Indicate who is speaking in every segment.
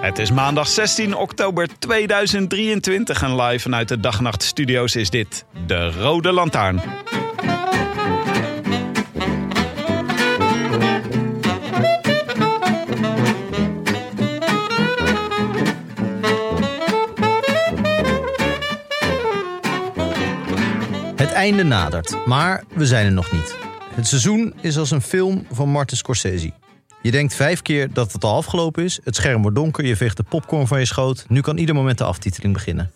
Speaker 1: Het is maandag 16 oktober 2023 en live vanuit de Dagnacht Studios is dit De Rode Lantaarn.
Speaker 2: Het einde nadert, maar we zijn er nog niet. Het seizoen is als een film van Martin Scorsese. Je denkt vijf keer dat het al afgelopen is, het scherm wordt donker, je veegt de popcorn van je schoot, nu kan ieder moment de aftiteling beginnen.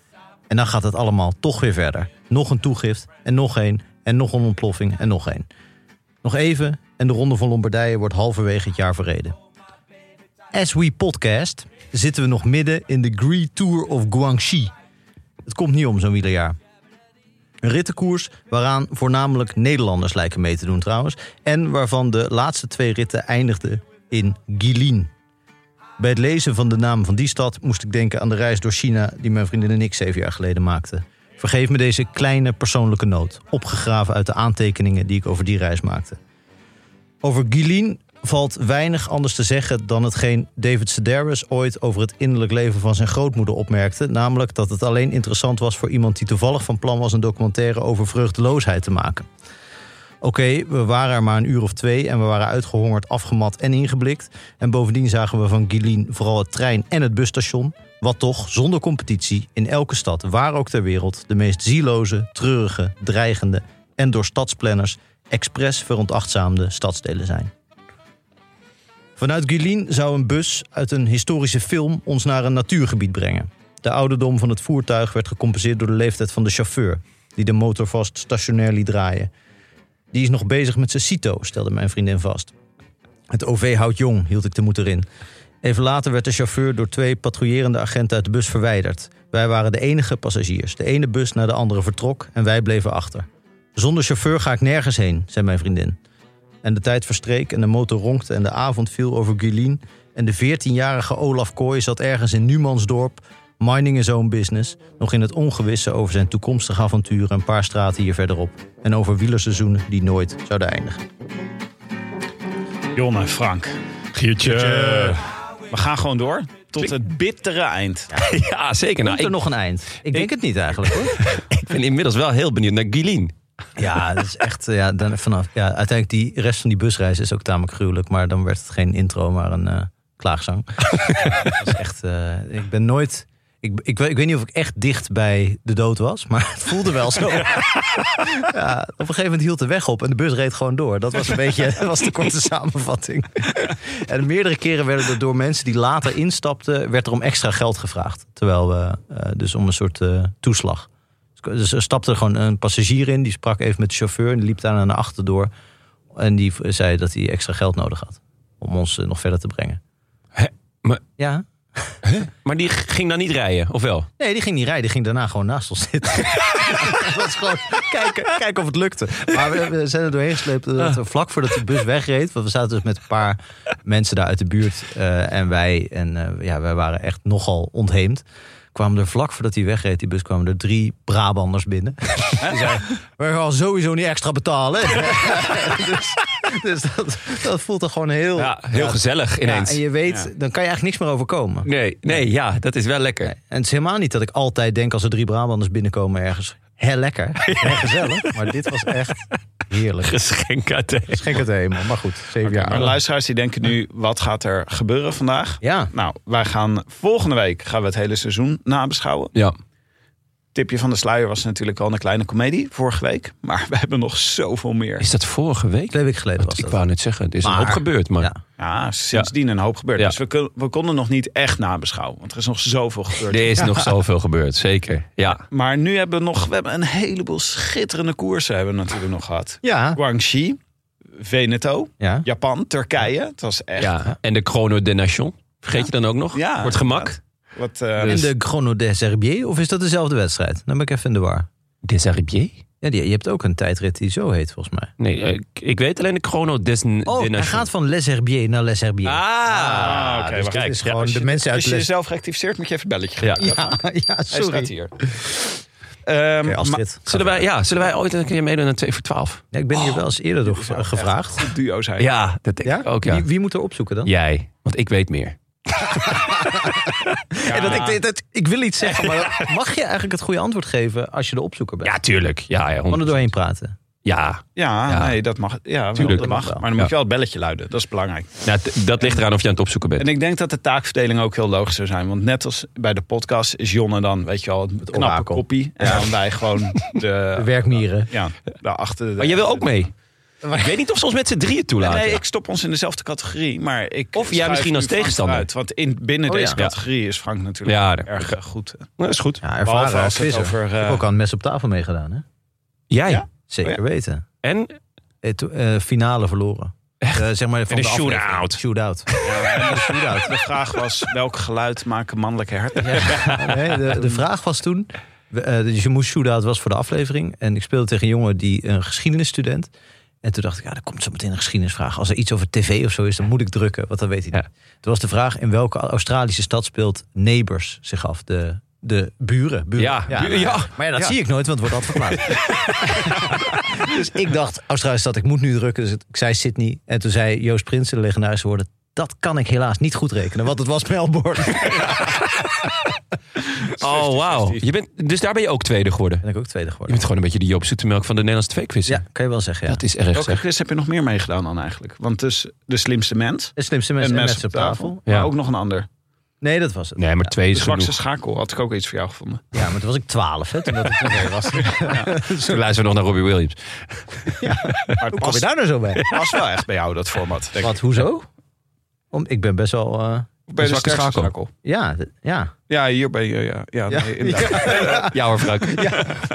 Speaker 2: En dan gaat het allemaal toch weer verder. Nog een toegift, en nog één, en nog een ontploffing, en nog één. Nog even, en de Ronde van Lombardije wordt halverwege het jaar verreden. As we podcast zitten we nog midden in de Gree Tour of Guangxi. Het komt niet om zo'n wielerjaar. Een rittenkoers waaraan voornamelijk Nederlanders lijken mee te doen trouwens. En waarvan de laatste twee ritten eindigden in Guilin. Bij het lezen van de naam van die stad moest ik denken aan de reis door China die mijn vriendin en ik zeven jaar geleden maakten. Vergeef me deze kleine persoonlijke noot, opgegraven uit de aantekeningen die ik over die reis maakte. Over Guilin valt weinig anders te zeggen dan hetgeen David Sedaris ooit over het innerlijk leven van zijn grootmoeder opmerkte. Namelijk dat het alleen interessant was voor iemand die toevallig van plan was een documentaire over vruchteloosheid te maken. Oké, we waren er maar een uur of twee en we waren uitgehongerd, afgemat en ingeblikt. En bovendien zagen we van Guilin vooral het trein- en het busstation. Wat toch, zonder competitie, in elke stad, waar ook ter wereld, de meest zieloze, treurige, dreigende en door stadsplanners expres veronachtzaamde stadsdelen zijn. Vanuit Guilin zou een bus uit een historische film ons naar een natuurgebied brengen. De ouderdom van het voertuig werd gecompenseerd door de leeftijd van de chauffeur, die de motor vast stationair liet draaien. Die is nog bezig met zijn CITO, stelde mijn vriendin vast. Het OV houdt jong, hield ik de moeder in. Even later werd de chauffeur door twee patrouillerende agenten uit de bus verwijderd. Wij waren de enige passagiers. De ene bus naar de andere vertrok en wij bleven achter. Zonder chauffeur ga ik nergens heen, zei mijn vriendin. En de tijd verstreek en de motor ronkte en de avond viel over Guilin. En de 14-jarige Olaf Kooi zat ergens in Numansdorp, mining his own business, nog in het ongewisse over zijn toekomstige avonturen een paar straten hier verderop. En over wielerseizoenen die nooit zouden eindigen.
Speaker 1: Jon en Frank,
Speaker 3: Giertje.
Speaker 1: we gaan gewoon door tot het bittere eind.
Speaker 3: Ja, zeker. Nou,
Speaker 2: Komt
Speaker 3: ik
Speaker 2: er nog een eind? Ik denk het niet eigenlijk hoor.
Speaker 3: ik ben inmiddels wel heel benieuwd naar Guilin.
Speaker 2: Ja, dat is echt. eh, Ja, dan vanaf, ja, uiteindelijk die rest van die busreis is ook tamelijk gruwelijk. Maar dan werd het geen intro, maar een eh, klaagzang. dat is echt. eh, ik ben nooit. Ik, ik, weet- ik weet niet of ik echt dicht bij de dood was, maar het voelde wel zo. Ja. op een gegeven moment hield de weg op en de bus reed gewoon door. Dat was een beetje dat was de korte samenvatting. en meerdere keren werden er door mensen die later instapten, werd er om extra geld gevraagd. Terwijl we eh, dus om een soort eh, toeslag. Dus er stapte gewoon een passagier in, die sprak even met de chauffeur en die liep daarna naar achter door. En die zei dat hij extra geld nodig had om ons eh, nog verder te brengen.
Speaker 3: Hè? Maar,
Speaker 2: Ja.
Speaker 3: maar die ging dan niet rijden, of wel?
Speaker 2: Nee, die ging niet rijden. Die ging daarna gewoon naast ons zitten. dat was gewoon kijken, kijken of het lukte. Maar we, we zijn er doorheen gesleept.
Speaker 3: Ah.
Speaker 2: Dat we vlak voordat de bus wegreed. Want we zaten dus met een paar mensen daar uit de buurt. eh, en wij. En eh, ja, wij waren echt nogal ontheemd. Kwamen er vlak voordat hij wegreed, die bus, kwamen er drie Brabanders binnen. Die zeiden, we gaan sowieso niet extra betalen. dus dus dat, dat voelt toch gewoon heel...
Speaker 3: Ja, heel gezellig ineens.
Speaker 2: Ja, en je weet, dan kan je eigenlijk niks meer overkomen.
Speaker 3: Nee, nee, ja, dat is wel lekker.
Speaker 2: En het is helemaal niet dat ik altijd denk als er drie Brabanders binnenkomen ergens. heel lekker en gezellig. Maar dit was echt heerlijk.
Speaker 3: Geschenk uit de...
Speaker 2: Schenk het helemaal. Maar goed, zeven jaar.
Speaker 1: Maar
Speaker 2: oud.
Speaker 1: luisteraars die denken nu, wat gaat er gebeuren vandaag?
Speaker 2: Ja,
Speaker 1: Nou, wij gaan volgende week gaan we het hele seizoen nabeschouwen.
Speaker 3: Ja.
Speaker 1: Tipje van de sluier was natuurlijk al een kleine komedie vorige week. Maar we hebben nog zoveel meer.
Speaker 3: Is dat vorige week?
Speaker 2: twee weken geleden was
Speaker 3: Ik
Speaker 2: dat.
Speaker 3: wou net zeggen, er is
Speaker 2: Maar-
Speaker 3: een hoop gebeurd, maar...
Speaker 2: Ja.
Speaker 1: Ja, sindsdien een hoop gebeurd.
Speaker 3: Ja.
Speaker 1: Dus we, kun- we konden nog niet echt nabeschouwen. Want er is nog zoveel gebeurd.
Speaker 3: Er is nog zoveel gebeurd, zeker. Ja.
Speaker 1: Maar nu hebben we nog we hebben een heleboel schitterende koersen hebben we natuurlijk nog gehad.
Speaker 2: Ja,
Speaker 1: Guangxi, Veneto,
Speaker 2: ja.
Speaker 1: Japan, Turkije. Het was echt
Speaker 3: ja. En de Chrono de Nation. Vergeet je dan ook nog?
Speaker 1: Ja,
Speaker 3: Voor het gemak.
Speaker 1: wat... eh,
Speaker 2: In de Chrono des Herbiers, of is dat dezelfde wedstrijd? Dan ben ik even in de war.
Speaker 3: Des Herbiers?
Speaker 2: Ja, die, je hebt ook een tijdrit die zo heet, volgens mij.
Speaker 3: Nee, eh, ik, ik weet alleen de Chrono des N-
Speaker 2: Oh,
Speaker 3: de
Speaker 2: hij
Speaker 3: Nation.
Speaker 2: gaat van Les Herbiers naar Les Herbiers.
Speaker 3: Ah,
Speaker 1: Ah, oké,
Speaker 3: oké.
Speaker 1: wacht,
Speaker 2: Het
Speaker 3: kijk,
Speaker 2: dus is
Speaker 3: ja,
Speaker 2: gewoon
Speaker 3: als je-
Speaker 2: de mensen uit
Speaker 1: Als je
Speaker 2: Les...
Speaker 1: jezelf geactiveerd moet je even het belletje
Speaker 3: Ja.
Speaker 1: gebruiken.
Speaker 2: Ja, ja,
Speaker 1: Hij staat
Speaker 2: sorry.
Speaker 1: hier. Ehm,
Speaker 2: Oké,
Speaker 1: maar-
Speaker 2: Astrid.
Speaker 3: zullen, wij, ja, zullen wij ooit een keer meedoen aan 2 voor 12?
Speaker 2: Ja, ik ben hier wel eens eerder door gevra- gevraagd.
Speaker 1: goed duo zijn.
Speaker 3: Ja, dat denk ik ook, ja.
Speaker 2: Wie, wie moet er opzoeken dan?
Speaker 3: Jij, want ik weet meer.
Speaker 2: En dat
Speaker 1: Ah.
Speaker 2: ik, dat, ik wil iets zeggen, maar mag je eigenlijk het goede antwoord geven als je de opzoeker bent?
Speaker 3: Ja, tuurlijk. Ja, ja.
Speaker 2: Gewoon
Speaker 3: honderd-
Speaker 2: er doorheen praten.
Speaker 3: ja.
Speaker 1: Ja,
Speaker 3: Ja.
Speaker 1: nee, dat mag. Ja, wel,
Speaker 3: Tuurlijk.
Speaker 1: dat mag. Maar dan moet
Speaker 3: Ja.
Speaker 1: je wel het belletje luiden. Dat is belangrijk.
Speaker 3: Nou, t- dat ligt eraan of je aan het opzoeken bent.
Speaker 1: En ik denk dat de taakverdeling ook heel logisch zou zijn. Want net als bij de podcast is Jonne dan, weet je wel, het, knappe
Speaker 2: orakel.
Speaker 1: koppie. En dan wij gewoon
Speaker 2: De
Speaker 1: de...
Speaker 2: werkmieren.
Speaker 1: Ja,
Speaker 2: Nou,
Speaker 1: daarachter. de-
Speaker 3: Maar jij wil ook mee. Ik weet niet of ze ons met z'n drieën toelaten.
Speaker 1: Nee, ik stop ons in dezelfde categorie. Maar ik
Speaker 3: Of jij
Speaker 1: schuif
Speaker 3: misschien
Speaker 1: nu
Speaker 3: als
Speaker 1: Frank
Speaker 3: tegenstander.
Speaker 1: eruit, want in, binnen
Speaker 2: Oh, ja.
Speaker 1: deze categorie is Frank natuurlijk
Speaker 3: Ja, dat-
Speaker 1: erg eh, goed.
Speaker 3: Dat is goed.
Speaker 2: Ja,
Speaker 1: Behalve
Speaker 2: ervaren
Speaker 1: als het
Speaker 2: quizzer.
Speaker 1: over...
Speaker 2: Ik
Speaker 1: eh,
Speaker 2: heb ook aan het mes op tafel meegedaan, hè?
Speaker 3: Jij.
Speaker 1: Ja?
Speaker 2: Zeker
Speaker 1: Oh
Speaker 2: weten.
Speaker 3: En
Speaker 2: Eh, to- eh, finale verloren. Eh, zeg maar van
Speaker 3: In
Speaker 2: de
Speaker 3: een
Speaker 2: aflevering.
Speaker 3: shootout.
Speaker 2: Shootout.
Speaker 1: De vraag was, welk geluid maken mannelijke herten?
Speaker 2: Ja, nee, de, de vraag was toen. we, eh, Dus je moest shootout was voor de aflevering. En ik speelde tegen een jongen die een geschiedenisstudent. En toen dacht ik, ja, er komt zo meteen een geschiedenisvraag. Als er iets over tv of zo is, dan moet ik drukken, want dan weet hij niet.
Speaker 3: Ja.
Speaker 2: Toen was de vraag, in welke Australische stad speelt Neighbours zich af? De, de buren. buren.
Speaker 3: Ja, bu-
Speaker 2: nou,
Speaker 3: ja.
Speaker 2: Maar ja, dat
Speaker 3: Ja.
Speaker 2: zie ik nooit, want het wordt altijd verplaatst. dus ik dacht, Australische stad, ik moet nu drukken. Dus ik zei Sydney. En toen zei Joost Prinsen, de legendarische woorden... dat kan ik helaas niet goed rekenen, want het was Melbourne.
Speaker 3: Oh, wauw. Je bent- Dus daar ben je ook tweede geworden.
Speaker 2: ben ik ook tweede
Speaker 3: Je
Speaker 2: geworden.
Speaker 3: bent gewoon een beetje de Joop Zoetemelk van de Nederlandse tweequiz.
Speaker 2: Ja, kan je wel zeggen. Ja.
Speaker 3: Dat is erg
Speaker 1: Welke
Speaker 3: zeg.
Speaker 1: quiz heb je nog meer meegedaan dan eigenlijk? Want dus de slimste mens,
Speaker 2: De slimste mensen
Speaker 1: een
Speaker 2: en
Speaker 1: mes op tafel, maar
Speaker 3: Ja.
Speaker 1: ook nog een ander.
Speaker 2: Nee, dat was het.
Speaker 3: Nee, maar twee
Speaker 1: De
Speaker 3: is
Speaker 1: zwakste
Speaker 3: genoeg.
Speaker 1: schakel had ik ook iets voor jou gevonden.
Speaker 2: Ja, maar toen was ik twaalf, hè, toen dat ik tv was.
Speaker 3: Toen luisteren we nog naar Robbie Williams.
Speaker 1: Maar het
Speaker 2: Hoe kom je
Speaker 1: past,
Speaker 2: daar nou zo bij?
Speaker 1: past wel echt bij jou, dat format. Denk ik.
Speaker 2: Wat, hoezo? Om, ik ben best wel... eh,
Speaker 1: Bij de
Speaker 3: Zwakste
Speaker 1: sterkste
Speaker 3: schakel.
Speaker 2: ja, d- ja.
Speaker 1: Ja, hier ben je. Ja, ja,
Speaker 2: Ja.
Speaker 1: Nee, inderdaad.
Speaker 3: Ja hoor, Frank.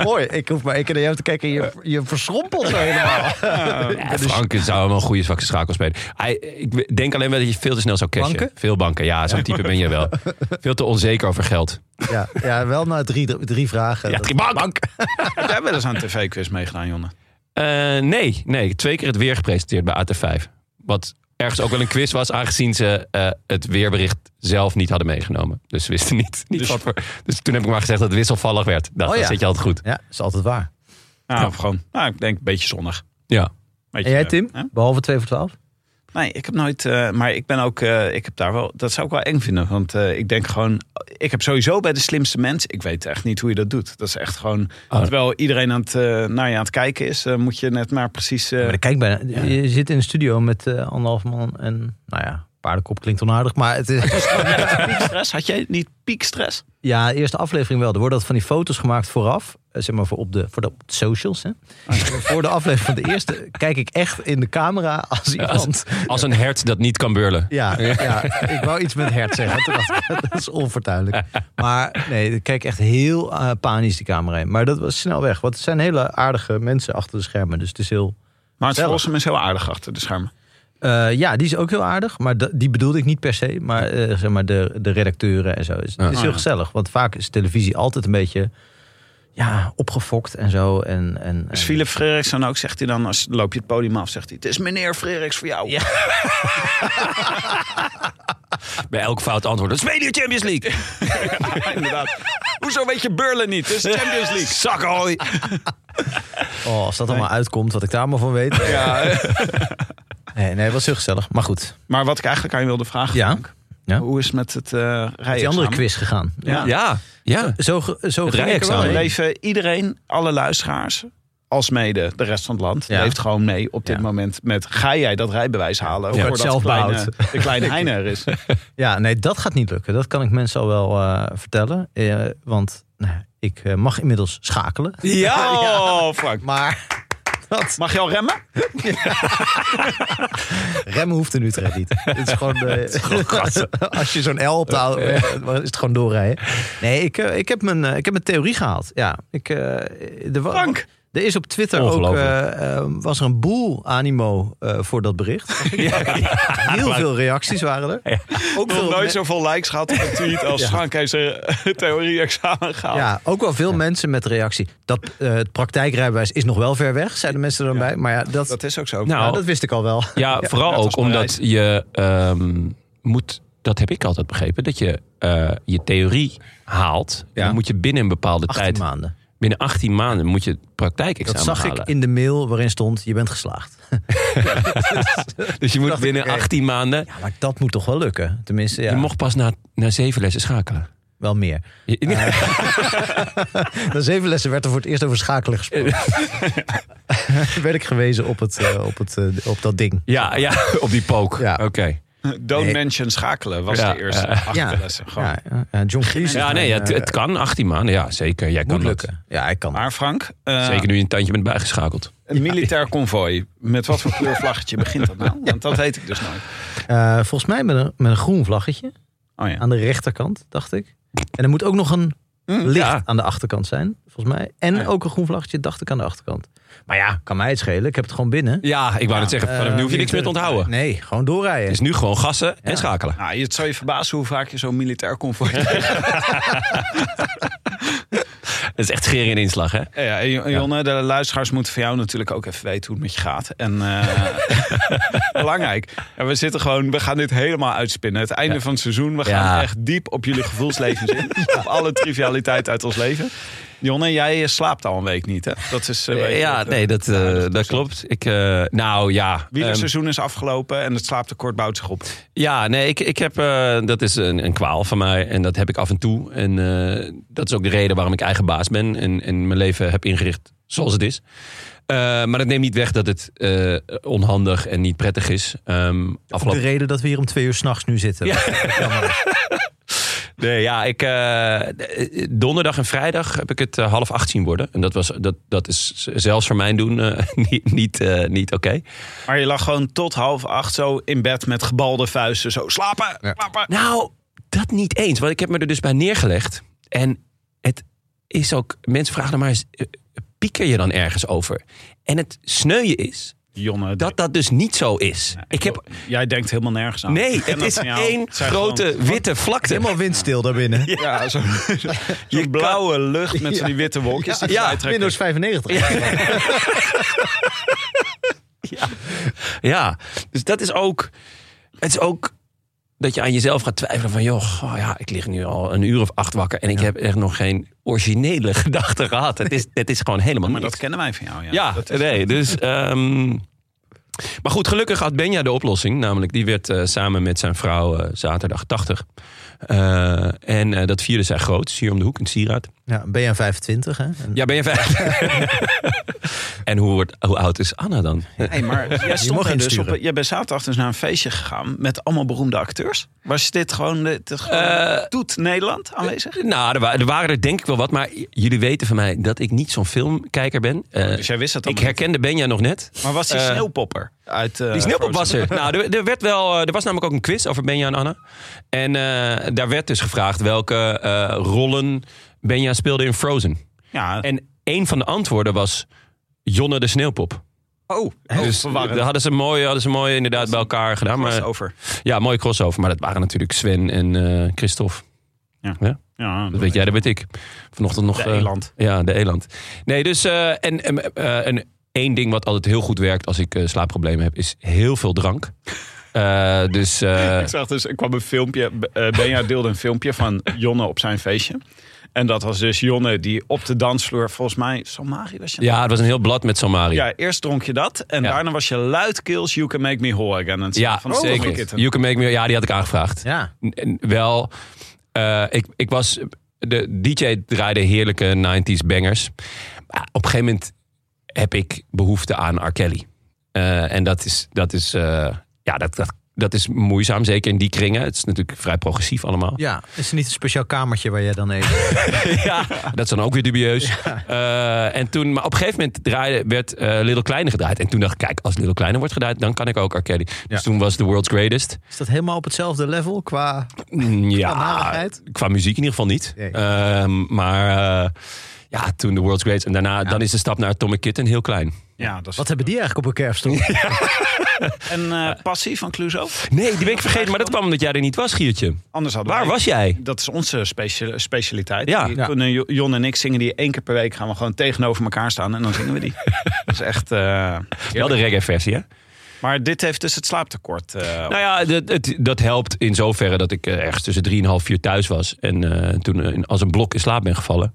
Speaker 2: Mooi, ik hoef maar één keer naar jou te kijken. Je, je verschrompelt zo helemaal.
Speaker 3: Ja, Frank zou wel een goede zwakke schakel spelen. Hij, ik denk alleen wel dat je veel te snel zou cashen.
Speaker 2: Banken?
Speaker 3: Veel banken, ja. Zo'n type ben je wel. Veel te onzeker over geld.
Speaker 2: Ja, ja wel na drie, drie vragen.
Speaker 3: Ja,
Speaker 2: Dat-
Speaker 3: drie bank!
Speaker 1: Heb jij wel eens aan een tv-quiz meegedaan, Jonne?
Speaker 3: Eh, nee, nee. Twee keer het weer gepresenteerd bij AT5. Wat ergens ook wel een quiz was, aangezien ze eh, het weerbericht zelf niet hadden meegenomen. Dus ze wisten niet, niet
Speaker 1: Dus-
Speaker 3: wat voor... Dus toen heb ik maar gezegd dat het wisselvallig werd. Nou,
Speaker 2: Oh
Speaker 3: dan
Speaker 2: ja.
Speaker 3: zit je altijd goed.
Speaker 2: Ja, is altijd waar.
Speaker 1: Ja, of gewoon, nou, ik denk een beetje zonnig.
Speaker 3: Ja.
Speaker 1: Beetje,
Speaker 2: En jij
Speaker 1: eh,
Speaker 2: Tim?
Speaker 1: hè?
Speaker 2: Behalve 2 voor 12?
Speaker 1: Nee, ik heb nooit. eh, maar ik ben ook. eh, ik heb daar wel. Dat zou ik wel eng vinden. Want eh, ik denk gewoon. Ik heb sowieso bij de slimste mens. Ik weet echt niet hoe je dat doet. Dat is echt gewoon.
Speaker 3: Oh.
Speaker 1: Terwijl iedereen aan het, eh, naar je aan het kijken is, eh, moet je net maar precies. eh,
Speaker 2: Maar dan kijk bijna, je zit in een studio met eh, anderhalf man en nou ja, paardenkop klinkt onaardig, maar het is,
Speaker 1: stress. Had jij niet piekstress?
Speaker 2: ja, de eerste aflevering wel. Er worden dat van die foto's gemaakt vooraf, eh, zeg maar voor op de, voor de, op de socials. Hè. Dus Voor de aflevering van de eerste kijk ik echt in de camera als iemand.
Speaker 3: Als, als een hert dat niet kan beurlen.
Speaker 2: Ja, ja, ik wou iets met hert zeggen. Toen dacht ik, dat is onvertuidelijk. Maar nee, ik kijk echt heel eh, panisch de camera in. Maar dat was snel weg. Want het zijn hele aardige mensen achter de schermen. Dus het is heel
Speaker 1: Maar het
Speaker 2: Zelf.
Speaker 1: Rossum is heel aardig achter de schermen.
Speaker 2: Eh, ja, die is ook heel aardig. Maar da- die bedoelde ik niet per se. Maar, eh, zeg maar de, de redacteuren en zo. Dus
Speaker 3: Ja.
Speaker 2: Het is
Speaker 1: Oh,
Speaker 2: heel
Speaker 1: ja.
Speaker 2: gezellig. Want vaak is televisie altijd een beetje ja, opgefokt en zo. En, en, en-
Speaker 1: Dus Philip Frederiks dan ook, zegt hij dan, als loop je het podium af, zegt hij: Het is meneer Frederiks voor jou.
Speaker 2: Ja.
Speaker 3: Bij elk fout antwoord. Dat is mede Champions League.
Speaker 1: Ja, inderdaad. Hoezo weet je Burlen niet? Het is Champions League.
Speaker 3: Zak hoi.
Speaker 2: oh, als dat allemaal uitkomt, wat ik daar allemaal van weet.
Speaker 1: Ja.
Speaker 2: Nee, nee, het was heel gezellig. Maar goed,
Speaker 1: Maar wat ik eigenlijk aan je wilde vragen,
Speaker 2: Ja.
Speaker 1: Frank,
Speaker 2: Ja?
Speaker 1: Hoe is het met het eh rijexamen?
Speaker 2: Die andere quiz gegaan.
Speaker 1: Ja.
Speaker 3: Ja, ja.
Speaker 2: Zo, ge- zo ging ik
Speaker 3: Het
Speaker 2: er wel
Speaker 3: rijexamen.
Speaker 2: heen.
Speaker 1: Leven eh, iedereen, alle luisteraars, alsmede de rest van het land,
Speaker 2: Ja.
Speaker 1: leeft gewoon mee op dit
Speaker 2: Ja.
Speaker 1: moment met ga jij dat rijbewijs halen
Speaker 2: Ja.
Speaker 1: voordat de kleine,
Speaker 2: Zelfbehoud.
Speaker 1: de kleine Heine er is.
Speaker 2: Ja, nee, dat gaat niet lukken. Dat kan ik mensen al wel eh, vertellen. Eh, want nou, ik eh, mag inmiddels schakelen.
Speaker 3: Ja, oh, Frank.
Speaker 2: Maar dat
Speaker 1: Mag je al remmen?
Speaker 2: remmen hoeft in Utrecht niet. Het is gewoon, eh, als je zo'n L op de auto, eh, is het gewoon doorrijden. Nee, ik, eh, ik, heb, mijn, eh, ik heb mijn theorie gehaald. Ja, ik, eh, er, wa-
Speaker 1: Frank!
Speaker 2: er is op Twitter ook,
Speaker 3: Ongelooflijk.
Speaker 2: eh, eh, was er een boel animo eh, voor dat bericht. Heel veel reacties waren er. Ook
Speaker 1: Nog
Speaker 2: me-
Speaker 1: nooit zoveel likes gehad op een tweet als Frank heeft zijn eh, theorie-examen gehaald.
Speaker 2: Ja, ook wel veel mensen met de reactie. Dat eh, het praktijkrijbewijs is nog wel ver weg, zeiden mensen er dan bij. Maar ja, dat,
Speaker 1: Dat is ook zo.
Speaker 2: ja,
Speaker 3: Nou,
Speaker 2: dat wist ik al wel.
Speaker 3: Ja, vooral
Speaker 1: net als
Speaker 3: ook omdat je ehm, moet, dat heb ik altijd begrepen, dat je eh, je theorie haalt.
Speaker 2: Ja.
Speaker 3: Dan moet je binnen een bepaalde
Speaker 2: 18
Speaker 3: tijd,
Speaker 2: maanden.
Speaker 3: binnen 18 maanden, moet je het praktijkexamen
Speaker 2: Dat zag
Speaker 3: halen.
Speaker 2: ik in de mail waarin stond, je bent geslaagd.
Speaker 3: dus je moet
Speaker 2: dacht ik,
Speaker 3: binnen
Speaker 2: oké.
Speaker 3: 18 maanden,
Speaker 2: Ja, maar dat moet toch wel lukken? Tenminste, ja,
Speaker 3: je mocht pas na, na zeven lessen schakelen.
Speaker 2: wel meer.
Speaker 3: Je-
Speaker 2: Na zeven lessen werd er voor het eerst over schakelen gesproken. werd ik gewezen op, het, eh, op, het, eh, op dat ding.
Speaker 3: ja, ja, op die pook.
Speaker 2: Ja.
Speaker 3: Oké.
Speaker 1: Don't
Speaker 2: Nee.
Speaker 1: mention schakelen was
Speaker 3: Ja,
Speaker 1: de eerste
Speaker 3: ja.
Speaker 1: acht
Speaker 2: Ja.
Speaker 1: lessen. Gewoon.
Speaker 2: Ja, ja, John Cleese.
Speaker 3: Ja,
Speaker 2: is
Speaker 3: nee,
Speaker 2: mijn,
Speaker 3: Dus het,
Speaker 2: eh,
Speaker 3: het kan 18 maanden. Ja, zeker. Jij kan
Speaker 2: moet
Speaker 3: dat.
Speaker 2: lukken. Ja, ik kan.
Speaker 1: Maar Frank, eh,
Speaker 3: Zeker nu je een tandje bent bijgeschakeld.
Speaker 1: een militair konvooi. Met wat voor kleurvlaggetje begint dat nou? Want dat weet ik dus nooit.
Speaker 2: Eh, volgens mij met een, met een groen vlaggetje.
Speaker 1: Oh ja.
Speaker 2: aan de rechterkant, dacht ik. En er moet ook nog een licht
Speaker 3: Hm, ja.
Speaker 2: aan de achterkant zijn, volgens mij. En
Speaker 1: Ja.
Speaker 2: ook een groen vlaggetje, dacht ik, aan de achterkant. Maar ja, kan mij het schelen. Ik heb het gewoon binnen.
Speaker 3: Ja, ik wou net zeggen, vanaf nu hoef je
Speaker 2: Eh,
Speaker 3: niks meer te onthouden.
Speaker 2: Nee, gewoon doorrijden.
Speaker 3: Het is nu gewoon gassen en schakelen.
Speaker 1: Nou, je- het zou je verbazen hoe vaak je zo'n militair konvooi krijgt.
Speaker 3: Het is echt scheren in inslag, hè?
Speaker 1: Ja, Ja, en Jo- Jonne, de luisteraars moeten van jou natuurlijk ook even weten hoe het met je gaat. En eh, belangrijk. Ja, we zitten gewoon, we gaan dit helemaal uitspinnen. Het einde van het seizoen, we gaan
Speaker 3: Ja.
Speaker 1: echt diep op jullie gevoelslevens in. Op alle trivialiteit uit ons leven. Jonne, jij eh, slaapt al een week niet, hè? Dat is, eh, weet je,
Speaker 3: ja,
Speaker 1: dat, eh,
Speaker 3: nee, dat, eh, dat, klopt. Ik, eh, nou ja. ehm,
Speaker 1: Wielerseizoen is afgelopen en het slaaptekort bouwt zich op.
Speaker 3: ja, nee, ik, ik heb, eh, dat is een, een kwaal van mij en dat heb ik af en toe. En eh, dat is ook de reden waarom ik eigen baas ben en, en mijn leven heb ingericht zoals het is. Eh, maar dat neemt niet weg dat het eh, onhandig en niet prettig is. Ehm
Speaker 2: Ook de
Speaker 3: afgelopen...
Speaker 2: reden dat we hier om twee uur s'nachts nu zitten.
Speaker 3: Ja.
Speaker 2: Jammer.
Speaker 3: Nee, ja, ik, eh, donderdag en vrijdag heb ik het eh, half acht zien worden. En dat, was, dat, dat is zelfs voor mijn doen eh, niet, niet, eh, niet oké.
Speaker 1: Maar je lag gewoon tot half acht zo in bed met gebalde vuisten. Zo slapen,
Speaker 2: Ja.
Speaker 1: slapen.
Speaker 3: Nou, dat niet eens. Want ik heb me er dus bij neergelegd. En het is ook... Mensen vragen dan maar eens... eh, Pieker je dan ergens over? En het sneuien is
Speaker 1: Jonne,
Speaker 3: dat dat dus niet zo is. Ik heb...
Speaker 1: jij denkt helemaal nergens aan. Ik
Speaker 3: Nee,
Speaker 1: ken Nou,
Speaker 3: het
Speaker 1: dat
Speaker 3: is
Speaker 1: van jou.
Speaker 3: één
Speaker 1: Het zijn
Speaker 3: grote
Speaker 1: gewoon-
Speaker 3: witte vlakte.
Speaker 2: Helemaal windstil daarbinnen. Ja,
Speaker 1: Ja, zo, je blauwe lucht met van die witte wolkjes. die
Speaker 3: Ja,
Speaker 1: voorbij trekken.
Speaker 2: Windows 95.
Speaker 3: Ja, dus dat is ook... Het is ook dat je aan jezelf gaat twijfelen van... joh, oh ja, ik lig nu al een uur of acht wakker... en ik heb echt nog geen originele gedachte gehad. Het is, het is gewoon helemaal
Speaker 1: Maar
Speaker 3: niks.
Speaker 1: dat kennen wij van jou. Ja,
Speaker 3: Ja,
Speaker 1: Dat is-
Speaker 3: nee, dus... ehm, maar goed, gelukkig had Benja de oplossing. Namelijk, die werd eh, samen met zijn vrouw eh, zaterdag 80. Eh, en eh, dat vierde zij groots, hier om de hoek in Sieraad.
Speaker 2: Ja, BN 25, hè? En-
Speaker 3: Ja, ben je vijf? en hoe, wordt- hoe oud is Anna dan?
Speaker 1: Hey, maar jij, stond
Speaker 2: mag
Speaker 1: daar dus op,
Speaker 2: insturen.
Speaker 1: jij bent zaterdag dus naar een feestje gegaan met allemaal beroemde acteurs. Was dit gewoon de, de- gewoon
Speaker 3: Eh,
Speaker 1: toet Nederland aanwezig?
Speaker 3: Nou, er, wa- er waren er denk ik wel wat. Maar j- jullie weten van mij dat ik niet zo'n filmkijker ben. Eh,
Speaker 1: Dus jij wist dat
Speaker 3: ik
Speaker 1: allemaal
Speaker 3: herkende Benja nog net.
Speaker 1: niet. Maar was die
Speaker 3: eh,
Speaker 1: sneeuwpopper? Uit, eh,
Speaker 3: Die sneeuwpop was
Speaker 1: Frozen?
Speaker 3: er. Nou, er, er werd wel, eh, er was namelijk ook een quiz over Benja en Anna. En eh, daar werd dus gevraagd welke eh, rollen Benja speelde in Frozen.
Speaker 1: Ja,
Speaker 3: En een van de antwoorden was Jonne de Sneeuwpop.
Speaker 1: oh,
Speaker 3: Dus daar hadden ze mooi, hadden ze mooi inderdaad bij elkaar gedaan. Maar,
Speaker 1: over.
Speaker 3: ja, mooie crossover. Maar dat waren natuurlijk Sven en eh Christophe.
Speaker 1: Ja,
Speaker 3: Dat weet jij, dat weet ik. Vanochtend nog...
Speaker 1: De
Speaker 3: eh,
Speaker 1: eland.
Speaker 3: Ja, de eland. Nee, dus... eh, en, en, eh, en één ding wat altijd heel goed werkt als ik eh, slaapproblemen heb... is heel veel drank. Eh, dus... eh,
Speaker 1: Ik zag dus, ik kwam een filmpje. eh, Benja deelde een filmpje van Jonne op zijn feestje. En dat was dus Jonne die op de dansvloer, volgens mij, Somari was je
Speaker 3: Ja, het was een heel blad met Somari.
Speaker 1: Ja, eerst dronk je dat en
Speaker 3: Ja.
Speaker 1: daarna was je luidkeels You Can Make Me Whole Again. En
Speaker 3: Ja,
Speaker 1: van Steve
Speaker 3: zeker.
Speaker 1: Kitten.
Speaker 3: You can make me. Ja, die had ik aangevraagd.
Speaker 2: Ja.
Speaker 3: N- n- Wel, eh, ik, ik was. De DJ draaide heerlijke 90s bangers. Maar op een gegeven moment heb ik behoefte aan R. Kelly. Eh, en dat is. Dat is eh, ja, dat, dat, dat is moeizaam, zeker in die kringen. Het is natuurlijk vrij progressief allemaal.
Speaker 2: Ja, is er niet een speciaal kamertje waar jij dan even...
Speaker 3: Ja, dat is dan ook weer dubieus. Eh, en toen, maar op een gegeven moment draaide, werd eh Little Kleine gedraaid. En toen dacht ik, kijk, als Little Kleine wordt gedraaid, dan kan ik ook R. Kelly. Dus toen was The World's Greatest.
Speaker 2: Is dat helemaal op hetzelfde level qua...
Speaker 3: Mm, Ja,
Speaker 2: narigheid?
Speaker 3: qua muziek in ieder geval niet.
Speaker 2: Nee.
Speaker 3: Ehm, maar eh, ja, toen The World's Greatest. En daarna, dan is de stap naar Atomic Kitten heel klein.
Speaker 1: Ja, dat is...
Speaker 2: Wat hebben die eigenlijk op een kerfstoel?
Speaker 1: En eh, Passie van Clouseau?
Speaker 3: Nee, die ben ik vergeten. Maar dat kwam omdat jij er niet was, Giertje.
Speaker 1: Anders hadden
Speaker 3: Waar
Speaker 1: wij-
Speaker 3: was jij?
Speaker 1: Dat is onze specia- specialiteit.
Speaker 3: Ja.
Speaker 1: Die
Speaker 3: Ja.
Speaker 1: kunnen Jo- Jon en ik zingen die één keer per week gaan we gewoon tegenover elkaar staan en dan zingen we die. dat is echt... eh,
Speaker 3: Wel de reggae versie, hè?
Speaker 1: Maar dit heeft dus het slaaptekort. eh,
Speaker 3: Nou ja, dat, het, dat helpt in zoverre dat ik eh, ergens tussen 3,5 en vier thuis was. En eh, toen eh, in- als een blok in slaap ben gevallen.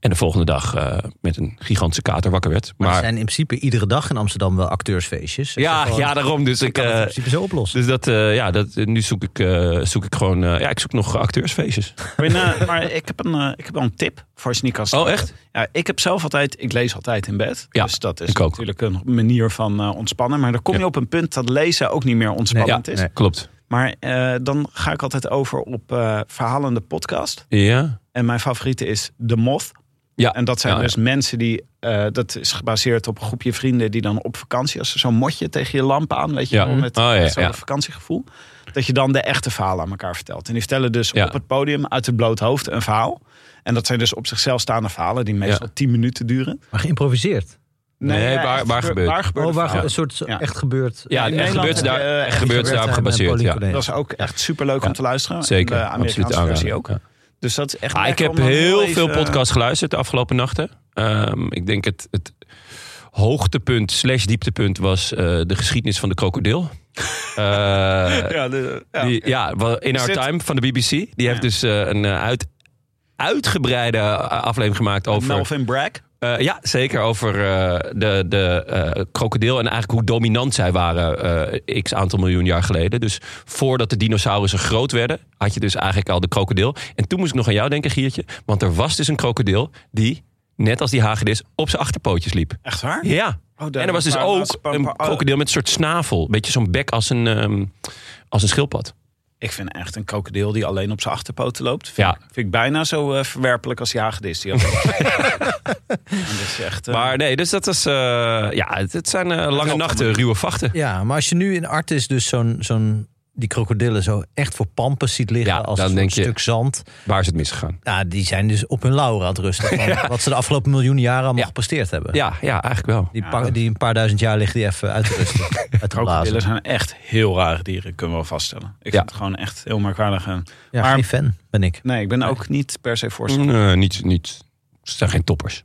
Speaker 3: En de volgende dag eh, met een gigantische kater wakker werd.
Speaker 2: Maar er
Speaker 3: Maar,
Speaker 2: zijn in principe iedere dag in Amsterdam wel acteursfeestjes. Dus
Speaker 3: ja,
Speaker 2: dat gewoon-
Speaker 3: ja, daarom. Dus ik,
Speaker 2: kan het in
Speaker 3: eh,
Speaker 2: principe zo oplossen.
Speaker 3: dus dat, eh, ja, dat, nu zoek ik, eh, zoek ik gewoon. eh, ja, ik zoek nog acteursfeestjes.
Speaker 1: maar, eh, maar ik heb, een, eh, ik heb wel een tip voor als je niet kan slapen.
Speaker 3: Oh, echt?
Speaker 1: Ja, ik heb zelf altijd... Ik lees altijd in bed.
Speaker 3: Ja,
Speaker 1: dus dat is
Speaker 3: ik ook.
Speaker 1: natuurlijk een manier van eh, ontspannen. Maar dan kom je op een punt dat lezen ook niet meer ontspannend is.
Speaker 2: nee.
Speaker 3: Klopt.
Speaker 1: Maar eh, dan ga ik altijd over op eh, verhalende podcast.
Speaker 3: Ja.
Speaker 1: En mijn favoriete is The Moth.
Speaker 3: Ja.
Speaker 1: En dat zijn
Speaker 3: Oh, Ja,
Speaker 1: dus mensen die, eh, dat is gebaseerd op een groepje vrienden die dan op vakantie, als ze zo'n motje tegen je lamp aan, weet je
Speaker 3: Ja.
Speaker 1: wel, met,
Speaker 3: Oh, ja,
Speaker 1: met zo'n
Speaker 3: ja.
Speaker 1: vakantiegevoel. Dat je dan de echte verhalen aan elkaar vertelt. En die vertellen dus
Speaker 3: Ja.
Speaker 1: op het podium uit het bloot hoofd een verhaal. En dat zijn dus op zichzelf staande verhalen die meestal
Speaker 3: Ja.
Speaker 1: tien minuten duren.
Speaker 2: Maar geïmproviseerd.
Speaker 3: Nee,
Speaker 1: ja,
Speaker 3: waar-
Speaker 1: echt
Speaker 3: waar
Speaker 1: gebe-
Speaker 3: gebeurt?
Speaker 1: Waar gebeurt
Speaker 2: Oh, waar
Speaker 1: waar
Speaker 2: een soort
Speaker 1: Ja.
Speaker 2: echt gebeurd.
Speaker 3: Ja,
Speaker 1: in
Speaker 3: en echt
Speaker 1: Nederland
Speaker 3: gebeurts
Speaker 1: heb
Speaker 3: daar,
Speaker 1: je, eh,
Speaker 3: echt
Speaker 1: echt
Speaker 3: gebeurts daarop gebaseerd. Ja.
Speaker 1: dat is ook echt superleuk
Speaker 3: Ja.
Speaker 1: om te luisteren.
Speaker 3: Zeker.
Speaker 1: En De
Speaker 3: Absoluut
Speaker 1: Amerikaanse versie
Speaker 3: aanraden.
Speaker 1: ook.
Speaker 3: Ja.
Speaker 1: Dus dat is echt
Speaker 3: Ah, ik
Speaker 1: lekker
Speaker 3: heb
Speaker 1: om dan
Speaker 3: heel
Speaker 1: even- eh,
Speaker 3: veel podcasts geluisterd de afgelopen nachten. Ehm, ik denk het, het hoogtepunt slash dieptepunt was eh, de geschiedenis van de krokodil. Eh,
Speaker 1: Ja, de- ja.
Speaker 3: die, ja, wel In
Speaker 1: Is
Speaker 3: Our
Speaker 1: dit-
Speaker 3: Time van de BBC. Die heeft dus eh, een eh, uit, uitgebreide eh, aflevering gemaakt over...
Speaker 1: Melvin Bragg.
Speaker 3: Eh, ja, zeker over eh, de, de eh, krokodil en eigenlijk hoe dominant zij waren eh, x aantal miljoen jaar geleden. Dus voordat de dinosaurussen groot werden, had je dus eigenlijk al de krokodil. En toen moest ik nog aan jou denken, Giertje, want er was dus een krokodil die, net als die hagedis, op zijn achterpootjes liep.
Speaker 1: Echt waar?
Speaker 3: Ja.
Speaker 1: Oh, daar-
Speaker 3: en er was dus
Speaker 1: waar-
Speaker 3: ook
Speaker 1: waar-
Speaker 3: een krokodil met een soort snavel. Beetje zo'n bek als een, ehm, als een schildpad.
Speaker 1: Ik vind echt een krokodil die alleen op zijn achterpoten loopt. Vind,
Speaker 3: Ja.
Speaker 1: vind ik bijna zo eh, verwerpelijk als die hagedis. Die alleen op zijn achterpoten loopt. En dat is echt, eh,
Speaker 3: Maar nee, dus dat is... eh, ja, het, het zijn eh, lange
Speaker 1: helpt
Speaker 3: nachten, ruwe vachten.
Speaker 2: Ja, maar als je nu in Artis dus zo'n, zo'n, die krokodillen zo echt voor pampen ziet liggen
Speaker 3: Ja,
Speaker 2: als
Speaker 3: dan
Speaker 2: een
Speaker 3: denk je-
Speaker 2: stuk zand.
Speaker 3: Waar is het misgegaan?
Speaker 2: Nou, die zijn dus op hun lauren aan het rusten. Van Wat ze de afgelopen miljoenen jaren allemaal gepresteerd hebben.
Speaker 3: Ja, ja, eigenlijk wel.
Speaker 2: Die, paar, die een paar duizend jaar liggen die even uit te rusten. uit te blazen.
Speaker 1: krokodillen zijn echt heel rare dieren, kunnen we wel vaststellen. Ik
Speaker 3: Ja.
Speaker 1: vind het gewoon echt heel merkwaardig. En,
Speaker 2: Ja,
Speaker 1: maar
Speaker 2: geen fan ben ik.
Speaker 1: nee, Mm. ik ben ook niet per se voorstander.
Speaker 3: Nee, eh, niet, niet. Ze zijn geen toppers.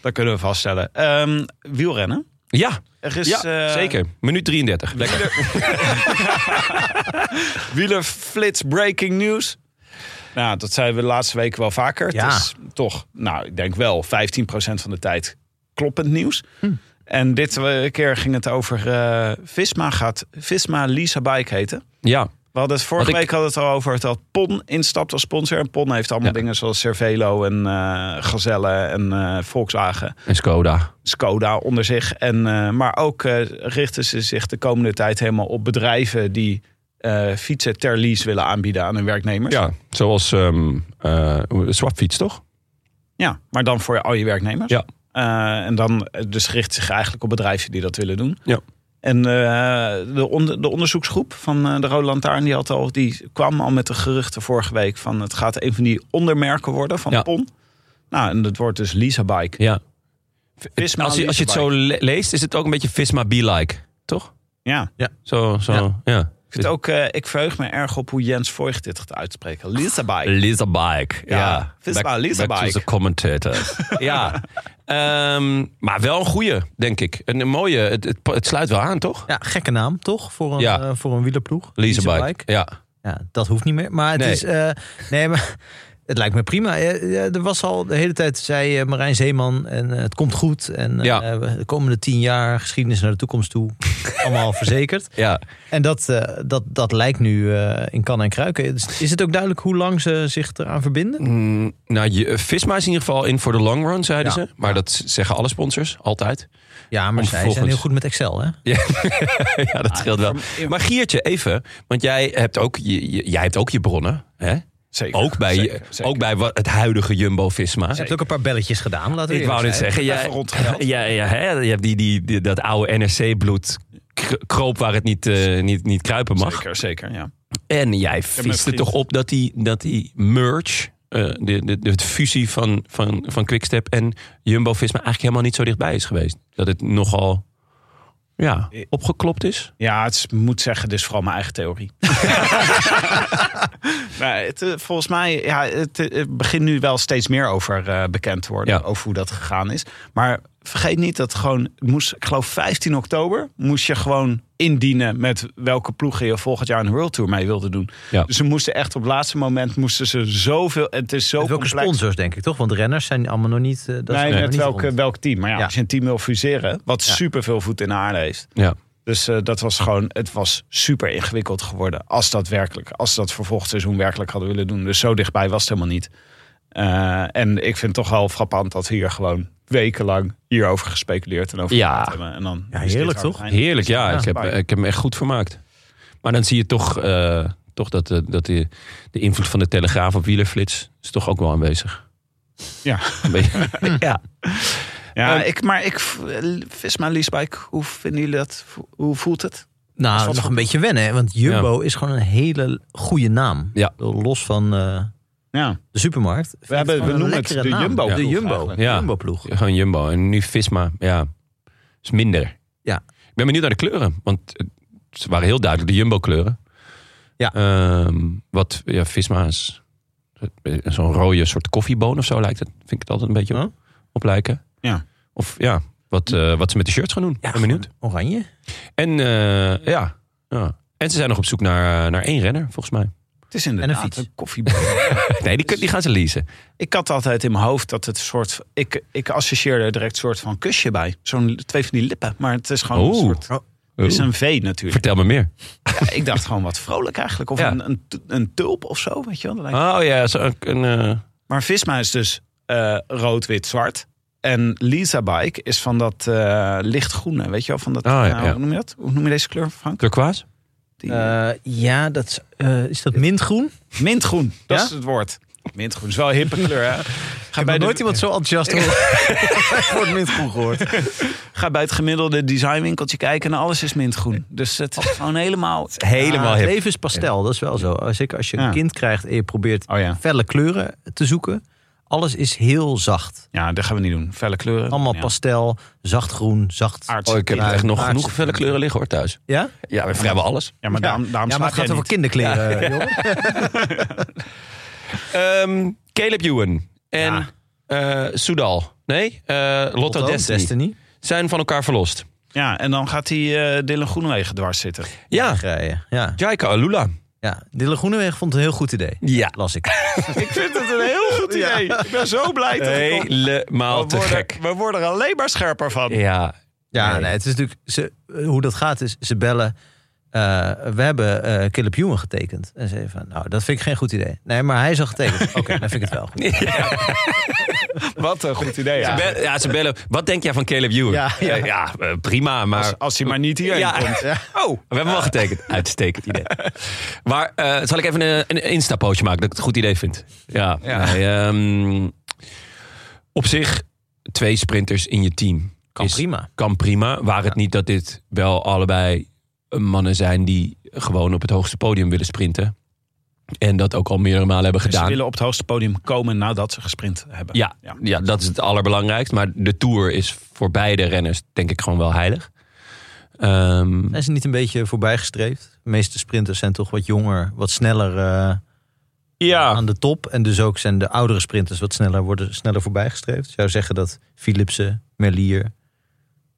Speaker 1: Dat kunnen we vaststellen. Ehm, wielrennen.
Speaker 3: Ja,
Speaker 1: Er is,
Speaker 3: ja
Speaker 1: eh,
Speaker 3: zeker. Minuut 33. Lekker.
Speaker 1: Wielerflits breaking news. Nou, dat zeiden we de laatste weken wel vaker.
Speaker 2: Ja.
Speaker 1: Het is toch, nou, ik denk wel 15% van de tijd kloppend nieuws.
Speaker 3: Hm.
Speaker 1: En dit eh, keer ging het over eh, Visma gaat Visma Lisa Bike heten.
Speaker 3: Ja,
Speaker 1: We hadden het vorige
Speaker 3: Wat ik-
Speaker 1: week hadden we het al over dat Pon instapt als sponsor. En Pon heeft allemaal
Speaker 3: Ja.
Speaker 1: dingen zoals Cervelo en eh, Gazelle en eh, Volkswagen,
Speaker 3: en Skoda.
Speaker 1: Skoda onder zich. En, eh, maar ook eh, richten ze zich de komende tijd helemaal op bedrijven die eh, fietsen ter lease willen aanbieden aan hun werknemers.
Speaker 3: Ja, zoals ehm eh, swapfiets, toch?
Speaker 1: Ja, maar dan voor al je werknemers.
Speaker 3: Ja.
Speaker 1: Eh, en dan eh, dus richt zich eigenlijk op bedrijven die dat willen doen.
Speaker 3: Ja.
Speaker 1: En eh, de, onder- de onderzoeksgroep van eh, de Rode Lantaarn, die, had al, die kwam al met de geruchten vorige week van het gaat een van die ondermerken worden van
Speaker 3: Ja.
Speaker 1: PON. Nou, en dat wordt dus Lisa Bike.
Speaker 3: Ja.
Speaker 1: Visma
Speaker 3: als, je, als je het zo le- leest, is het ook een beetje Visma be-like, toch?
Speaker 1: Ja, ik,
Speaker 3: Zo, zo, ja.
Speaker 1: vind het ook, eh, ik verheug me erg op hoe Jens Voigt dit gaat uitspreken. Lisa Bike.
Speaker 3: Lisa Bike. Ja.
Speaker 1: Ja, Visma
Speaker 3: Back-
Speaker 1: Lisa
Speaker 3: back to
Speaker 1: Bike.
Speaker 3: the commentator. ja. Ehm, maar wel een goeie, denk ik. Een, een mooie. Het, het, het sluit wel aan, toch?
Speaker 2: Ja, gekke naam toch? Voor een,
Speaker 3: Ja.
Speaker 2: eh, voor een wielerploeg.
Speaker 3: Lisa Bike.
Speaker 2: Leasebike.
Speaker 3: Ja.
Speaker 2: Ja, dat hoeft niet meer. Maar het
Speaker 3: Nee.
Speaker 2: is. eh, nee, maar. Het lijkt me prima. Ja, ja, er was al de hele tijd, zei eh, Marijn Zeeman, en eh, het komt goed. En eh,
Speaker 3: Ja.
Speaker 2: we- de komende tien jaar geschiedenis naar de toekomst toe. Allemaal verzekerd.
Speaker 3: Ja,
Speaker 2: En dat, eh, dat, dat lijkt nu eh, in kan en kruiken. Is, is het ook duidelijk hoe lang ze zich eraan verbinden?
Speaker 3: Mm, nou, je, Visma is in ieder geval in voor de long run, zeiden
Speaker 2: Ja.
Speaker 3: ze. Maar dat z- zeggen alle sponsors, altijd.
Speaker 2: Ja, maar
Speaker 3: Om
Speaker 2: zij zijn
Speaker 3: vervolgens-
Speaker 2: heel goed met Excel, hè?
Speaker 3: ja,
Speaker 1: Ah,
Speaker 3: dat scheelt wel. Maar Giertje, even. Want jij hebt ook je, je- jij hebt ook je bronnen. Hè?
Speaker 1: Zeker.
Speaker 3: Ook bij, je-
Speaker 1: Zeker, zeker.
Speaker 3: Ook bij wat, het huidige Jumbo-Visma.
Speaker 2: Je hebt ook een paar belletjes gedaan, laten we
Speaker 3: Ik wou
Speaker 2: eerlijk
Speaker 3: net
Speaker 2: zijn.
Speaker 3: zeggen, jij,
Speaker 1: Even rondgehaald.
Speaker 3: ja, ja, hè, je hebt die, die, die- dat oude NRC-bloed kr- kroop waar het niet, eh, niet, niet kruipen mag.
Speaker 1: Zeker, zeker, ja.
Speaker 3: En jij
Speaker 1: maar
Speaker 3: viste
Speaker 1: precies.
Speaker 3: toch op dat die, dat die merge, eh, de, de, de fusie van, van, van Quickstep en Jumbo-Visma eigenlijk helemaal niet zo dichtbij is geweest. Dat het nogal ja,
Speaker 1: Eh,
Speaker 3: opgeklopt is.
Speaker 1: Ja, het is- moet zeggen, dus vooral mijn eigen theorie. maar het, eh, volgens mij, ja, het, eh, het begint nu wel steeds meer over eh, bekend te worden.
Speaker 3: Ja.
Speaker 1: Over hoe dat gegaan is. Maar vergeet niet dat gewoon, het moest, ik geloof 15 oktober, moest je gewoon indienen met welke ploegen je volgend jaar een World Tour mee wilde doen.
Speaker 3: Ja.
Speaker 1: Dus ze moesten echt op het laatste moment, moesten ze zoveel, het is zo
Speaker 2: Met welke
Speaker 1: complex.
Speaker 2: sponsors, denk ik, toch? Want renners zijn allemaal nog niet... eh, dat is
Speaker 1: Nee,
Speaker 2: nog
Speaker 1: met
Speaker 2: niet
Speaker 1: welke,
Speaker 2: rond.
Speaker 1: welk team. Maar ja,
Speaker 2: Ja.
Speaker 1: als je een team wil fuseren, wat
Speaker 2: Ja.
Speaker 1: superveel voet in de aarde heeft.
Speaker 3: Ja.
Speaker 1: Dus eh, dat was gewoon, het was super ingewikkeld geworden. Als dat werkelijk, als ze dat voor volgend seizoen werkelijk hadden willen doen. Dus zo dichtbij was het helemaal niet. Eh, en ik vind het toch wel frappant dat hier gewoon wekenlang hierover gespeculeerd en over
Speaker 3: Ja.
Speaker 1: gepraat hebben. En dan
Speaker 2: Ja,
Speaker 1: is dit
Speaker 2: heerlijk
Speaker 1: er aan
Speaker 2: toch?
Speaker 1: het eind.
Speaker 3: Heerlijk, ja.
Speaker 2: Ja.
Speaker 3: Ik, heb, eh, ik heb me echt goed vermaakt. Maar dan zie je toch, eh, toch dat, eh, dat de, de invloed van de Telegraaf op wielerflits is toch ook wel aanwezig.
Speaker 1: Ja.
Speaker 3: Een beetje. ja.
Speaker 1: Ja,
Speaker 3: Eh,
Speaker 1: ik, maar ik, Visma Liesbijk, hoe vinden jullie dat? Hoe voelt het?
Speaker 2: Nou,
Speaker 1: Wat
Speaker 2: nog
Speaker 1: voor-
Speaker 2: een beetje wennen, hè? want Jumbo is gewoon een hele goede naam.
Speaker 3: Ja.
Speaker 2: Los van eh,
Speaker 1: Ja,
Speaker 2: de supermarkt. Vind ik
Speaker 1: hebben-
Speaker 2: gewoon
Speaker 1: we
Speaker 2: een
Speaker 1: noemen het
Speaker 2: lekkere
Speaker 1: de
Speaker 2: naam.
Speaker 1: Jumbo
Speaker 2: De
Speaker 1: ploeg
Speaker 2: Jumbo.
Speaker 1: eigenlijk.
Speaker 2: De
Speaker 3: Ja.
Speaker 2: Jumbo-ploeg.
Speaker 3: Gewoon Jumbo. En nu Visma, ja. Is minder.
Speaker 2: Ja.
Speaker 3: Ik ben benieuwd naar de kleuren. Want eh, ze waren heel duidelijk de Jumbo-kleuren.
Speaker 2: Ja.
Speaker 3: Ehm, wat, ja, Visma is eh, zo'n rode soort koffieboon of zo lijkt het. Vind ik het altijd een beetje op, op lijken.
Speaker 1: Ja.
Speaker 3: Of ja, wat, eh, wat ze met de shirts gaan doen.
Speaker 2: Ja,
Speaker 3: ben benieuwd.
Speaker 2: gewoon Oranje.
Speaker 3: En eh, ja, ja. En ze zijn nog op zoek naar, eh, naar één renner, volgens mij.
Speaker 1: het is
Speaker 2: een
Speaker 1: inderdaad
Speaker 2: fiets.
Speaker 1: een koffiebal.
Speaker 3: Nee, die, kun- die gaan ze leasen.
Speaker 1: Ik had altijd in mijn hoofd dat het soort. Ik, ik associeerde er direct een soort van kusje bij. Zo'n twee van die lippen. Maar het is gewoon een
Speaker 3: Oeh.
Speaker 1: soort. Het is een V natuurlijk.
Speaker 3: Vertel me meer.
Speaker 1: Ja, ik dacht gewoon wat vrolijk eigenlijk. Of
Speaker 3: Ja.
Speaker 1: een, een, een tulp of zo. Weet je wel. Dat lijkt-
Speaker 3: Oh ja, zo een, een, eh,
Speaker 1: Maar Visma is dus eh, rood, wit, zwart. En Lisa Bike is van dat eh, lichtgroene. Weet je wel. Van dat,
Speaker 3: Ah, ja,
Speaker 1: nou,
Speaker 3: ja.
Speaker 1: Hoe noem je dat? Hoe noem je deze kleur, Frank?
Speaker 3: turquoise?
Speaker 1: Die,
Speaker 2: Eh, ja, dat, is- eh, is dat mintgroen?
Speaker 1: mintgroen. Dat
Speaker 2: Ja?
Speaker 1: is het woord. Mintgroen is wel een hippe kleur. Hè? Ga bij,
Speaker 2: Ik heb nog
Speaker 1: de,
Speaker 2: nooit iemand zo enthousiast horen. voor het mintgroen gehoord.
Speaker 1: ga bij het gemiddelde designwinkeltje kijken en alles is mintgroen. Dus het is gewoon helemaal.
Speaker 2: Ja,
Speaker 3: Helemaal
Speaker 2: het
Speaker 3: hip.
Speaker 2: leven is pastel, dat is wel zo. Als, ik, als je
Speaker 1: Ja.
Speaker 2: een kind krijgt en je probeert
Speaker 1: Oh ja.
Speaker 2: felle kleuren te zoeken. Alles is heel zacht.
Speaker 1: Ja, dat gaan we niet doen. Felle kleuren.
Speaker 2: Allemaal
Speaker 1: ja.
Speaker 2: pastel, zacht groen, zacht.
Speaker 1: Aardse
Speaker 3: Oh, ik heb
Speaker 1: kleuren.
Speaker 3: echt nog
Speaker 2: aardse
Speaker 3: genoeg felle kleuren liggen hoor thuis.
Speaker 2: Ja?
Speaker 3: Ja, we vrijwel alles.
Speaker 1: Ja, maar daarom, daarom
Speaker 2: ja, maar het
Speaker 1: slaap
Speaker 2: gaat
Speaker 1: jij
Speaker 2: over kinderkleren, jongen.
Speaker 3: Ehm, Caleb Ewan en eh Soudal. Nee, eh, Lotto,
Speaker 2: Lotto,
Speaker 3: Destiny.
Speaker 2: Destiny.
Speaker 3: Zijn van elkaar verlost.
Speaker 1: niet. Ja, en dan gaat die eh Dylan Groenewegen dwars zitten.
Speaker 3: Ja,
Speaker 2: Rijden, ja.
Speaker 3: Jaika Alula.
Speaker 2: ja. Dille Groeneweg vond het een heel goed idee.
Speaker 3: Ja.
Speaker 2: Las ik.
Speaker 1: ik vind het een heel goed idee. Ik ben zo blij dat ik op-
Speaker 3: Helemaal te
Speaker 1: we, worden,
Speaker 3: gek.
Speaker 1: we worden er alleen maar scherper van.
Speaker 3: Ja,
Speaker 2: Ja,
Speaker 3: Nee.
Speaker 2: nee. het is natuurlijk ze, eh, hoe dat gaat is ze bellen. eh, we hebben eh Caleb Ewan getekend. En ze zei van, nou, dat vind ik geen goed idee. Nee, maar hij is al getekend. Oké, dan vind ik het wel goed.
Speaker 1: Wat een goed idee.
Speaker 3: Ze bel- ja, ze bellen. Wat denk jij van Caleb Ewan?
Speaker 2: Ja, ja.
Speaker 3: Eh, ja, eh, prima, maar...
Speaker 1: Als, als hij maar niet hierheen
Speaker 3: Ja.
Speaker 1: komt.
Speaker 3: Oh, we hebben wel getekend. Uitstekend idee. Maar eh, zal ik even een, een Insta-pootje maken dat ik het een goed idee vind? Ja.
Speaker 1: Ja.
Speaker 3: nee, ehm, op zich, twee sprinters in je team.
Speaker 2: Kan
Speaker 3: is-
Speaker 2: prima.
Speaker 3: Kan prima. Waar het niet dat dit wel allebei mannen zijn die gewoon op het hoogste podium willen sprinten. En dat ook al meerdere malen hebben
Speaker 1: Ze
Speaker 3: gedaan.
Speaker 1: willen op het hoogste podium komen nadat ze gesprint hebben.
Speaker 3: Ja,
Speaker 1: Ja.
Speaker 3: ja. dat is het allerbelangrijkst. Maar de Tour is voor beide renners denk ik gewoon wel heilig. Ehm,
Speaker 2: Zijn ze niet een beetje voorbij gestreefd? De meeste sprinters zijn toch wat jonger, wat sneller eh,
Speaker 3: Ah.
Speaker 1: ja.
Speaker 2: aan de top. En dus ook zijn de oudere sprinters wat sneller, worden sneller voorbij gestreefd. Ik zou zeggen dat Philipsen, Merlier,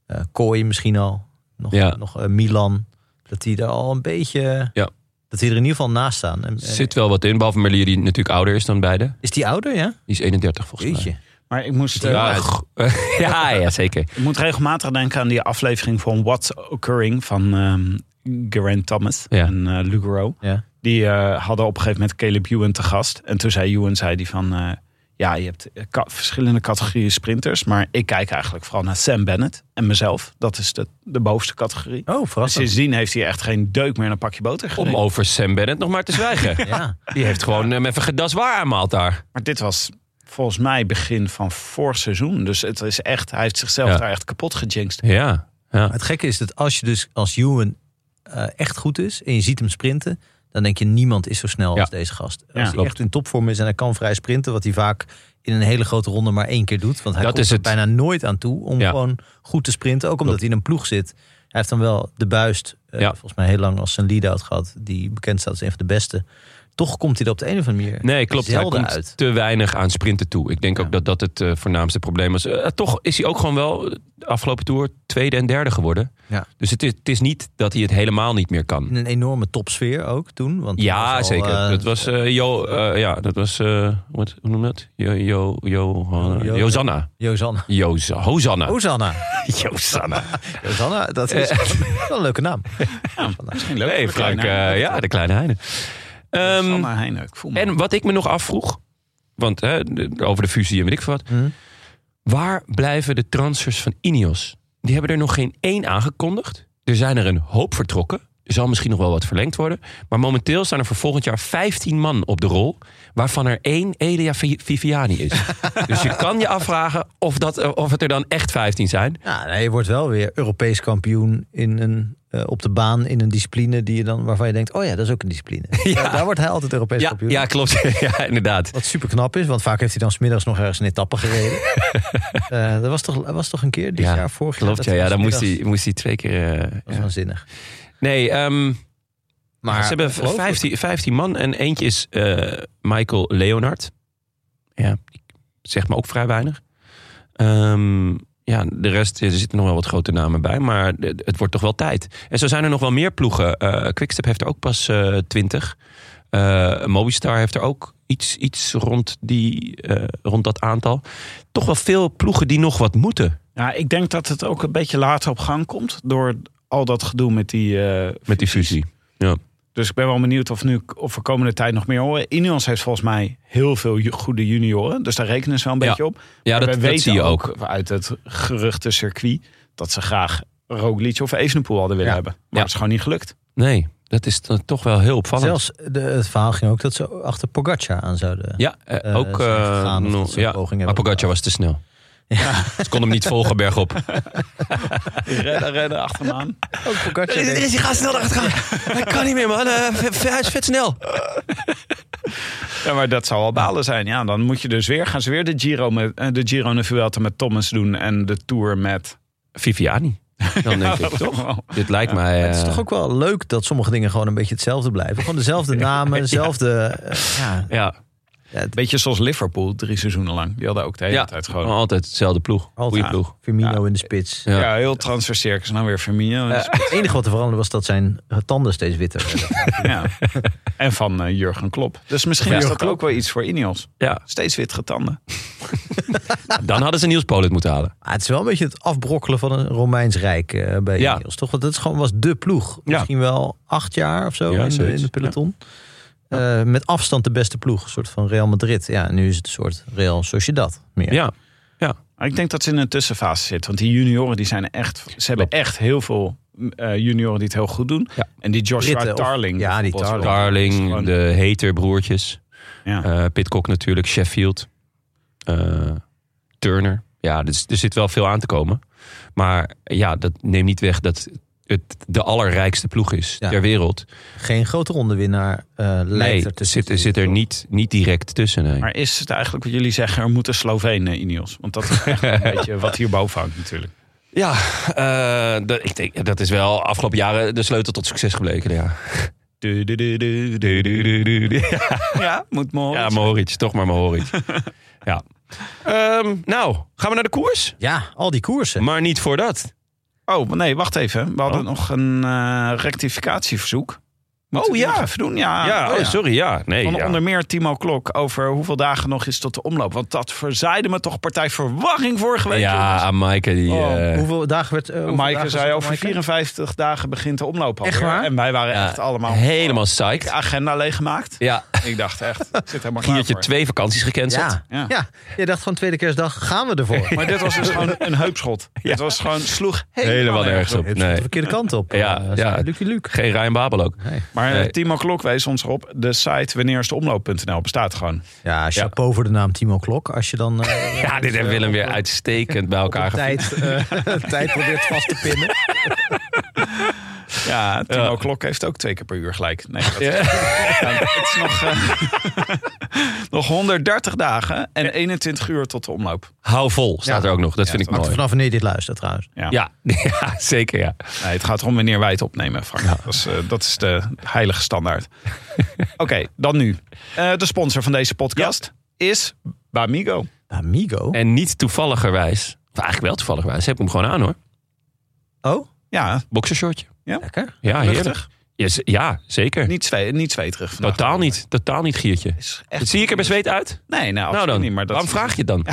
Speaker 2: eh Kooi misschien al, nog,
Speaker 3: Ja.
Speaker 2: nog eh, Milan. Dat die er al een beetje
Speaker 3: Ja.
Speaker 2: Dat die er in ieder geval naast staan. En, en-
Speaker 3: Zit wel wat in, behalve Merlier die natuurlijk ouder is dan beide.
Speaker 2: Is die ouder, ja?
Speaker 3: Die is 31 volgens mij.
Speaker 2: Jeetje.
Speaker 1: Maar ik moest, eh,
Speaker 3: Ja, g- ja, ja, zeker.
Speaker 1: ik moet regelmatig denken aan die aflevering van What's Occurring van ehm Geraint Thomas
Speaker 3: Ja.
Speaker 1: en eh Lugaro.
Speaker 2: Ja.
Speaker 1: Die eh, hadden op een gegeven moment Caleb Ewan te gast. En toen zei Ewan, zei die van... eh, ja, je hebt eh, ka- verschillende categorieën sprinters. Maar ik kijk eigenlijk vooral naar Sam Bennett en mezelf. Dat is de, de bovenste categorie.
Speaker 2: Oh,
Speaker 1: En
Speaker 2: verrassend.
Speaker 1: sindsdien heeft hij echt geen deuk meer in een pakje boter gereden.
Speaker 3: Om over Sam Bennett nog maar te zwijgen.
Speaker 2: Ja.
Speaker 3: Die heeft gewoon eh, even gedas waar aanmaald daar.
Speaker 1: Maar dit was volgens mij begin van vorig seizoen. Dus het is echt, hij heeft zichzelf
Speaker 3: Ja.
Speaker 1: daar echt kapot gejinxed.
Speaker 3: Ja. ja.
Speaker 2: Maar het gekke is dat als je dus als Ewan eh, echt goed is en je ziet hem sprinten, dan denk je niemand is zo snel
Speaker 3: Ja.
Speaker 2: als deze gast. Als
Speaker 1: Ja,
Speaker 2: hij
Speaker 3: klopt.
Speaker 2: echt in topvorm is en hij kan vrij sprinten, wat hij vaak in een hele grote ronde maar één keer doet. Want hij
Speaker 3: Dat
Speaker 2: komt
Speaker 3: is
Speaker 2: er
Speaker 3: het.
Speaker 2: bijna nooit aan toe om
Speaker 3: Ja.
Speaker 2: gewoon goed te sprinten. Ook omdat hij in een ploeg zit. Hij heeft dan wel de buist, eh,
Speaker 3: Ja.
Speaker 2: volgens mij heel lang als zijn lead-out gehad, die bekend staat als een van de beste. Toch komt hij er op de een of andere manier
Speaker 3: Nee, klopt. Hij
Speaker 2: zelden
Speaker 3: komt
Speaker 2: uit.
Speaker 3: te weinig aan sprinten toe. Ik denk ook dat dat het eh, voornaamste probleem was. Eh, toch is hij ook gewoon wel eh, de afgelopen toer tweede en derde geworden.
Speaker 2: Ja.
Speaker 3: Dus het is, het is niet dat hij het helemaal niet meer kan.
Speaker 2: In een enorme topsfeer ook toen. Want
Speaker 3: Ja,
Speaker 2: dat was al,
Speaker 3: zeker.
Speaker 2: eh,
Speaker 3: dat was eh, Jo... eh, ja, dat was... eh, wat, hoe noem je dat? Jo, jo, jo, eh,
Speaker 2: Jo-
Speaker 3: Josanna.
Speaker 2: Josanna.
Speaker 3: Joza- Hosanna.
Speaker 2: Hosanna.
Speaker 3: Josanna.
Speaker 2: Rosanna, dat is wel een leuke naam.
Speaker 1: Misschien leuk.
Speaker 3: Nee,
Speaker 1: voor de
Speaker 3: Frank.
Speaker 1: kleine Heineken.
Speaker 3: eh, ja, de kleine Heine. Ehm,
Speaker 1: Sanne Heine, ik voel me.
Speaker 3: en wat ik me nog afvroeg... Want hè, de- over de fusie en weet ik veel wat... Waar blijven de transfers van Ineos? Die hebben er nog geen één aangekondigd. Er zijn er een hoop vertrokken. Er zal misschien nog wel wat verlengd worden. Maar momenteel staan er voor volgend jaar 15 man op de rol. Waarvan er één Elia Vi- Viviani is. dus je kan je afvragen of, dat, eh, of het er dan echt 15 zijn.
Speaker 2: Ja, nee, je wordt wel weer Europees kampioen in een, eh, op de baan in een discipline die je dan, waarvan je denkt: oh ja, dat is ook een discipline. Daar, daar wordt hij altijd Europees
Speaker 3: Ja,
Speaker 2: kampioen.
Speaker 3: ja klopt. ja, inderdaad.
Speaker 2: Wat super knap is, want vaak heeft hij dan smiddags nog ergens een etappe gereden. Eh, dat was toch, was toch een keer dit
Speaker 3: Ja,
Speaker 2: jaar, vorig jaar?
Speaker 3: Klopt, ja. ja
Speaker 2: dat
Speaker 3: dan moest
Speaker 2: smiddags-
Speaker 3: hij, moest hij twee keer... eh,
Speaker 2: Dat was
Speaker 3: ja.
Speaker 2: waanzinnig.
Speaker 3: Nee, ehm,
Speaker 2: Maar
Speaker 3: ze hebben
Speaker 2: ongelooflijk.
Speaker 3: 15, 15 man en eentje is eh, Michael Leonard. Ja, die zegt me ook vrij weinig. Ehm, ja, de rest, er zitten nog wel wat grote namen bij, maar het het wordt toch wel tijd. En zo zijn er nog wel meer ploegen. Eh, Quickstep heeft er ook pas eh 20. Eh, Movistar heeft er ook iets, iets rond, die, eh, rond dat aantal. Toch wel veel ploegen die nog wat moeten
Speaker 1: Ja, ik denk dat het ook een beetje later op gang komt. Door al dat gedoe met die... eh,
Speaker 3: met die fusie.
Speaker 1: dus ik ben wel benieuwd of, nu, of we komende tijd nog meer horen. Ineos heeft volgens mij heel veel ju- goede junioren. Dus daar rekenen ze wel een
Speaker 3: Ja.
Speaker 1: beetje op.
Speaker 3: Ja,
Speaker 1: Maar
Speaker 3: dat,
Speaker 1: we
Speaker 3: dat
Speaker 1: weten
Speaker 3: zie je ook.
Speaker 1: uit het geruchte circuit dat ze graag Roglic of Evenepoel hadden willen hebben. Maar
Speaker 3: Ja.
Speaker 1: het is gewoon niet gelukt.
Speaker 3: Nee, dat is dan toch wel heel opvallend.
Speaker 2: Zelfs de, het verhaal ging ook dat ze achter Pogacar aan zouden.
Speaker 3: Ja, eh,
Speaker 2: eh,
Speaker 3: ook.
Speaker 2: zijn
Speaker 3: eh,
Speaker 2: gegaan of
Speaker 3: no-
Speaker 2: dat ze een
Speaker 3: ja,
Speaker 2: poging hebben
Speaker 3: maar Pogacar was te snel. Ze kon hem niet volgen bergop.
Speaker 1: Redden, redden, achter hem aan.
Speaker 2: Ook Pogacar deed-
Speaker 3: hij gaat snel achteruit gaan. Hij kan niet meer, man.
Speaker 2: eh,
Speaker 3: hij is vet snel.
Speaker 1: Ja, maar dat zou al balen zijn. Ja, dan moet je dus weer, gaan ze weer de Giro, met, eh, de Giro en de Vuelta met Thomas doen. En de Tour met...
Speaker 3: Viviani. Dan denk ik toch. Dit lijkt mij.
Speaker 2: Het is
Speaker 3: eh,
Speaker 2: toch ook wel leuk dat sommige dingen gewoon een beetje hetzelfde blijven. Gewoon dezelfde namen, dezelfde... eh, ja.
Speaker 3: Ja,
Speaker 1: Beetje zoals Liverpool, drie seizoenen lang. Die hadden ook de hele
Speaker 3: ja
Speaker 1: tijd
Speaker 3: gewoon
Speaker 1: gewoon...
Speaker 3: altijd hetzelfde ploeg.
Speaker 2: Altijd.
Speaker 3: Goeie ploeg.
Speaker 2: Firmino in de spits.
Speaker 3: Ja.
Speaker 1: Ja, heel transfercircus. Nou weer Firmino.
Speaker 2: Eh, het enige wat er veranderde was dat zijn tanden steeds witter werden.
Speaker 1: ja. En van eh, Jurgen Klopp. Dus misschien
Speaker 3: Ja.
Speaker 1: is dat
Speaker 3: Jurgen
Speaker 1: ook wel iets voor Ineos.
Speaker 3: Ja,
Speaker 1: Steeds wit tanden.
Speaker 3: dan hadden ze Niels Polit moeten halen.
Speaker 2: Maar Ah, het is wel een beetje het afbrokkelen van een Romeins Rijk eh, bij
Speaker 3: Ja.
Speaker 2: Ineos, toch? Want dat is gewoon, was de ploeg.
Speaker 3: Ja.
Speaker 2: Misschien wel acht jaar of zo
Speaker 3: Ja,
Speaker 2: in, de,
Speaker 3: zoiets.
Speaker 2: in de peloton. Eh, met afstand de beste ploeg. Een soort van Real Madrid. Ja, nu is het een soort Real Sociedad meer.
Speaker 3: Ja,
Speaker 1: Maar ik denk dat ze in een tussenfase zitten. Want die junioren die zijn echt... Ze hebben echt heel veel eh, junioren die het heel goed doen.
Speaker 3: Ja.
Speaker 1: En die Joshua
Speaker 2: Britten of-
Speaker 1: Tarling.
Speaker 2: ja, die
Speaker 1: bijvoorbeeld.
Speaker 3: Darling, de Haterbroertjes.
Speaker 1: Ja.
Speaker 3: eh Pitcock natuurlijk, Sheffield, eh, Turner. Ja, dus er zit wel veel aan te komen. Maar ja, dat neemt niet weg dat het de allerrijkste ploeg is
Speaker 2: Ja.
Speaker 3: ter wereld.
Speaker 2: Geen grote rondewinnaar eh
Speaker 3: Nee,
Speaker 2: lijkt er tussen.
Speaker 3: zit, zit er niet, niet direct tussen. nee.
Speaker 1: Maar is het eigenlijk wat jullie zeggen, er moeten Slovenen in Ineos? Want dat is echt een beetje wat hierboven hangt natuurlijk.
Speaker 3: Ja, eh, dat, ik denk, dat is wel afgelopen jaren de sleutel tot succes gebleken. Ja, Du- du- du- du- du- du- du- du- du.
Speaker 1: Ja, moet mooi.
Speaker 3: ja Mohoric, toch maar Mohoric. ja. Ehm, nou, gaan we naar de koers?
Speaker 2: Ja, al die koersen.
Speaker 3: Maar niet voor dat. Oh.
Speaker 1: oh, maar nee, wacht even. We hadden nog een eh, rectificatieverzoek. Oh ja, Verdoen, ja.
Speaker 3: ja,
Speaker 1: Oh
Speaker 3: oh,
Speaker 1: ja.
Speaker 3: sorry, ja. Nee,
Speaker 1: Van
Speaker 3: ja.
Speaker 1: onder meer Timo Klok over hoeveel dagen nog is tot de omloop. Want dat verzaaide me toch partij verwarring vorige week. jongens.
Speaker 3: Ja, Maaike die...
Speaker 2: Oh,
Speaker 3: eh,
Speaker 2: hoeveel dagen werd... eh, hoeveel
Speaker 1: Maaike
Speaker 2: dagen
Speaker 1: zei
Speaker 2: zat
Speaker 1: over
Speaker 2: Maaike?
Speaker 1: 54 dagen begint de omloop al.
Speaker 2: Echt waar?
Speaker 1: En wij waren
Speaker 3: ja,
Speaker 1: echt allemaal
Speaker 3: Helemaal psyched.
Speaker 1: de agenda leeggemaakt.
Speaker 3: Ja,
Speaker 1: Ik dacht echt, ik zit helemaal klaar
Speaker 3: Giertje
Speaker 1: voor.
Speaker 3: twee vakanties gecanceld.
Speaker 2: Ja.
Speaker 1: Ja.
Speaker 2: ja. Je dacht van tweede kerstdag gaan we ervoor.
Speaker 1: Maar dit was dus gewoon een heupschot. Dit was gewoon sloeg helemaal,
Speaker 3: Helemaal
Speaker 1: nergens
Speaker 3: nergens op.
Speaker 2: Het is
Speaker 3: Nee.
Speaker 2: de verkeerde kant op.
Speaker 3: Ja,
Speaker 2: Eh,
Speaker 3: ja.
Speaker 2: Lucky Luke.
Speaker 3: Geen Ryan Babel ook.
Speaker 1: Maar eh,
Speaker 3: Nee.
Speaker 1: Timo Klok wees ons erop. De site wanneersdeomloop.nl bestaat gewoon.
Speaker 2: Ja, chapeau voor de naam Timo Klok. Als je dan eh,
Speaker 3: Ja, dit hebben Willem weer uitstekend bij elkaar gevoerd.
Speaker 2: tijd, eh, tijd probeert vast te pinnen.
Speaker 1: Ja, Timo Klok heeft ook twee keer per uur gelijk. Nee, dat is, het is nog, eh, nog 130 dagen en 21 uur tot de omloop.
Speaker 3: Hou vol staat er ook nog. Dat vind ik
Speaker 2: Maar
Speaker 3: mooi.
Speaker 2: vanaf wanneer je dit luistert trouwens.
Speaker 1: Ja.
Speaker 3: Ja. ja, zeker ja.
Speaker 1: Nee, het gaat erom wanneer wij het opnemen, Frank. Dat, is, eh, dat is de heilige standaard. Oké, dan nu. Eh, de sponsor van deze podcast is Bamigo.
Speaker 2: Amigo?
Speaker 3: En niet toevalligerwijs, of eigenlijk wel toevalligerwijs, heb ik hem gewoon aan hoor.
Speaker 2: Oh?
Speaker 1: Ja,
Speaker 3: Boxershortje.
Speaker 2: Lekker.
Speaker 3: Ja, Ah, heerlijk.
Speaker 1: luchtig.
Speaker 3: Ja, z- ja, zeker.
Speaker 1: Niet, zwe niet zweterig vandaag.
Speaker 3: Totaal niet, totaal niet giertje.
Speaker 1: Is echt
Speaker 3: Dat zie ik er bezweet uit?
Speaker 1: Nee, nou,
Speaker 3: nou
Speaker 1: absoluut
Speaker 3: dan,
Speaker 1: niet. Maar dat
Speaker 3: waarom vraag je het dan?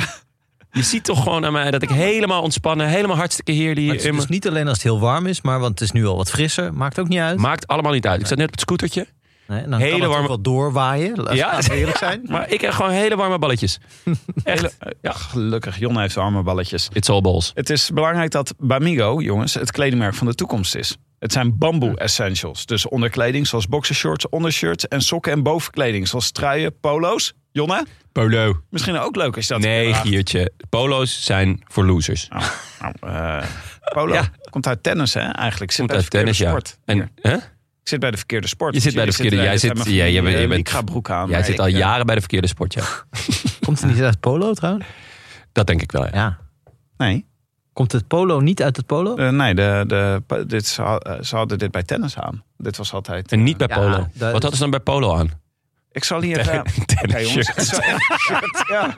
Speaker 3: Je ziet toch gewoon aan mij dat ik helemaal ontspannen, helemaal hartstikke heerlijk.
Speaker 2: Maar het is
Speaker 3: in
Speaker 2: dus
Speaker 3: mijn-
Speaker 2: niet alleen als het heel warm is, maar want het is nu al wat frisser. Maakt ook niet uit.
Speaker 3: Maakt allemaal niet uit. Ik zat net op het scootertje.
Speaker 2: nee, en dan
Speaker 3: hele
Speaker 2: kan het
Speaker 3: warme-
Speaker 2: ook wat doorwaaien. Laat-
Speaker 3: Ja.
Speaker 2: Laten we eerlijk zijn.
Speaker 3: Maar ik heb gewoon hele warme balletjes. Echt.
Speaker 1: Ja, gelukkig. Jon heeft arme balletjes.
Speaker 3: It's all balls.
Speaker 1: Het is belangrijk dat Bamigo, jongens, het kledingmerk van de toekomst is. Het zijn bamboe essentials. Dus onderkleding zoals boxershorts, ondershirts en sokken en bovenkleding zoals truien, polo's. Jonne,
Speaker 3: Polo.
Speaker 1: misschien ook leuk als je dat
Speaker 3: Nee,
Speaker 1: draagt.
Speaker 3: Giertje. Polo's zijn voor losers.
Speaker 1: Nou, eh, polo
Speaker 3: Ja.
Speaker 1: komt uit tennis, hè? Eigenlijk Ik zit
Speaker 3: Komt
Speaker 1: bij de verkeerde
Speaker 3: uit tennis, ja.
Speaker 1: sport.
Speaker 3: En,
Speaker 1: Hier.
Speaker 3: hè?
Speaker 1: Ik zit bij de verkeerde sport.
Speaker 3: Je zit bij de verkeerde- jij
Speaker 1: eh,
Speaker 3: zit- jij- jij bent-
Speaker 1: Ik ga broek aan.
Speaker 3: Jij
Speaker 1: maar
Speaker 3: zit
Speaker 1: ik,
Speaker 3: al
Speaker 1: eh,
Speaker 3: jaren bij de verkeerde sport, ja.
Speaker 2: Komt het niet uit polo trouwens?
Speaker 3: Dat denk ik wel, ja.
Speaker 2: Ja.
Speaker 1: Nee,
Speaker 2: Komt het polo niet uit het polo?
Speaker 1: eh, nee de, de, dit, ze, had- eh, ze hadden dit bij tennis aan. Dit was altijd...
Speaker 3: En niet bij
Speaker 2: Ja,
Speaker 3: polo.
Speaker 2: dat-
Speaker 3: Wat hadden ze dan bij polo aan?
Speaker 1: Ik zal hier... eh,
Speaker 3: Tennis
Speaker 1: Oké, jongens,
Speaker 3: shirt.
Speaker 1: het is wel echt een shirt, ja.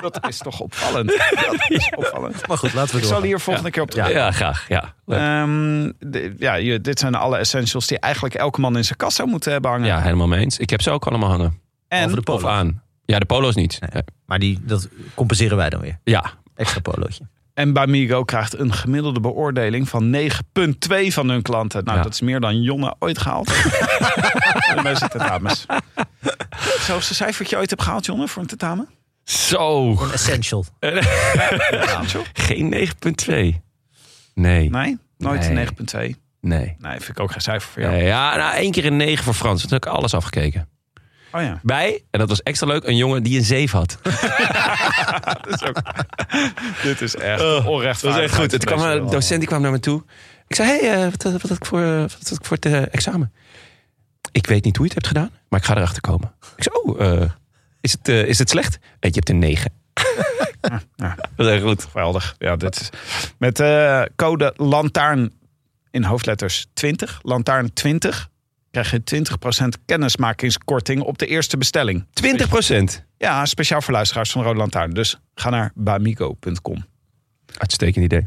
Speaker 1: Dat is toch opvallend. Dat is opvallend.
Speaker 2: Maar goed, laten we
Speaker 1: Ik zal
Speaker 2: doorgaan.
Speaker 1: hier volgende keer op terug.
Speaker 3: Ja, Eh. graag. Ja, Leuk.
Speaker 1: Ehm, de- ja, je- dit zijn alle essentials die eigenlijk elke man in zijn kast zou moeten hebben hangen.
Speaker 3: ja helemaal mee eens. Ik heb ze ook allemaal hangen.
Speaker 2: Behalve
Speaker 1: en
Speaker 2: de
Speaker 3: Of
Speaker 2: polo.
Speaker 3: aan. Ja, de polo's niet. Eh,
Speaker 2: Nee. Maar die, dat compenseren wij dan weer.
Speaker 3: Ja,
Speaker 2: Extra polootje.
Speaker 1: En Bamigo krijgt een gemiddelde beoordeling van 9,2 van hun klanten. Nou,
Speaker 3: Ja.
Speaker 1: dat is meer dan Jonne ooit gehaald. en wij zitten dames. Het hoogste cijfertje ooit heb gehaald, Jonne, voor een tentamen?
Speaker 3: Zo,
Speaker 2: Een essential.
Speaker 3: geen 9.2. Nee,
Speaker 1: Nee, nooit
Speaker 3: Nee.
Speaker 1: 9,2.
Speaker 3: nee.
Speaker 1: Nee, vind ik ook geen cijfer voor jou.
Speaker 3: Nee, Ja, nou, één keer een 9 voor Frans. Toen heb ik alles afgekeken.
Speaker 1: Oh ja.
Speaker 3: Bij, en dat was extra leuk, een jongen die een 7 had.
Speaker 1: Dit is echt
Speaker 3: Eh, Dat
Speaker 1: onrechtvaardig.
Speaker 3: is echt goed. Het kwam, een docent die kwam naar me toe. Ik zei, hey, eh, wat, wat had ik voor, eh, wat had ik voor het eh, examen? Ik weet niet hoe je het hebt gedaan, maar ik ga erachter komen. Ik zei, oh, eh, is, het, eh, is het slecht? Eh, je hebt een 9. Dat is echt goed.
Speaker 1: Geweldig. Ja, dit is met eh, code lantaarn in hoofdletters 20, lantaarn 20, krijg je 20% kennismakingskorting op de eerste bestelling.
Speaker 3: 20 procent.
Speaker 1: Ja, speciaal voor luisteraars van Rode Lantaarn. Dus ga naar bamigo.com. Oké,
Speaker 3: Uitstekend idee.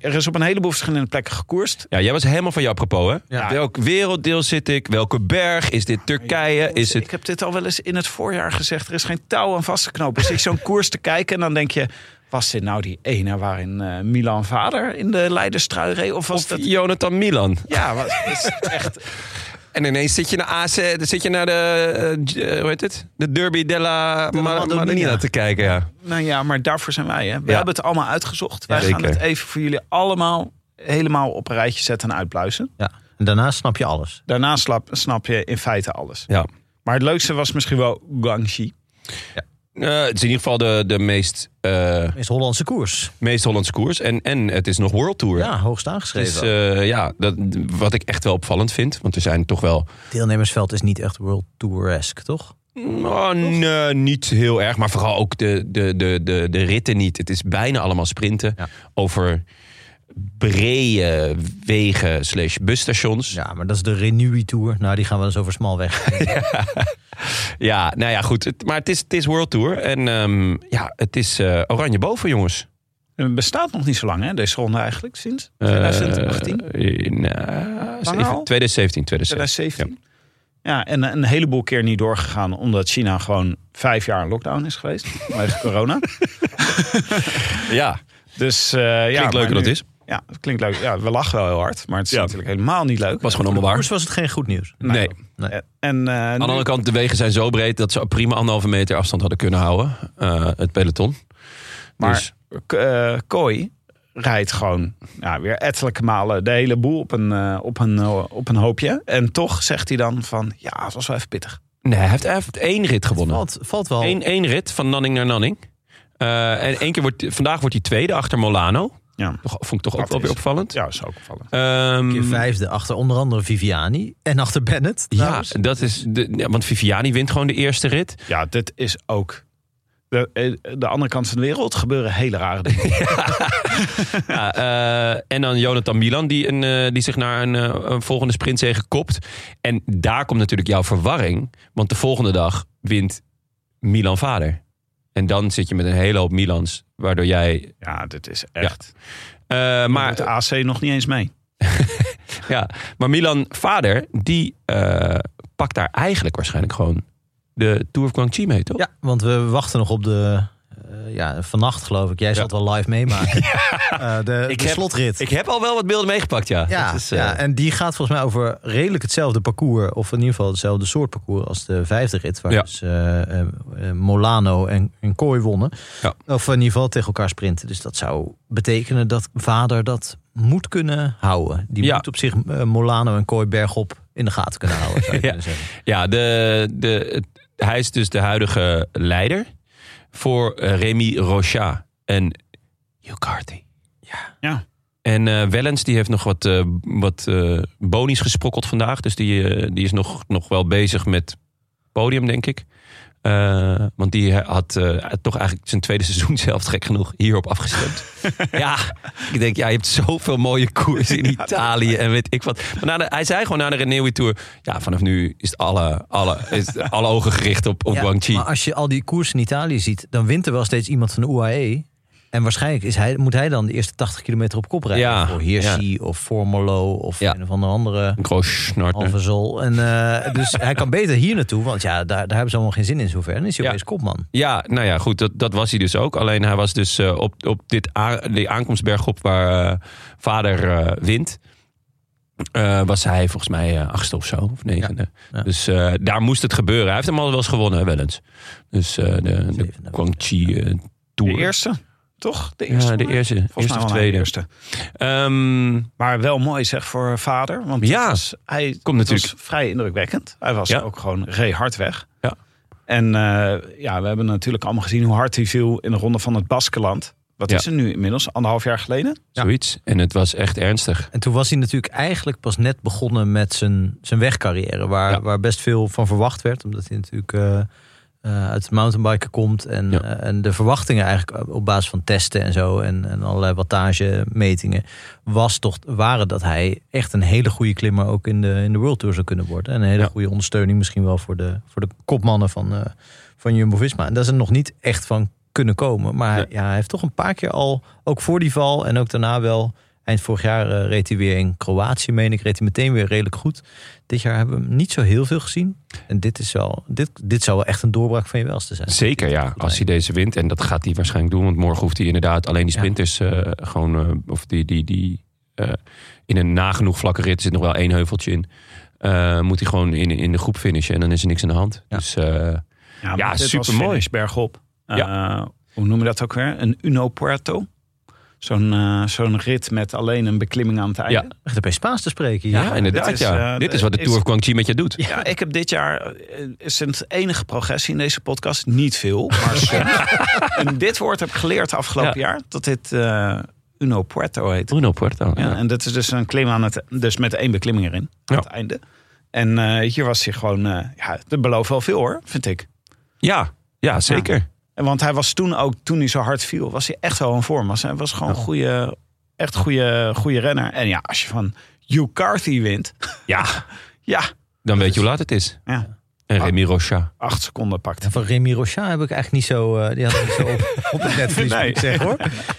Speaker 1: er is op een heleboel verschillende plekken gekoerst.
Speaker 3: Ja, jij was helemaal van jou apropos, hè?
Speaker 2: Ja.
Speaker 3: Welk werelddeel zit ik? Welke berg? Is dit Turkije? Is
Speaker 1: Ik
Speaker 3: het...
Speaker 1: heb dit al wel eens in het voorjaar gezegd. Er is geen touw aan vast te knopen. Dus ik zo'n koers te kijken en dan denk je... Was dit nou die ene waarin eh, Milan Vader in de Leiderstrui reed? Of was
Speaker 3: Of
Speaker 1: dat...
Speaker 3: Jonathan Milan.
Speaker 1: Ja, wat, is het echt...
Speaker 3: En ineens zit je naar AC, dan zit je naar de, eh, j- eh, hoe heet het? De Derby della
Speaker 2: Della
Speaker 3: Ma-
Speaker 2: Madonnina.
Speaker 3: Madonnina te kijken, ja.
Speaker 1: Nou ja, maar daarvoor zijn wij. Hè? We
Speaker 3: Ja.
Speaker 1: hebben het allemaal uitgezocht. Wij gaan
Speaker 3: zeker.
Speaker 1: het even voor jullie allemaal helemaal op een rijtje zetten en uitpluizen.
Speaker 2: Ja. En daarna snap je alles.
Speaker 1: Daarna slap- snap je in feite alles.
Speaker 3: ja.
Speaker 1: Maar het leukste was misschien wel Guangxi.
Speaker 3: Eh, het is in ieder geval de, de meest, eh,
Speaker 2: Is Hollandse koers.
Speaker 3: meest Hollandse koers. En, en het is nog World Tour.
Speaker 2: Ja, hoogst
Speaker 3: Het is,
Speaker 2: aangeschreven.
Speaker 3: eh, ja, dat, wat ik echt wel opvallend vind. Want er zijn toch wel...
Speaker 2: Deelnemersveld is niet echt World Tour-esque, toch?
Speaker 3: Oh, nee, niet heel erg. Maar vooral ook de, de, de, de, de ritten niet. Het is bijna allemaal sprinten.
Speaker 2: Ja.
Speaker 3: Over brede wegen slash busstations. Ja.
Speaker 2: Ja, maar dat is de Renui Tour. Nou, die gaan we eens over smal weg.
Speaker 3: nou ja, goed. Het- maar het is, het is World Tour. En ehm, ja, het is eh, oranje boven, jongens.
Speaker 1: Het bestaat nog niet zo lang, hè? Deze ronde eigenlijk, sinds
Speaker 3: Eh,
Speaker 1: 2018,
Speaker 3: eh, nou,
Speaker 1: Langer al?
Speaker 3: 2017, 2017.
Speaker 1: 2017. Ja, en een heleboel keer niet doorgegaan omdat China gewoon vijf jaar in lockdown is geweest. vanwege corona.
Speaker 3: Ja,
Speaker 1: Dus eh ja,
Speaker 3: klinkt
Speaker 1: maar
Speaker 3: leuker dan
Speaker 1: nu-
Speaker 3: het is.
Speaker 1: Ja, het klinkt leuk. Ja, we lachen wel heel hard, maar het is
Speaker 3: Ja.
Speaker 1: natuurlijk helemaal niet leuk.
Speaker 3: Was gewoon allemaal waar.
Speaker 2: Koers was het geen goed nieuws.
Speaker 3: Nee.
Speaker 2: Nee.
Speaker 1: En eh,
Speaker 3: Aan de
Speaker 1: nu-
Speaker 3: andere kant, de wegen zijn zo breed dat ze prima anderhalve meter afstand hadden kunnen houden. eh, het peloton.
Speaker 1: Maar
Speaker 3: Dus-
Speaker 1: K- eh, Kooi rijdt gewoon ja, weer ettelijke malen de hele boel op een, eh, op, een, eh, op een hoopje. En toch zegt hij dan van, ja, het was wel even pittig.
Speaker 3: Nee, hij heeft, hij heeft één rit gewonnen.
Speaker 2: Valt, valt wel.
Speaker 3: Eén één rit van Nanning naar Nanning. Eh, en één keer wordt, vandaag wordt hij tweede achter Molano.
Speaker 1: Ja,
Speaker 3: Toch- Vond ik toch ook
Speaker 1: Dat
Speaker 3: wel weer
Speaker 1: is-
Speaker 3: opvallend.
Speaker 1: ja is ook opvallend.
Speaker 3: Ehm,
Speaker 2: Keer vijfde achter onder andere Viviani en achter Bennett.
Speaker 3: ja,
Speaker 2: trouwens.
Speaker 3: dat is de, ja, want Viviani wint gewoon de eerste rit.
Speaker 1: Ja, dit is ook... De, eh, de andere kant van de wereld gebeuren hele rare dingen.
Speaker 3: Ja, eh, en dan Jonathan Milan, die, een, eh, die zich naar een, eh, een volgende sprintzege kopt. En daar komt natuurlijk jouw verwarring. Want de volgende dag wint Milan vader. En dan zit je met een hele hoop Milans. Waardoor jij.
Speaker 1: Ja, dit is echt...
Speaker 3: eh,
Speaker 1: maar de
Speaker 3: maar,
Speaker 1: AC nog niet eens mee.
Speaker 3: ja, maar Milan vader, die eh, pakt daar eigenlijk waarschijnlijk gewoon de Tour of Guangxi mee, toch?
Speaker 2: Ja, want we wachten nog op de. eh, ja, vannacht geloof ik. Jij zal het wel live meemaken. Eh, de
Speaker 3: Ik
Speaker 2: de
Speaker 3: heb-
Speaker 2: slotrit.
Speaker 3: Ik heb al wel wat beelden meegepakt, ja.
Speaker 2: ja,
Speaker 3: Dat is, eh,
Speaker 2: ja, en die gaat volgens mij over redelijk hetzelfde parcours. Of in ieder geval hetzelfde soort parcours als de vijfde rit. Waar
Speaker 3: Ja.
Speaker 2: dus eh, eh, eh, Molano en, en Kooi wonnen.
Speaker 3: Ja.
Speaker 2: Of in ieder geval tegen elkaar sprinten. Dus dat zou betekenen dat vader dat moet kunnen houden. Die
Speaker 3: Ja.
Speaker 2: moet op zich eh, Molano en Kooi bergop in de gaten kunnen houden. Zou je
Speaker 3: Ja.
Speaker 2: kunnen zeggen.
Speaker 3: Ja, de, de, het- hij is dus de huidige leider voor eh, Remy Rochat en Hugh Carthy.
Speaker 1: Ja.
Speaker 3: En eh Wellens die heeft nog wat, eh wat eh bonies gesprokkeld vandaag. Dus die, eh, die is nog, nog wel bezig met podium, denk ik. Eh, want die had eh, toch eigenlijk zijn tweede seizoen zelf gek genoeg hierop afgestemd. ja, ik denk, ja, je hebt zoveel mooie koersen in Italië en weet ik wat. Maar na de, hij zei gewoon na de Renewy Tour, ja, vanaf nu is, het alle, alle, is het alle ogen gericht op, op
Speaker 2: Ja,
Speaker 3: Guangxi.
Speaker 2: Maar als je al die koersen in Italië ziet, dan wint er wel steeds iemand van de UAE. En waarschijnlijk is hij, moet hij dan de eerste 80 kilometer op kop rijden.
Speaker 3: Ja,
Speaker 2: voor Hirschi of voor Molo of
Speaker 3: Ja.
Speaker 2: een of andere andere
Speaker 3: Groos Schnortner.
Speaker 2: halve zol. En, eh, dus hij kan beter hier naartoe, want ja, daar, daar hebben ze allemaal geen zin in zover. Dan is hij
Speaker 3: Ja.
Speaker 2: opeens kopman.
Speaker 3: Ja, nou ja, goed, dat, dat was hij dus ook. Alleen hij was dus eh, op, op dit a- die aankomstberg op waar eh, vader eh, wint. eh, was hij volgens mij eh, achtste of zo, of negende.
Speaker 2: Ja.
Speaker 3: Dus eh, daar moest het gebeuren. Hij heeft hem al wel eens gewonnen, hè, wel eens. Dus eh, de, de
Speaker 2: Zevende.
Speaker 3: Guangxi eh,
Speaker 1: De
Speaker 3: Tour.
Speaker 1: eerste, toch? De eerste.
Speaker 3: Ja, de
Speaker 1: maar?
Speaker 3: eerste,
Speaker 1: Volgens
Speaker 3: eerste
Speaker 1: mij
Speaker 3: of
Speaker 1: wel de
Speaker 3: tweede.
Speaker 1: eerste.
Speaker 3: Ehm,
Speaker 1: Maar wel mooi zeg voor vader. Want
Speaker 3: Ja,
Speaker 1: dat was- hij
Speaker 3: komt
Speaker 1: dat
Speaker 3: natuurlijk-
Speaker 1: was vrij indrukwekkend. Hij was
Speaker 3: Ja.
Speaker 1: ook gewoon re hard weg.
Speaker 3: Ja.
Speaker 1: En eh, ja, we hebben natuurlijk allemaal gezien hoe hard hij viel in de ronde van het Baskeland. Wat
Speaker 3: Ja.
Speaker 1: is er nu inmiddels? Anderhalf jaar geleden?
Speaker 3: zoiets. En het was echt ernstig.
Speaker 2: En toen was hij natuurlijk eigenlijk pas net begonnen met zijn, zijn wegcarrière. Waar,
Speaker 3: Ja.
Speaker 2: waar best veel van verwacht werd. Omdat hij natuurlijk eh, eh, uit het mountainbiken komt. En,
Speaker 3: Ja.
Speaker 2: eh, en de verwachtingen eigenlijk op basis van testen en zo. En, en allerlei wattagemetingen. Was toch, waren dat hij echt een hele goede klimmer ook in de, in de World Tour zou kunnen worden. En een hele
Speaker 3: Ja.
Speaker 2: goede ondersteuning misschien wel voor de, voor de kopmannen van, eh, van Jumbo-Visma. En daar is er nog niet echt van kunnen komen. Maar
Speaker 3: Nee.
Speaker 2: ja, hij heeft toch een paar keer al, ook voor die val en ook daarna wel... Eind vorig jaar eh, reed hij weer in Kroatië, meen ik. Reed hij meteen weer redelijk goed. Dit jaar hebben we hem niet zo heel veel gezien. En dit, is wel, dit, dit zou wel echt een doorbraak van je welste zijn.
Speaker 3: Zeker ja, als hij deze wint. En dat gaat hij waarschijnlijk doen. Want morgen hoeft hij inderdaad alleen die
Speaker 2: Ja.
Speaker 3: sprinters eh, gewoon... eh, of die, die, die eh, in een nagenoeg vlakke rit zit nog wel één heuveltje in. eh, moet hij gewoon in, in de groep finishen. En dan is er niks aan de hand.
Speaker 2: Ja.
Speaker 3: Dus eh,
Speaker 1: Ja,
Speaker 3: Ja, supermooi.
Speaker 1: bergop. Eh, hoe noemen we dat ook weer? Een Uno Puerto. Zo'n eh, zo'n rit met alleen een beklimming aan het einde.
Speaker 3: Ja.
Speaker 2: Echt bij Spaans te spreken hier.
Speaker 3: ja, inderdaad
Speaker 1: dit is,
Speaker 3: ja.
Speaker 1: eh,
Speaker 3: dit is wat de
Speaker 1: is-
Speaker 3: Tour of Guangxi met je doet.
Speaker 1: Ja, ik heb dit jaar eh, is het enige progressie in deze podcast. Niet veel, maar soms. en dit woord heb ik geleerd afgelopen jaar. Dat dit eh, Uno Puerto heet.
Speaker 3: Bruno Puerto.
Speaker 1: Ja,
Speaker 3: Ja.
Speaker 1: En dat is dus een klim aan het, dus met één beklimming erin.
Speaker 3: Ja.
Speaker 1: Aan het einde. En eh, hier was hij gewoon, eh, ja, dat belooft wel veel hoor, vind ik.
Speaker 3: ja, ja, zeker.
Speaker 1: En Want hij was toen ook, toen hij zo hard viel, was hij echt wel een vorm. Was, hij was gewoon een goede, echt goede, goede renner. En ja, als je van Hugh Carthy wint,
Speaker 3: Ja,
Speaker 1: ja,
Speaker 3: dan weet je hoe laat het is.
Speaker 1: ja.
Speaker 3: En En
Speaker 2: Ah.
Speaker 3: Remy Rocha.
Speaker 1: acht seconden pakt.
Speaker 2: En van Remy Rocha heb ik eigenlijk niet zo, eh, die had ik niet zo op, op het netvlies, moet ik zeggen hoor.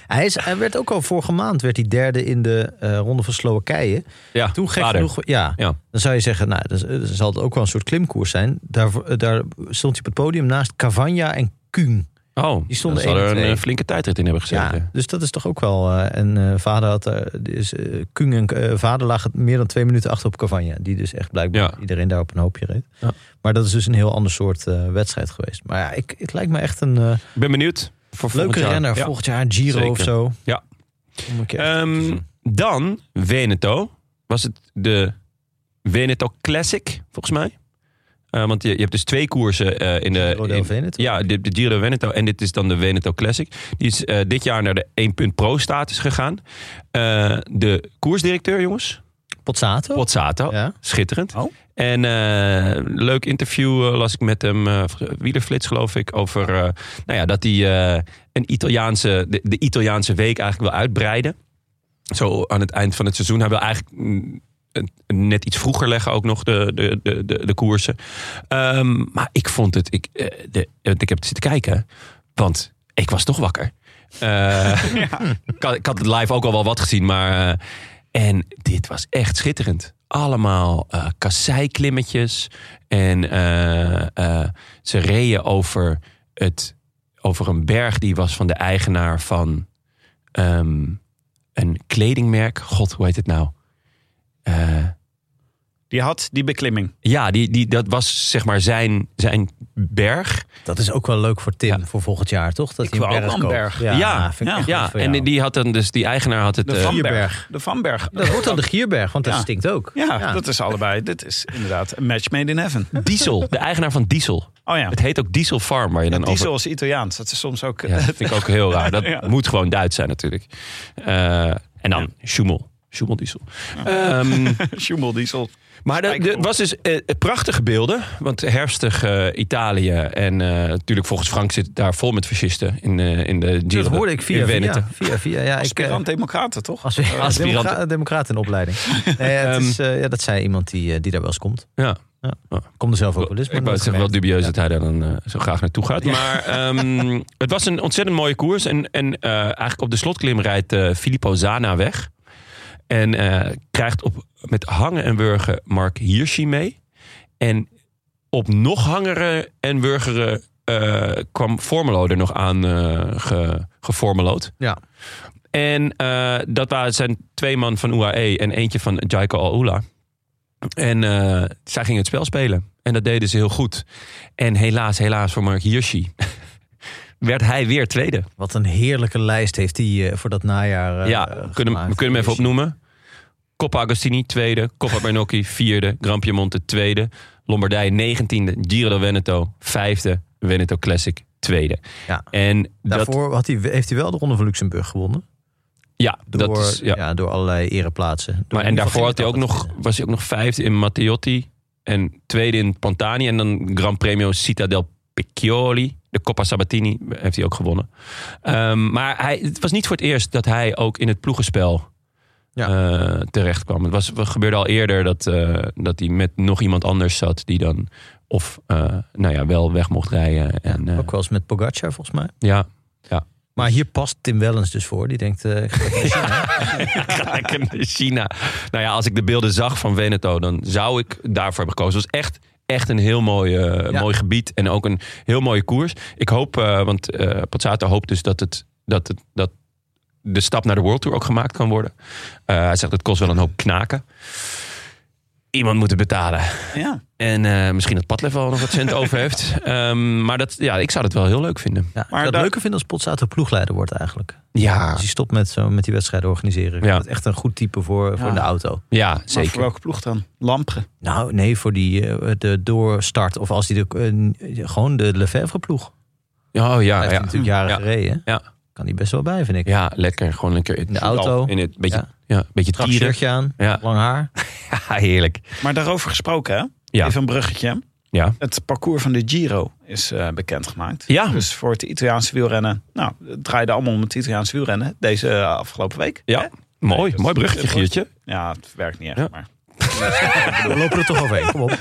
Speaker 2: Hij, is, hij werd ook al vorige maand werd hij derde in de eh, ronde van Slowakije.
Speaker 3: Ja,
Speaker 2: Toen gek
Speaker 3: vader.
Speaker 2: genoeg, ja,
Speaker 3: Ja.
Speaker 2: dan zou je zeggen, nou, dan z- dan zal het ook wel een soort klimkoers zijn. Daar, daar stond hij op het podium naast Cavagna en Kuhn.
Speaker 3: Oh,
Speaker 2: Die
Speaker 3: die
Speaker 2: stonden
Speaker 3: stonden er
Speaker 2: één en
Speaker 3: een
Speaker 2: twee.
Speaker 3: eh, flinke tijdrit in hebben gezeten.
Speaker 2: Ja, dus dat is toch ook wel. eh, en eh, vader had, eh, dus, eh, Kuhn en eh, vader lagen meer dan twee minuten achter op Cavagna. Die dus echt blijkbaar
Speaker 3: Ja.
Speaker 2: iedereen daar op een hoopje reed.
Speaker 3: Ja.
Speaker 2: Maar dat is dus een heel ander soort eh, wedstrijd geweest. Maar ja, ik, het lijkt me echt een. eh,
Speaker 3: Ik ben benieuwd. Voor volgend
Speaker 2: Leuke
Speaker 3: jaar.
Speaker 2: renner.
Speaker 3: Ja.
Speaker 2: Volgend jaar Giro
Speaker 3: Zeker.
Speaker 2: of zo.
Speaker 3: Ja.
Speaker 2: Om een keer
Speaker 3: Ehm,
Speaker 2: te zien.
Speaker 3: dan Veneto. Was het de Veneto Classic, volgens mij? Eh, want je, je hebt dus twee koersen eh, in de...
Speaker 2: Giro del
Speaker 3: in-
Speaker 2: Veneto.
Speaker 3: Ja, de, de Giro Veneto. En dit is dan de Veneto Classic. Die is eh, dit jaar naar de 1 punt pro-status gegaan. Eh, de koersdirecteur, jongens.
Speaker 2: Pozzato?
Speaker 3: Pozzato.
Speaker 2: Ja.
Speaker 3: Schitterend.
Speaker 1: Oh.
Speaker 3: En eh, leuk interview eh, las ik met hem, eh, Wielerflits geloof ik, over eh, nou ja, dat hij eh, een Italiaanse, de, de Italiaanse week eigenlijk wil uitbreiden. Zo aan het eind van het seizoen. Hij wil eigenlijk mm, het net iets vroeger leggen ook nog de, de, de, de, de koersen. Ehm, maar ik vond het, ik, eh, de, want ik heb het zitten kijken, want ik was toch wakker. Eh, ik, had, ik had het live ook al wel wat gezien, maar... eh, en dit was echt schitterend. Allemaal eh kasseiklimmetjes. En eh, eh, ze reden over, het, over een berg die was van de eigenaar van ehm, een kledingmerk. God, hoe heet het nou? Eh,
Speaker 1: Die had die beklimming.
Speaker 3: ja, die, die, dat was zeg maar zijn, zijn berg.
Speaker 2: Dat is ook wel leuk voor Tim
Speaker 3: Ja.
Speaker 2: voor volgend jaar, toch? Dat hij
Speaker 1: wou ook
Speaker 2: een berg
Speaker 1: wel een
Speaker 2: koopt.
Speaker 1: berg.
Speaker 2: Ja,
Speaker 3: Ja,
Speaker 2: vind ik
Speaker 1: ja,
Speaker 2: echt
Speaker 3: Ja,
Speaker 2: goed voor
Speaker 3: en
Speaker 2: jou.
Speaker 3: die had dan dus die eigenaar had het.
Speaker 1: De
Speaker 3: eh,
Speaker 1: Vanberg.
Speaker 2: Gierberg.
Speaker 1: De Vanberg.
Speaker 2: Dat wordt dan de Gierberg, want dat
Speaker 1: Ja.
Speaker 2: stinkt ook.
Speaker 1: Ja, dat is allebei. Dit is inderdaad een match made in heaven.
Speaker 3: Diesel, de eigenaar van Diesel.
Speaker 1: Oh ja.
Speaker 3: Het heet ook Diesel Farm, waar je dan over...
Speaker 1: Diesel is Italiaans. Dat is soms ook...
Speaker 3: Ja, dat vind ik ook heel raar. Dat
Speaker 1: Ja.
Speaker 3: moet gewoon Duits zijn natuurlijk. Eh, en dan Schumel. Schumel Diesel. Ehm,
Speaker 1: Schumel Diesel.
Speaker 3: maar er er was dus eh, prachtige beelden. Want herfstig eh, Italië. En eh, natuurlijk volgens Frank zit het daar vol met fascisten. In, eh, in de Giro
Speaker 2: dat hoorde ik
Speaker 3: in
Speaker 2: via
Speaker 3: Veneto.
Speaker 2: via. via, via ja, ik, eh,
Speaker 1: Aspirant-democraten, toch?
Speaker 2: als we als
Speaker 3: Aspirant. Ehm,
Speaker 2: democra democraat in opleiding. Nee, ja, het is, eh, ja, dat zei iemand die, eh, die daar wel eens komt.
Speaker 3: Ja.
Speaker 2: Ja.
Speaker 3: Ja.
Speaker 2: Komt er zelf ook wel eens.
Speaker 3: Ik
Speaker 2: maar
Speaker 3: wou
Speaker 2: nooit
Speaker 3: het zeggen, wel
Speaker 2: gemerkt.
Speaker 3: dubieus dat hij daar dan eh, zo graag naartoe gaat. Maar ehm, het was een ontzettend mooie koers. En, en eh, eigenlijk op de slotklim rijdt eh, Filippo Zana weg. En eh, krijgt op, met hangen en wurgen Mark Hirschi mee. En op nog hangeren en wurgeren eh, kwam Formelo er nog aan eh ge, geformelood.
Speaker 2: Ja.
Speaker 3: En eh, dat waren, zijn twee man van UAE en eentje van Jaiko Aula. En eh, zij gingen het spel spelen. En dat deden ze heel goed. En helaas, helaas voor Mark Hirschi... werd hij weer tweede.
Speaker 2: Wat een heerlijke lijst heeft hij eh, voor dat najaar. eh,
Speaker 3: ja,
Speaker 2: eh,
Speaker 3: we kunnen,
Speaker 2: gemaakt.
Speaker 3: we kunnen hem even opnoemen. Coppa Agostini, tweede. Coppa Bernocchi, vierde. Gran Piemonte, tweede. Lombardije, negentiende. Giro del Veneto, vijfde. Veneto Classic, tweede.
Speaker 2: Ja.
Speaker 3: En dat...
Speaker 2: Daarvoor had hij, heeft hij wel de Ronde van Luxemburg gewonnen.
Speaker 3: Ja,
Speaker 2: Door,
Speaker 3: dat is... Ja.
Speaker 2: ja. door allerlei ereplaatsen. Door
Speaker 3: Maar en
Speaker 2: in ieder
Speaker 3: daarvoor
Speaker 2: geval
Speaker 3: had hij ook
Speaker 2: iemand
Speaker 3: nog,
Speaker 2: anders
Speaker 3: was hij ook nog vijfde in Matteotti. En tweede in Pantani. En dan Gran Premio Città del Piccioli. De Coppa Sabatini heeft hij ook gewonnen. Ehm, maar hij, het was niet voor het eerst dat hij ook in het ploegenspel
Speaker 2: Ja.
Speaker 3: eh, terecht kwam. Het was, het gebeurde al eerder dat, eh, dat hij met nog iemand anders zat. Die dan of eh, nou ja, wel weg mocht rijden. En, eh,
Speaker 2: winnen. Ook wel eens met Pogacar volgens mij.
Speaker 3: ja,
Speaker 2: Maar hier past Tim Wellens dus voor. Die denkt, eh, ik ga even
Speaker 3: gelijk in China. Nou ja, als ik de beelden zag van Veneto, dan zou ik daarvoor hebben gekozen. Het was echt, echt een heel mooi, eh,
Speaker 2: Ja.
Speaker 3: mooi gebied en ook een heel mooie koers. Ik hoop, eh, want eh Pozzato hoopt dus dat, het, dat, het, dat de stap naar de World Tour ook gemaakt kan worden. Eh, hij zegt, het kost wel een hoop knaken. Iemand moet het betalen.
Speaker 1: Ja.
Speaker 3: En eh, misschien dat Padlef wel nog wat cent over heeft. Ehm, maar dat, ja, ik zou dat wel heel leuk vinden.
Speaker 2: Ja,
Speaker 1: Maar
Speaker 2: maar dat
Speaker 1: daar-
Speaker 2: leuker vinden als Potsato ploegleider wordt eigenlijk.
Speaker 3: Ja,
Speaker 2: Dus die stopt met, zo, met die wedstrijden organiseren.
Speaker 3: Ja.
Speaker 2: Dat is echt een goed type voor, voor de auto.
Speaker 3: ja
Speaker 1: Zeker. voor
Speaker 3: zeker.
Speaker 1: welke ploeg dan? Lampre.
Speaker 2: Nou, nee, voor die eh, de doorstart. Of als die de, eh, gewoon de Lefebvre ploeg.
Speaker 3: Oh ja,
Speaker 2: Hij heeft
Speaker 3: ja.
Speaker 2: natuurlijk jaren
Speaker 3: Ja.
Speaker 2: gereden.
Speaker 3: Ja.
Speaker 2: Kan die best wel bij, vind ik.
Speaker 3: ja, lekker. Gewoon een keer
Speaker 2: In de auto,
Speaker 3: In het beetje,
Speaker 2: Ja.
Speaker 3: ja. beetje
Speaker 2: strak
Speaker 3: tieren.
Speaker 2: shirtje aan,
Speaker 3: Ja.
Speaker 2: lang haar.
Speaker 3: Ja, heerlijk.
Speaker 1: Maar daarover gesproken, hè?
Speaker 3: Ja.
Speaker 1: Even een bruggetje.
Speaker 3: Ja.
Speaker 1: Het parcours van de Giro is eh, bekendgemaakt.
Speaker 3: Ja.
Speaker 1: Dus voor het Italiaanse wielrennen. Nou, het draaide allemaal om het Italiaanse wielrennen deze eh, afgelopen week.
Speaker 3: Ja. Mooi,
Speaker 1: dat is-
Speaker 3: mooi bruggetje, Giertje.
Speaker 1: Ja, het werkt niet echt,
Speaker 3: Ja.
Speaker 1: maar...
Speaker 2: We lopen er toch overheen. Kom op.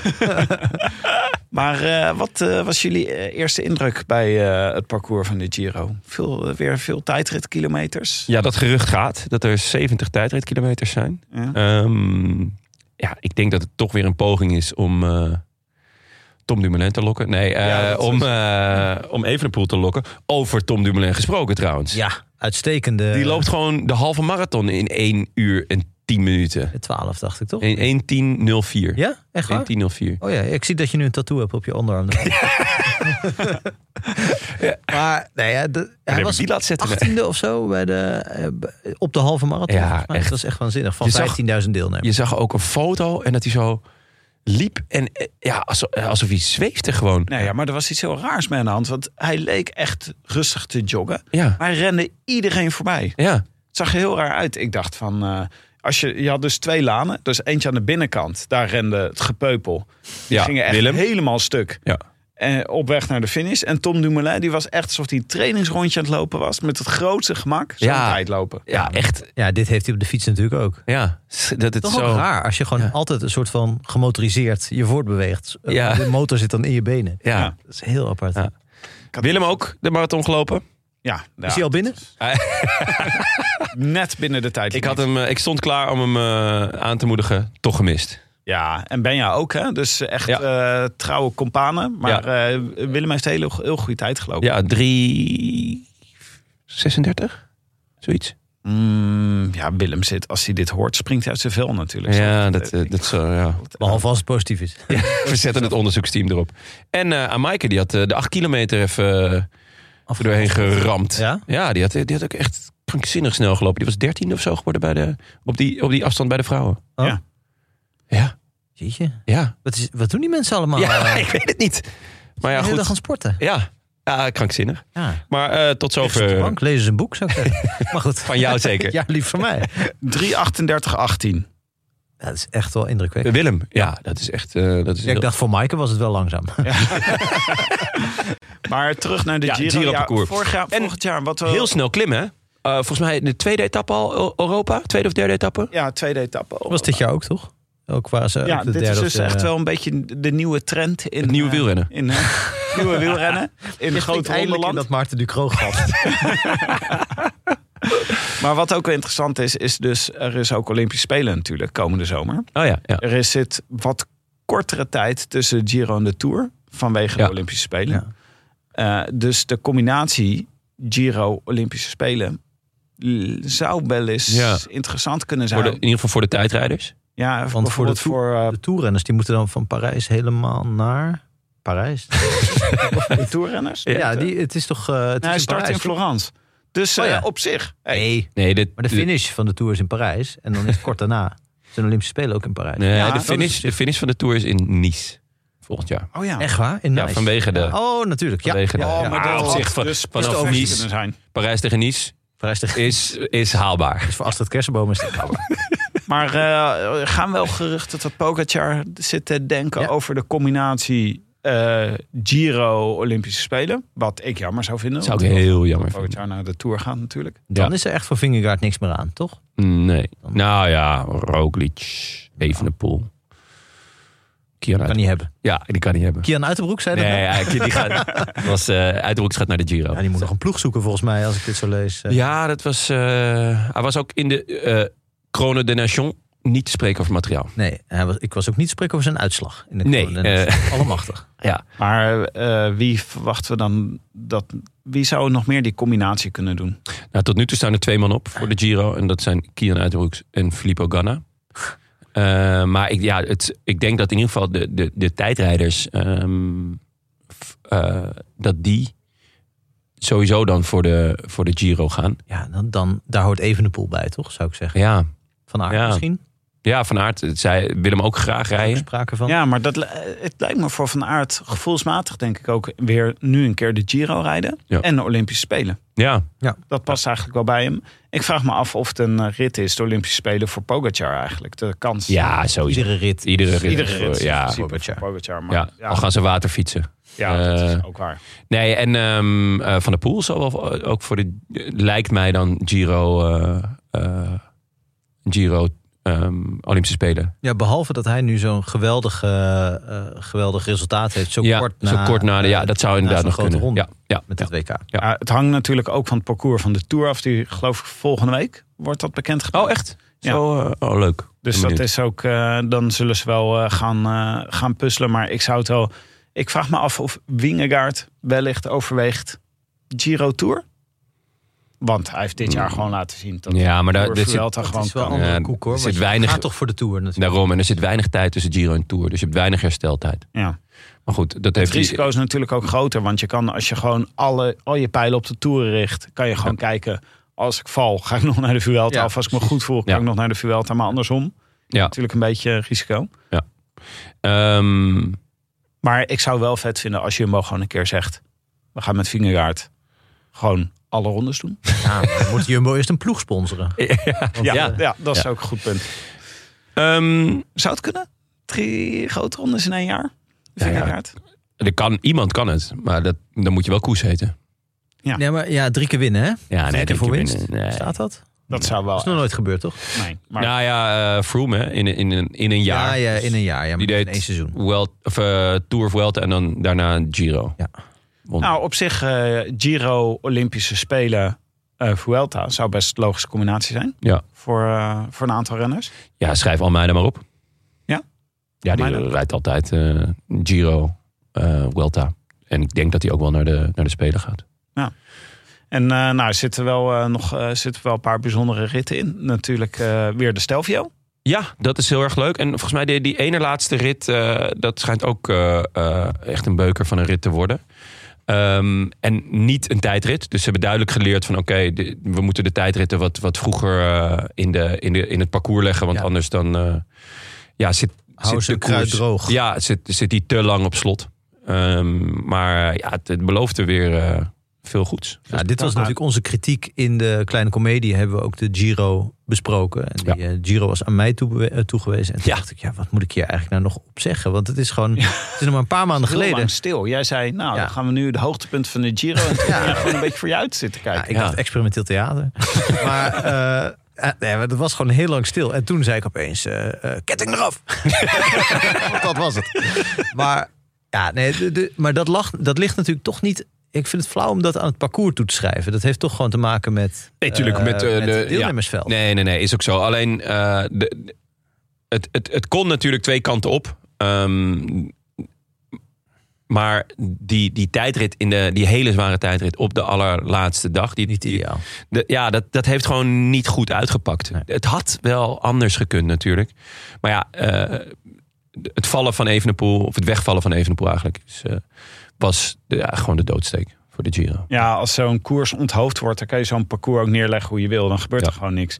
Speaker 1: Maar eh, wat eh, was jullie eh, eerste indruk bij eh, het parcours van de Giro? Veel, eh, weer veel tijdritkilometers.
Speaker 3: Ja, dat gerucht gaat dat er 70 tijdritkilometers zijn.
Speaker 1: Ja.
Speaker 3: Ehm, ja, ik denk dat het toch weer een poging is om eh, Tom Dumoulin te lokken. Nee, eh,
Speaker 1: Ja, dat is-
Speaker 3: om, eh om Evenepoel te lokken. Over Tom Dumoulin gesproken trouwens.
Speaker 2: Ja, uitstekende.
Speaker 3: Die loopt gewoon de halve marathon in 1 uur en 10 minuten.
Speaker 2: 12, dacht ik toch?
Speaker 3: In 1 10 04.
Speaker 2: Ja, echt waar?
Speaker 3: 1 10
Speaker 2: Oh ja, ik zie dat je nu een tattoo hebt op je onderarm. Ja. Maar nee, ja, de- hij was
Speaker 3: die laat zetten.
Speaker 2: 18e of zo bij de, eh, b- op de halve marathon.
Speaker 3: Ja,
Speaker 2: volgens mij.
Speaker 3: echt.
Speaker 2: Dat is echt waanzinnig. Van
Speaker 3: Je zag-
Speaker 2: 15.000 deelnemers.
Speaker 3: Je zag ook een foto en dat hij zo liep. En eh, ja, alsof, eh, alsof hij zweefde gewoon.
Speaker 1: Nou ja, maar er was iets heel raars mee aan de hand. Want hij leek echt rustig te joggen.
Speaker 3: Ja,
Speaker 1: Maar hij rende iedereen voorbij.
Speaker 3: ja.
Speaker 1: Het zag er heel raar uit. Ik dacht van. eh, als je, je had dus twee lanen. Dus eentje aan de binnenkant. Daar rende het gepeupel. Die
Speaker 3: Ja,
Speaker 1: gingen echt
Speaker 3: Willem.
Speaker 1: helemaal stuk.
Speaker 3: Ja.
Speaker 1: En op weg naar de finish. En Tom Dumoulin die was echt alsof hij een trainingsrondje aan het lopen was. Met het grootste gemak. Zo'n
Speaker 3: Ja.
Speaker 1: tijd lopen.
Speaker 3: ja echt.
Speaker 2: Ja, dit heeft hij op de fiets natuurlijk ook.
Speaker 3: Ja, s- dat het
Speaker 2: Toch
Speaker 3: zo...
Speaker 2: wel raar als je gewoon
Speaker 3: Ja.
Speaker 2: altijd een soort van gemotoriseerd je voortbeweegt. Eh,
Speaker 3: Ja.
Speaker 2: De motor zit dan in je benen.
Speaker 3: Ja.
Speaker 1: Ja.
Speaker 2: Dat is heel apart.
Speaker 3: Ja. Willem ook de marathon gelopen.
Speaker 1: Ja, ja.
Speaker 2: Is hij al binnen?
Speaker 1: net binnen de tijd.
Speaker 3: Ik, had hem, eh, ik stond klaar om hem eh, aan te moedigen. Toch gemist.
Speaker 1: Ja, en Benja ook, hè? Dus echt
Speaker 3: Ja.
Speaker 1: eh, trouwe companen. Maar eh, Willem heeft heel, heel goede tijd gelopen.
Speaker 3: Ja, 3... 36? Zoiets.
Speaker 1: Mm, ja, Willem zit, als hij dit hoort, springt hij uit zijn vel natuurlijk.
Speaker 3: Ja,
Speaker 1: Zo.
Speaker 3: dat, eh, dat zo, ja.
Speaker 2: Behalve als het positief is.
Speaker 3: We zetten het onderzoeksteam erop. En eh aan Maaike, die had eh, de 8 kilometer even eh, er doorheen geramd.
Speaker 2: Ja?
Speaker 3: die, had, die had ook echt krankzinnig snel gelopen. Die was 13 of zo geworden bij de, op, die, op die afstand bij de vrouwen.
Speaker 2: Oh.
Speaker 1: Ja.
Speaker 3: Ja,
Speaker 2: Jeetje.
Speaker 3: ja.
Speaker 2: Wat, is, wat doen die mensen allemaal?
Speaker 3: ja
Speaker 2: Eh,
Speaker 3: ik weet het niet. Maar
Speaker 2: de hele dag
Speaker 3: ja,
Speaker 2: aan
Speaker 3: goed.
Speaker 2: het sporten.
Speaker 3: Ja, ja krankzinnig.
Speaker 2: Ja.
Speaker 3: Maar eh, tot
Speaker 2: Even op de
Speaker 3: zover.
Speaker 2: bank, lezen ze een boek, zou ik zeggen. Maar goed.
Speaker 3: Van jou zeker.
Speaker 2: Ja, lief van mij.
Speaker 1: 3.38.18.
Speaker 2: Ja, dat is echt wel indrukwekkend.
Speaker 3: eh, Willem, ja, dat is echt... eh, dat is
Speaker 2: Ja, ik
Speaker 3: heel-
Speaker 2: dacht, voor Maaike was het wel langzaam.
Speaker 1: Maar terug naar de
Speaker 3: Ja,
Speaker 1: Giro.
Speaker 3: Giro
Speaker 1: Ja,
Speaker 3: parcours.
Speaker 1: vorig jaar,
Speaker 3: En
Speaker 1: volgend jaar, wat we...
Speaker 3: heel snel klimmen, hè? Eh, volgens mij de tweede etappe al, Eu- Europa? Tweede of derde etappe?
Speaker 1: Ja, tweede etappe.
Speaker 2: Was dit jaar ook, toch? Ook waar ze
Speaker 1: ja,
Speaker 2: ook de
Speaker 1: dit
Speaker 2: derde
Speaker 1: is
Speaker 2: of
Speaker 1: dus
Speaker 2: de-
Speaker 1: echt wel een beetje de nieuwe trend in...
Speaker 3: Het nieuwe
Speaker 1: eh,
Speaker 3: wielrennen.
Speaker 1: In eh, nieuwe wielrennen. In het
Speaker 2: Je
Speaker 1: grote
Speaker 2: springt eindelijk in
Speaker 1: Holland.
Speaker 2: dat Maarten Ducro gat.
Speaker 1: Maar wat ook wel interessant is, is dus... Er is ook Olympisch Spelen natuurlijk, komende zomer.
Speaker 3: Oh ja, ja.
Speaker 1: Er is zit wat kortere tijd tussen Giro en de Tour vanwege
Speaker 3: Ja.
Speaker 1: de Olympische Spelen. Eh, dus de combinatie Giro-Olympische Spelen l- zou wel eens
Speaker 3: Ja.
Speaker 1: interessant kunnen
Speaker 3: Voor
Speaker 1: zijn.
Speaker 3: de, in ieder geval voor de tijdrijders.
Speaker 1: ja,
Speaker 2: voor de
Speaker 1: bijvoorbeeld voor,
Speaker 2: Tour-
Speaker 1: eh,
Speaker 2: De toerrenners, die moeten dan van Parijs helemaal naar... Parijs?
Speaker 1: de toerrenners.
Speaker 2: Ja, die, het is toch... eh, het
Speaker 1: Nou,
Speaker 2: is
Speaker 1: hij
Speaker 2: in
Speaker 1: start in
Speaker 2: Parijs, toch?
Speaker 1: Florence. Dus
Speaker 2: Oh ja.
Speaker 1: eh, op zich. Hey,
Speaker 2: Nee,
Speaker 3: Nee, de,
Speaker 2: maar de finish van de Tour is in Parijs. En dan is kort daarna zijn Olympische Spelen ook in Parijs.
Speaker 3: Nee,
Speaker 1: Ja,
Speaker 3: de,
Speaker 1: dat
Speaker 3: finish,
Speaker 1: is-
Speaker 3: de finish van de Tour is in Nice volgend jaar.
Speaker 1: Oh ja.
Speaker 2: Echt waar? In
Speaker 3: Ja,
Speaker 2: Nice.
Speaker 3: vanwege de-
Speaker 2: Oh, natuurlijk. Ja.
Speaker 3: Vanwege de,
Speaker 1: Oh,
Speaker 3: ja,
Speaker 1: maar dat
Speaker 3: Ah, op
Speaker 1: had
Speaker 3: zich van,
Speaker 1: dus
Speaker 3: vanaf
Speaker 1: perfect
Speaker 3: Nice,
Speaker 1: kunnen zijn.
Speaker 3: Parijs tegen Nice
Speaker 2: Parijs tegen-
Speaker 3: is, is haalbaar.
Speaker 2: Dus voor Astrid Kersenboom is dat haalbaar.
Speaker 1: Maar eh, er gaan wel geruchten dat Pogacar zit te denken
Speaker 2: Ja.
Speaker 1: over de combinatie eh, Giro-Olympische Spelen. Wat ik jammer zou vinden.
Speaker 3: Zou ik
Speaker 1: want
Speaker 3: heel jammer vinden.
Speaker 1: Pogacar naar de Tour gaat natuurlijk.
Speaker 2: Dan is er echt voor Vingegaard niks meer aan, toch?
Speaker 3: Nee. Nou ja, Roglic, Evenepoel. Kian
Speaker 2: Kan
Speaker 3: uit,
Speaker 2: niet hebben.
Speaker 3: ja, die kan niet hebben.
Speaker 2: Kian Uiterbroek zei dat
Speaker 3: Nee,
Speaker 2: net.
Speaker 3: ja, die gaat, was, eh Uitroeks gaat naar de Giro.
Speaker 2: Ja, die moet nog een ploeg zoeken volgens mij, als ik dit zo lees. Eh,
Speaker 3: Ja, dat was. eh, hij was ook in de eh Krone de Nation niet te spreken over materiaal.
Speaker 2: Nee, hij was, ik was ook niet te spreken over zijn uitslag. In de
Speaker 3: Nee, eh.
Speaker 2: corona. Dat is Allemachtig.
Speaker 1: Maar eh, wie verwachten we dan dat. Wie zou nog meer die combinatie kunnen doen?
Speaker 3: Nou, tot nu toe staan er twee man op voor de Giro. En dat zijn Kian Uiterhoeks en Filippo Ganna. Eh, maar ik, ja, het, ik denk dat in ieder geval de, de, de tijdrijders... ehm, f- eh, dat die sowieso dan voor de, voor de Giro gaan.
Speaker 2: Ja, dan, dan, daar hoort even de pool bij, toch? Zou ik zeggen.
Speaker 3: Ja,
Speaker 2: Van Aert
Speaker 3: Ja.
Speaker 2: misschien?
Speaker 3: ja Van Aert, het- zij wil hem ook graag
Speaker 2: Ook
Speaker 3: rijden.
Speaker 2: sprake van.
Speaker 1: Ja, maar dat, li- eh, het lijkt me voor Van Aert gevoelsmatig, denk ik ook, weer nu een keer de Giro rijden
Speaker 3: Ja.
Speaker 1: en de Olympische Spelen.
Speaker 3: Ja,
Speaker 1: Dat past eigenlijk wel bij hem. Ik vraag me af of het een eh, rit is, de Olympische Spelen voor Pogacar eigenlijk. De kans.
Speaker 3: ja sowieso.
Speaker 2: Iedere rit.
Speaker 3: Iedere rit.
Speaker 1: Iedere rit.
Speaker 3: Ja,
Speaker 1: Voor
Speaker 2: Pogacar.
Speaker 1: Pogacar. Maar,
Speaker 3: ja, al gaan ze waterfietsen.
Speaker 1: ja, dat
Speaker 3: eh,
Speaker 1: is ook waar.
Speaker 3: Nee, en ehm, eh, Van der Poel zal wel ook voor de... Lijkt mij dan eh, Giro... eh, eh, Giro ehm, Olympische Spelen.
Speaker 2: Ja, behalve dat hij nu zo'n geweldig, eh, eh, geweldig resultaat heeft. Zo
Speaker 3: ja,
Speaker 2: kort na, eh,
Speaker 3: zo kort na de, ja, dat zou
Speaker 2: na
Speaker 3: inderdaad
Speaker 2: zo'n
Speaker 3: nog
Speaker 2: grote
Speaker 3: kunnen.
Speaker 2: ronde
Speaker 3: Ja, ja.
Speaker 2: met het WK.
Speaker 3: Ja.
Speaker 1: Maar Eh, het hangt natuurlijk ook van het parcours van de Tour af. Die geloof ik volgende week wordt dat bekend.
Speaker 3: Oh, echt? Zo, eh, oh, leuk.
Speaker 1: Dus
Speaker 3: Ben
Speaker 1: dat
Speaker 3: benieuwd.
Speaker 1: is ook, eh, dan zullen ze wel eh, gaan, eh, gaan puzzelen. Maar ik zou het wel. Ik vraag me af of Wingegaard wellicht overweegt Giro Tour. Want hij heeft dit jaar gewoon laten zien dat
Speaker 3: Ja, maar
Speaker 1: Tour
Speaker 3: daar Hmm. dit zit,
Speaker 1: Vuelta
Speaker 2: Dat
Speaker 1: gewoon
Speaker 2: is wel een
Speaker 1: kan.
Speaker 2: andere
Speaker 3: Ja,
Speaker 2: koek hoor.
Speaker 3: eh, er
Speaker 2: want
Speaker 3: zit
Speaker 2: je
Speaker 3: weinig-
Speaker 2: gaat toch voor de Tour natuurlijk.
Speaker 3: daarom. En er zit weinig tijd tussen Giro en Tour. Dus je hebt weinig hersteltijd.
Speaker 1: Ja.
Speaker 3: Maar goed, dat
Speaker 1: Het
Speaker 3: heeft...
Speaker 1: risico is natuurlijk ook groter. Want je kan, als je gewoon alle, al je pijlen op de toeren richt, kan je gewoon kijken. Als ik val, ga ik nog naar de Vuelta.
Speaker 2: Ja,
Speaker 1: of als ik me goed voel, kan
Speaker 3: Ja.
Speaker 1: ik nog naar de Vuelta. Maar andersom,
Speaker 3: Ja.
Speaker 1: natuurlijk een beetje risico.
Speaker 3: Ehm,
Speaker 1: Maar ik zou wel vet vinden als Jumbo gewoon een keer zegt... we gaan met Vingegaard gewoon alle rondes doen.
Speaker 2: Ja, maar dan moet Jumbo eerst een ploeg sponsoren.
Speaker 1: Ja,
Speaker 3: Nou. Ja.
Speaker 1: ja. dat is ook een goed punt.
Speaker 3: ehm,
Speaker 1: Zou het kunnen? Drie grote rondes in één jaar?
Speaker 3: ja.
Speaker 1: Vingegaard?
Speaker 3: er kan, iemand kan het, maar dat, dan moet je wel koers heten.
Speaker 1: Ja.
Speaker 2: Nee, maar ja, drie keer winnen hè?
Speaker 3: Ja,
Speaker 2: Drie keer
Speaker 3: denk
Speaker 2: voor
Speaker 3: ik
Speaker 2: winst.
Speaker 3: binnen- nee. Oh,
Speaker 2: Staat dat?
Speaker 1: Dat zou wel...
Speaker 2: Dat is nog nooit gebeurd toch?
Speaker 1: Nee, maar
Speaker 3: Nou ja, eh, Froome hè, in, in, in, in een jaar.
Speaker 2: Ja, ja, in een jaar. Ja, maar
Speaker 3: Die
Speaker 2: in
Speaker 3: deed
Speaker 2: één seizoen.
Speaker 3: Welt, of, eh, Tour of Welta en dan daarna Giro.
Speaker 2: Ja.
Speaker 3: Won.
Speaker 1: Nou, op zich, eh, Giro, Olympische Spelen, eh Vuelta zou best een logische combinatie zijn.
Speaker 3: Ja.
Speaker 1: Voor, eh, voor een aantal renners.
Speaker 3: ja, schrijf Almeida maar op.
Speaker 1: Ja?
Speaker 3: Ja, die
Speaker 1: Almeida.
Speaker 3: rijdt altijd eh, Giro, eh Welta. En ik denk dat hij ook wel naar de, naar de Spelen gaat.
Speaker 1: En eh, nou, er zitten wel, eh, nog, eh, zitten wel een paar bijzondere ritten in. Natuurlijk eh, weer de Stelvio.
Speaker 3: Ja, dat is heel erg leuk. En volgens mij die, die ene laatste rit, eh, dat schijnt ook eh, eh, echt een beuker van een rit te worden. Ehm, en niet een tijdrit. Dus ze hebben duidelijk geleerd van oké, de- we moeten de tijdritten wat, wat vroeger eh, in, de, in, de, in het parcours leggen. Want
Speaker 2: Ja.
Speaker 3: anders dan eh, ja, zit,
Speaker 2: Hou
Speaker 3: zit
Speaker 2: ze
Speaker 3: de koers,
Speaker 2: kruid droog.
Speaker 3: Ja, zit, zit die te lang op slot. Ehm, maar ja, het, het beloofde weer eh, veel goeds.
Speaker 2: Ja, Nou, dit was natuurlijk onze kritiek in de kleine komedie. Hebben we ook de Giro besproken. En die eh, Giro was aan mij toebewe- eh, toegewezen. En toen
Speaker 3: Ja.
Speaker 2: dacht ik, ja, wat moet ik hier eigenlijk nou nog op zeggen? Want het is gewoon, het is nog maar een paar maanden
Speaker 1: Heel
Speaker 2: geleden.
Speaker 1: lang stil. Jij zei, nou,
Speaker 2: Ja.
Speaker 1: dan gaan we nu de hoogtepunt van de Giro. En toen
Speaker 2: Ja.
Speaker 1: ging je gewoon een beetje voor je uit zitten kijken.
Speaker 2: Ja, ik
Speaker 3: Ja.
Speaker 2: dacht experimenteel theater. maar eh, eh, nee, maar dat was gewoon heel lang stil. En toen zei ik opeens, eh, eh, ketting eraf. Want dat was het. Maar, ja, nee, de- de- maar dat, lag, dat ligt natuurlijk toch niet... Ik vind het flauw om dat aan het parcours toe te schrijven. Dat heeft toch gewoon te maken met,
Speaker 3: Nee, tuurlijk,
Speaker 2: eh,
Speaker 3: met, eh, de-
Speaker 2: het deelnemersveld.
Speaker 3: Nee, nee, nee, is ook zo. Alleen, eh, de, de- het, het, het kon natuurlijk twee kanten op. Ehm, maar die, die tijdrit, in de, die hele zware tijdrit op de allerlaatste dag. Die,
Speaker 2: Niet ideaal.
Speaker 3: de- ja, dat, dat heeft gewoon niet goed uitgepakt. Het had wel anders gekund natuurlijk. Maar ja, eh, het vallen van Evenepoel, of het wegvallen van Evenepoel eigenlijk... Is, eh, was de- ja, gewoon de doodsteek voor de Giro.
Speaker 1: Ja, als zo'n koers onthoofd wordt, dan kan je zo'n parcours ook neerleggen hoe je wil. Dan gebeurt
Speaker 3: Ja.
Speaker 1: er gewoon niks.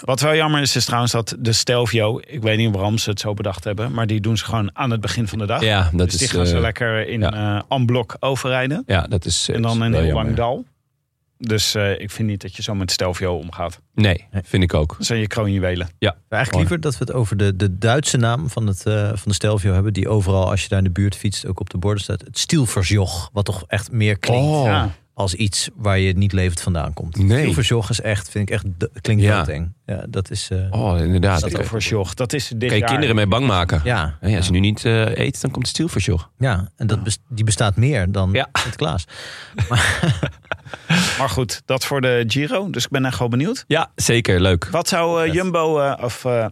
Speaker 1: Wat wel jammer is, is trouwens dat de Stelvio, ik weet niet waarom ze het zo bedacht hebben, maar die doen ze gewoon aan het begin van de dag.
Speaker 3: Ja, dat
Speaker 1: dus die
Speaker 3: is...
Speaker 1: gaan ze
Speaker 3: eh,
Speaker 1: lekker in
Speaker 3: ja.
Speaker 1: eh en blok overrijden.
Speaker 3: ja, dat is eh,
Speaker 1: En dan een
Speaker 3: wel
Speaker 1: heel
Speaker 3: jammer,
Speaker 1: lang
Speaker 3: ja.
Speaker 1: dal. Dus eh, ik vind niet dat je zo met Stelvio omgaat.
Speaker 3: Nee, vind ik ook.
Speaker 1: Dat zijn je kroonjuwelen.
Speaker 2: Eigenlijk liever dat we het over de, de Duitse naam van, het, eh, van de Stelvio hebben. Die overal, als je daar in de buurt fietst, ook op de borden staat. Het Stielversjoch. Wat toch echt meer klinkt
Speaker 3: Oh.
Speaker 1: Ja.
Speaker 2: als iets waar je niet levend vandaan komt.
Speaker 3: Nee.
Speaker 2: Stielversjoch is echt, vind ik echt, d- klinkt
Speaker 3: Ja.
Speaker 2: ja. doodeng. Ja, dat is... eh,
Speaker 3: Oh,
Speaker 2: Dat
Speaker 3: inderdaad. Daar
Speaker 2: ook
Speaker 3: kan
Speaker 1: Voor Sjoch. Dat is dit
Speaker 3: je
Speaker 1: jaar.
Speaker 3: kinderen mee bang maken.
Speaker 2: Ja,
Speaker 3: Hé, als je nu niet eh, eet, dan komt het stil voor joh.
Speaker 2: ja, en dat bes- die bestaat meer dan
Speaker 3: Ja.
Speaker 2: het Klaas.
Speaker 1: Maar goed, dat voor de Giro. Dus ik ben echt wel benieuwd.
Speaker 3: Ja, zeker. Leuk.
Speaker 1: Wat zou eh, Jumbo eh, of eh,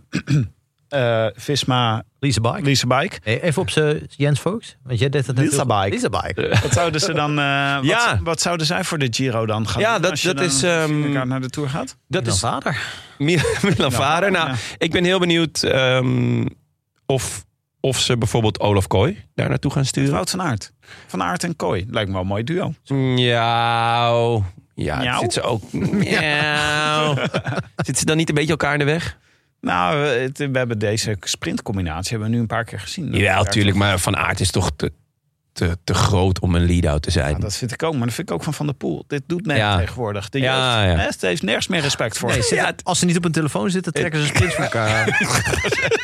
Speaker 1: eh, Visma
Speaker 2: Lisa Bike.
Speaker 1: Lise Bike
Speaker 2: Hey, even op ze Jens Fox. Want jij deed dat net
Speaker 1: Lisa
Speaker 2: heel goed.
Speaker 1: Bike.
Speaker 2: Lisa Bike.
Speaker 1: Wat zouden ze dan? eh, wat,
Speaker 3: Ja.
Speaker 1: wat zouden zij voor de Giro dan gaan?
Speaker 3: Ja,
Speaker 1: doen
Speaker 3: dat-
Speaker 1: als je
Speaker 3: dat
Speaker 1: dan
Speaker 3: is, ehm,
Speaker 1: met elkaar naar de tour gaat.
Speaker 3: Dat
Speaker 2: Dan
Speaker 3: is
Speaker 2: vader.
Speaker 3: Mil- Milan Vader. Nou,
Speaker 1: ja.
Speaker 3: ik ben heel benieuwd ehm, of, of ze bijvoorbeeld Olaf Kooi daar naartoe gaan sturen.
Speaker 1: Wout van Aert, van Aert en Kooi lijkt me wel een mooi duo.
Speaker 3: Miauw. Ja,
Speaker 1: Miauw?
Speaker 3: zit ze ook. Miauw. zit ze dan niet een beetje elkaar in de weg?
Speaker 1: Nou, we, het- we hebben deze sprintcombinatie hebben we nu een paar keer gezien. Dat
Speaker 3: Ja,
Speaker 1: werkt.
Speaker 3: natuurlijk. Maar Van Aert is toch te, te, te groot om een lead-out te zijn.
Speaker 1: Ja, dat vind ik ook, maar dat vind ik ook van Van der Poel. Dit doet men
Speaker 3: Ja.
Speaker 1: tegenwoordig. De
Speaker 3: Ja,
Speaker 1: jeugd,
Speaker 3: ja.
Speaker 1: hè, ze heeft nergens meer respect voor.
Speaker 2: Nee, ze- Als ze niet op een telefoon zitten, trekken ze spins voor elkaar.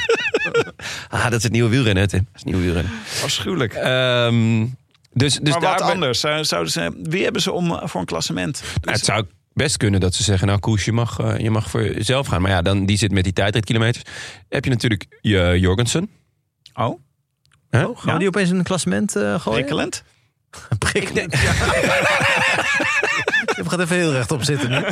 Speaker 3: Ah, dat is het nieuwe wielrennen, hè, Tim. Dat is het nieuwe wielrennen.
Speaker 1: Afschuwelijk.
Speaker 3: Ehm, dus dus
Speaker 1: maar wat
Speaker 3: daar ben-
Speaker 1: anders? Zou- Zouden ze, wie hebben ze om eh, voor een klassement?
Speaker 3: Nou, het zou best kunnen dat ze zeggen, nou Koes, je mag, eh, je mag voor jezelf gaan. Maar ja, dan, die zit met die tijdritkilometers. Heb je natuurlijk je Jorgensen.
Speaker 1: Oh,
Speaker 3: Hè?
Speaker 2: Gaan we die opeens in een klassement eh gooien?
Speaker 1: prikkelend.
Speaker 2: Prikkelend. Je gaat even heel rechtop zitten nu.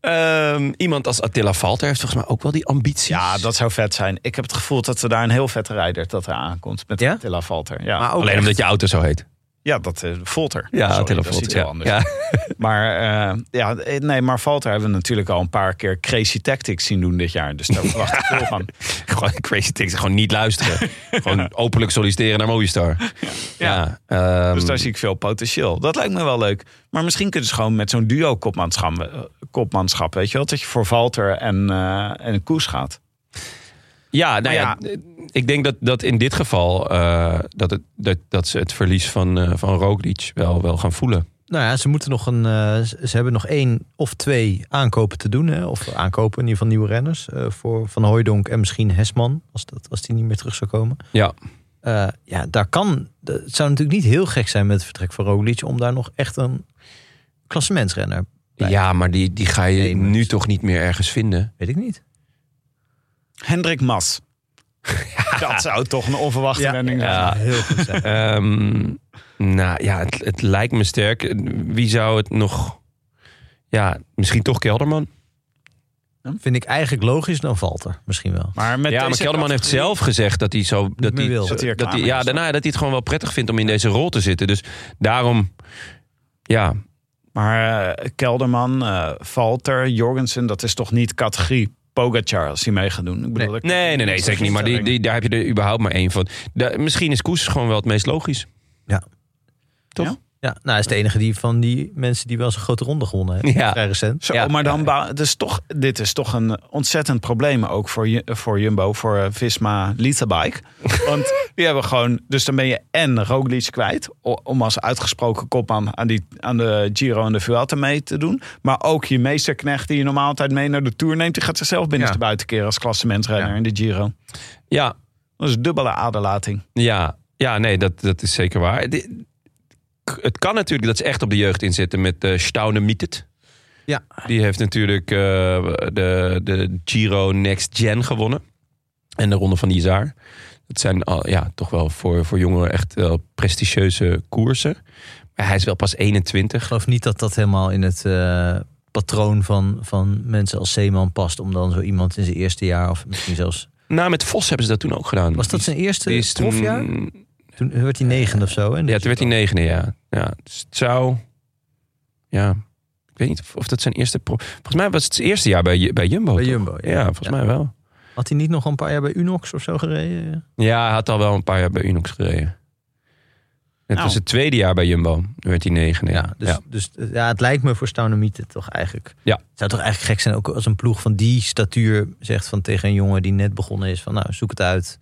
Speaker 3: Ehm, iemand als Attila Valter heeft volgens mij ook wel die ambities.
Speaker 1: Ja, dat zou vet zijn. Ik heb het gevoel dat er daar een heel vette rijder dat er aankomt. Met
Speaker 2: Ja?
Speaker 1: Attila Valter. Ja,
Speaker 2: Maar ook
Speaker 3: Alleen
Speaker 2: echt.
Speaker 3: omdat je auto zo heet.
Speaker 1: ja dat eh Volter.
Speaker 3: Ja,
Speaker 1: Sorry,
Speaker 3: Attila
Speaker 1: Dat is iets
Speaker 3: Valter.
Speaker 1: heel
Speaker 3: Ja.
Speaker 1: anders.
Speaker 3: Ja.
Speaker 1: Maar, eh, ja, eh, nee, maar Valter hebben we natuurlijk al een paar keer Crazy Tactics zien doen dit jaar. Dus daar verwacht ik veel van.
Speaker 3: Gewoon crazy things. Gewoon niet luisteren. Gewoon openlijk solliciteren naar Movistar. Ja. ehm,
Speaker 1: Dus daar zie ik veel potentieel. Dat lijkt me wel leuk. Maar misschien kunnen ze gewoon met zo'n duo kopmanschap, eh, kopmanschap, weet je wel, dat je voor Valter en, eh en Koes gaat.
Speaker 3: ja, nou
Speaker 1: Maar
Speaker 3: ja, ik denk dat, dat in dit geval eh, dat, het, dat, dat ze het verlies van, eh van Roglic wel, wel gaan voelen.
Speaker 2: Nou ja, ze moeten nog een. eh, ze ze hebben nog één of twee aankopen te doen. Hè? Of aankopen in ieder geval nieuwe renners. eh, voor Van Hooijdonk en misschien Hesman. Als, dat, als die niet meer terug zou komen.
Speaker 3: Ja.
Speaker 2: Eh, ja, daar kan. dat- Het zou natuurlijk niet heel gek zijn met het vertrek van Roglic. om daar nog echt een klassementsrenner. Bij-
Speaker 3: Ja, maar die, die ga je
Speaker 2: Nee, maar-
Speaker 3: nu toch niet meer ergens vinden.
Speaker 2: Weet ik niet.
Speaker 1: Hendrik Mas. Dat zou toch een onverwachte wending zijn.
Speaker 2: zou heel goed zijn.
Speaker 3: Ehm, nou ja, het, het lijkt me sterk. Wie zou het nog... Ja, misschien toch Kelderman.
Speaker 2: Vind ik eigenlijk logisch dan Valter. Misschien wel.
Speaker 1: Maar met
Speaker 3: ja, maar
Speaker 1: deze
Speaker 3: Kelderman heeft
Speaker 1: categorie-
Speaker 3: zelf gezegd dat hij zo dat
Speaker 2: meer
Speaker 3: hij,
Speaker 2: wil.
Speaker 3: zo-
Speaker 1: Dat hij er
Speaker 3: dat
Speaker 1: klaar
Speaker 3: hij,
Speaker 1: mee
Speaker 3: ja,
Speaker 1: is.
Speaker 3: daarna dat hij het gewoon wel prettig vindt om in deze rol te zitten. Dus daarom, ja,
Speaker 1: Maar eh, Kelderman, eh Valter, Jorgensen, dat is toch niet categorie Pogacar als hij mee gaat doen? Ik bedoel, dat-
Speaker 3: nee, nee, nee,
Speaker 1: dat
Speaker 3: zeker niet. Maar die, die, daar heb je er überhaupt maar één van. Da- misschien is Koes gewoon wel het meest logisch.
Speaker 2: Ja, nou, hij is de enige die van die mensen die wel eens een grote ronde gewonnen heeft.
Speaker 3: Ja.
Speaker 2: Vrij recent.
Speaker 1: Zo,
Speaker 3: Ja,
Speaker 1: maar dan,
Speaker 3: ja.
Speaker 1: bou- dus toch, dit is toch een ontzettend probleem ook voor, Ju- voor Jumbo, voor eh, Visma Litterbike. Want die hebben gewoon, dus dan ben je en Roglic kwijt, o- om als uitgesproken kopman aan, die, aan de Giro en de Vuelta mee te doen. Maar ook je meesterknecht die je normaal altijd mee naar de Tour neemt, die gaat zichzelf binnenste
Speaker 2: Ja.
Speaker 1: buiten keren als klassementrenner
Speaker 2: Ja.
Speaker 1: in de Giro.
Speaker 3: Ja,
Speaker 1: Dat is dubbele aderlating.
Speaker 3: ja, ja nee, dat, dat is zeker waar. Dit- het kan natuurlijk dat ze echt op de jeugd inzetten met eh Staune Mietet.
Speaker 2: Ja.
Speaker 3: Die heeft natuurlijk eh, de, de Giro Next Gen gewonnen. En de Ronde van Isar. Dat zijn al, ja, toch wel voor, voor jongeren echt wel prestigieuze koersen. Maar hij is wel pas 21.
Speaker 2: Ik geloof niet dat dat helemaal in het eh, patroon van, van mensen als Zeeman past. Om dan zo iemand in zijn eerste jaar of misschien zelfs...
Speaker 3: Nou, met Vos hebben ze dat toen ook gedaan.
Speaker 2: Was dat zijn
Speaker 3: Die
Speaker 2: eerste
Speaker 3: is toen-
Speaker 2: profjaar? Toen werd hij negen of zo. Hè?
Speaker 3: Ja, toen werd hij negende, ja. ja. Dus het zou... Ja, ik weet niet of- of dat zijn eerste... pro- Volgens mij was het zijn eerste jaar bij, Ju- bij Jumbo.
Speaker 2: Bij
Speaker 3: toch?
Speaker 2: Jumbo. Ja,
Speaker 3: Ja, volgens
Speaker 2: Ja.
Speaker 3: mij wel.
Speaker 2: Had hij niet nog een paar jaar bij Unox of zo gereden?
Speaker 3: Ja, hij had al wel een paar jaar bij Unox gereden. Het
Speaker 1: Nou.
Speaker 3: was het tweede jaar bij Jumbo. Toen werd hij negende. Ja,
Speaker 2: Dus,
Speaker 3: ja.
Speaker 2: dus eh, ja, het lijkt me voor Staunomiete toch eigenlijk...
Speaker 3: Ja.
Speaker 2: Het zou toch eigenlijk gek zijn ook als een ploeg van die statuur zegt van tegen een jongen die net begonnen is. Van nou, zoek het uit.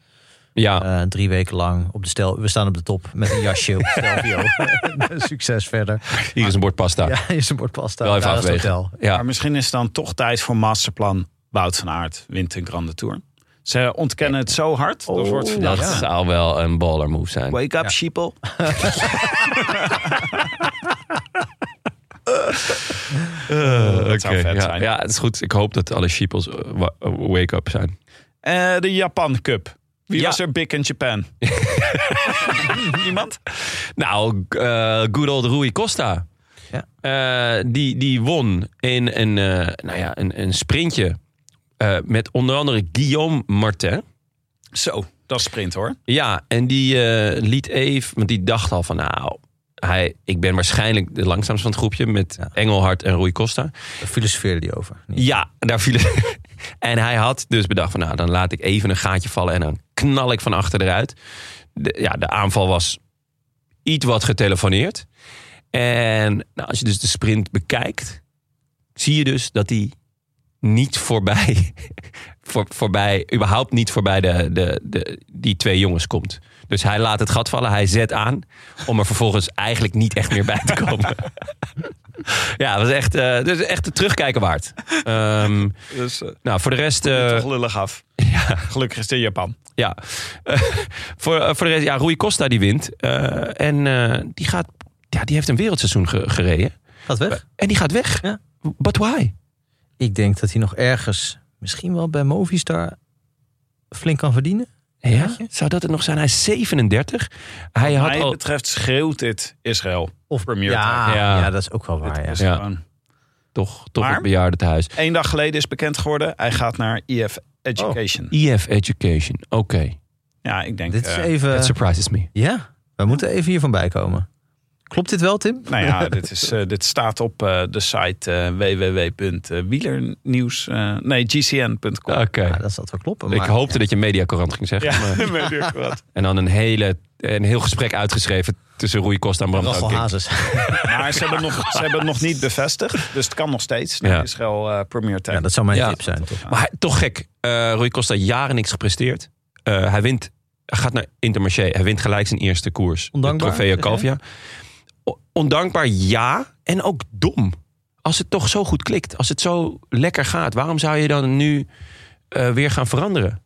Speaker 3: Ja.
Speaker 2: Eh, drie weken lang op de stel. We staan op de top met een jasje op Stelvio. Succes verder.
Speaker 3: hier is een bord pasta. Ja.
Speaker 2: Ja, hier is een bord pasta.
Speaker 3: Wel even
Speaker 2: Daar is het
Speaker 3: afwegen.
Speaker 2: hotel.
Speaker 1: Maar misschien is het dan toch tijd voor masterplan Wout van Aert wint een Grande Tour. Ze ontkennen het zo hard, dat wordt
Speaker 3: Oh, dat
Speaker 1: verdacht.
Speaker 3: zou wel een baller move zijn.
Speaker 1: Wake up, sheeple. dat zou vet
Speaker 3: ja.
Speaker 1: zijn.
Speaker 3: Ja, het is goed. Ik hoop dat alle sheepels eh, wa- eh, wake up zijn.
Speaker 1: Eh, de Japan Cup. Wie
Speaker 3: Ja.
Speaker 1: was er big in Japan? Niemand?
Speaker 3: Nou, eh, good old Rui Costa.
Speaker 2: Ja.
Speaker 3: Eh, die, die won in een, eh, nou ja, een, een sprintje eh, met onder andere Guillaume Martin.
Speaker 1: Zo, dat is sprint hoor.
Speaker 3: Ja, en die eh, liet even, want die dacht al van nou, hij, ik ben waarschijnlijk de langzaamste van het groepje met
Speaker 2: Ja.
Speaker 3: Engelhard en Rui Costa.
Speaker 2: Daar filosofeerde die over. Niet?
Speaker 3: Ja, daar viel En hij had dus bedacht van nou, dan laat ik even een gaatje vallen en dan knal ik van achter eruit. De, ja, de aanval was iets wat getelefoneerd. En nou, als je dus de sprint bekijkt, zie je dus dat hij niet voorbij, voor, voorbij überhaupt niet voorbij de, de, de, die twee jongens komt. Dus hij laat het gat vallen, hij zet aan om er vervolgens eigenlijk niet echt meer bij te komen. ja, dat is echt, eh dus echt het terugkijken waard. Ehm,
Speaker 1: Dus eh,
Speaker 3: nou, voor de rest. eh,
Speaker 1: toch lullig af. Gelukkig is het in Japan.
Speaker 3: ja. Eh, voor, eh, voor de rest, ja, Rui Costa die wint. Eh, en eh, die gaat. Ja, die heeft een wereldseizoen ge- gereden.
Speaker 2: Gaat weg.
Speaker 3: En die gaat weg.
Speaker 2: Ja.
Speaker 3: But why?
Speaker 2: Ik denk dat hij nog ergens, misschien wel bij Movistar, flink kan verdienen.
Speaker 3: Ja? Zou dat het nog zijn? Hij is 37. Hij
Speaker 1: Wat
Speaker 3: had
Speaker 1: mij
Speaker 3: al...
Speaker 1: betreft schreeuwt dit Israël.
Speaker 2: Of
Speaker 1: Premier
Speaker 2: ja,
Speaker 3: Time.
Speaker 2: ja.
Speaker 3: Ja.
Speaker 2: dat is ook wel waar.
Speaker 1: Dit
Speaker 2: Ja.
Speaker 1: is
Speaker 3: Ja.
Speaker 1: gewoon-
Speaker 3: toch, toch
Speaker 1: Maar-
Speaker 3: het bejaardentehuis.
Speaker 1: Eén dag geleden is bekend geworden. Hij gaat naar EF Education.
Speaker 3: EF E Education. Oké.
Speaker 1: Eh. Ja, ik denk...
Speaker 2: Oh. Dit is
Speaker 1: eh,
Speaker 2: even.
Speaker 3: That surprises me.
Speaker 2: Ja, we moeten even hiervan bijkomen. Klopt dit wel, Tim?
Speaker 1: Nou ja, dit, is, eh, dit staat op eh, de site eh www.wielernieuws... eh, nee, gcn.com.
Speaker 3: Oké.
Speaker 2: Ja, dat zal het wel kloppen.
Speaker 3: Ik
Speaker 2: maar-
Speaker 3: hoopte dat je mediacorant ging zeggen.
Speaker 1: Ja,
Speaker 3: maar-
Speaker 1: met Dirk Wat.
Speaker 3: En dan een, hele, een heel gesprek uitgeschreven tussen Roei Costa en Bram
Speaker 2: Rachel
Speaker 3: Tankink.
Speaker 2: Hazes.
Speaker 1: Maar ze hebben, nog, ze hebben het nog niet bevestigd. Dus het kan nog steeds.
Speaker 3: Ja.
Speaker 1: Ja. Israël eh Premier Tech.
Speaker 2: Ja, dat zou mijn
Speaker 3: Ja.
Speaker 2: tip zijn, toch?
Speaker 3: Maar hij- toch gek. Eh Rui Costa jaren niks gepresteerd. Eh, hij wint. Hij gaat naar Intermarché. Hij wint gelijk zijn eerste koers.
Speaker 2: Ondankbaar,
Speaker 3: De Trofeo
Speaker 2: zeg jij?
Speaker 3: Calvia. O- Ondankbaar, ja. En ook dom. Als het toch zo goed klikt. Als het zo lekker gaat. Waarom zou je dan nu eh, weer gaan veranderen?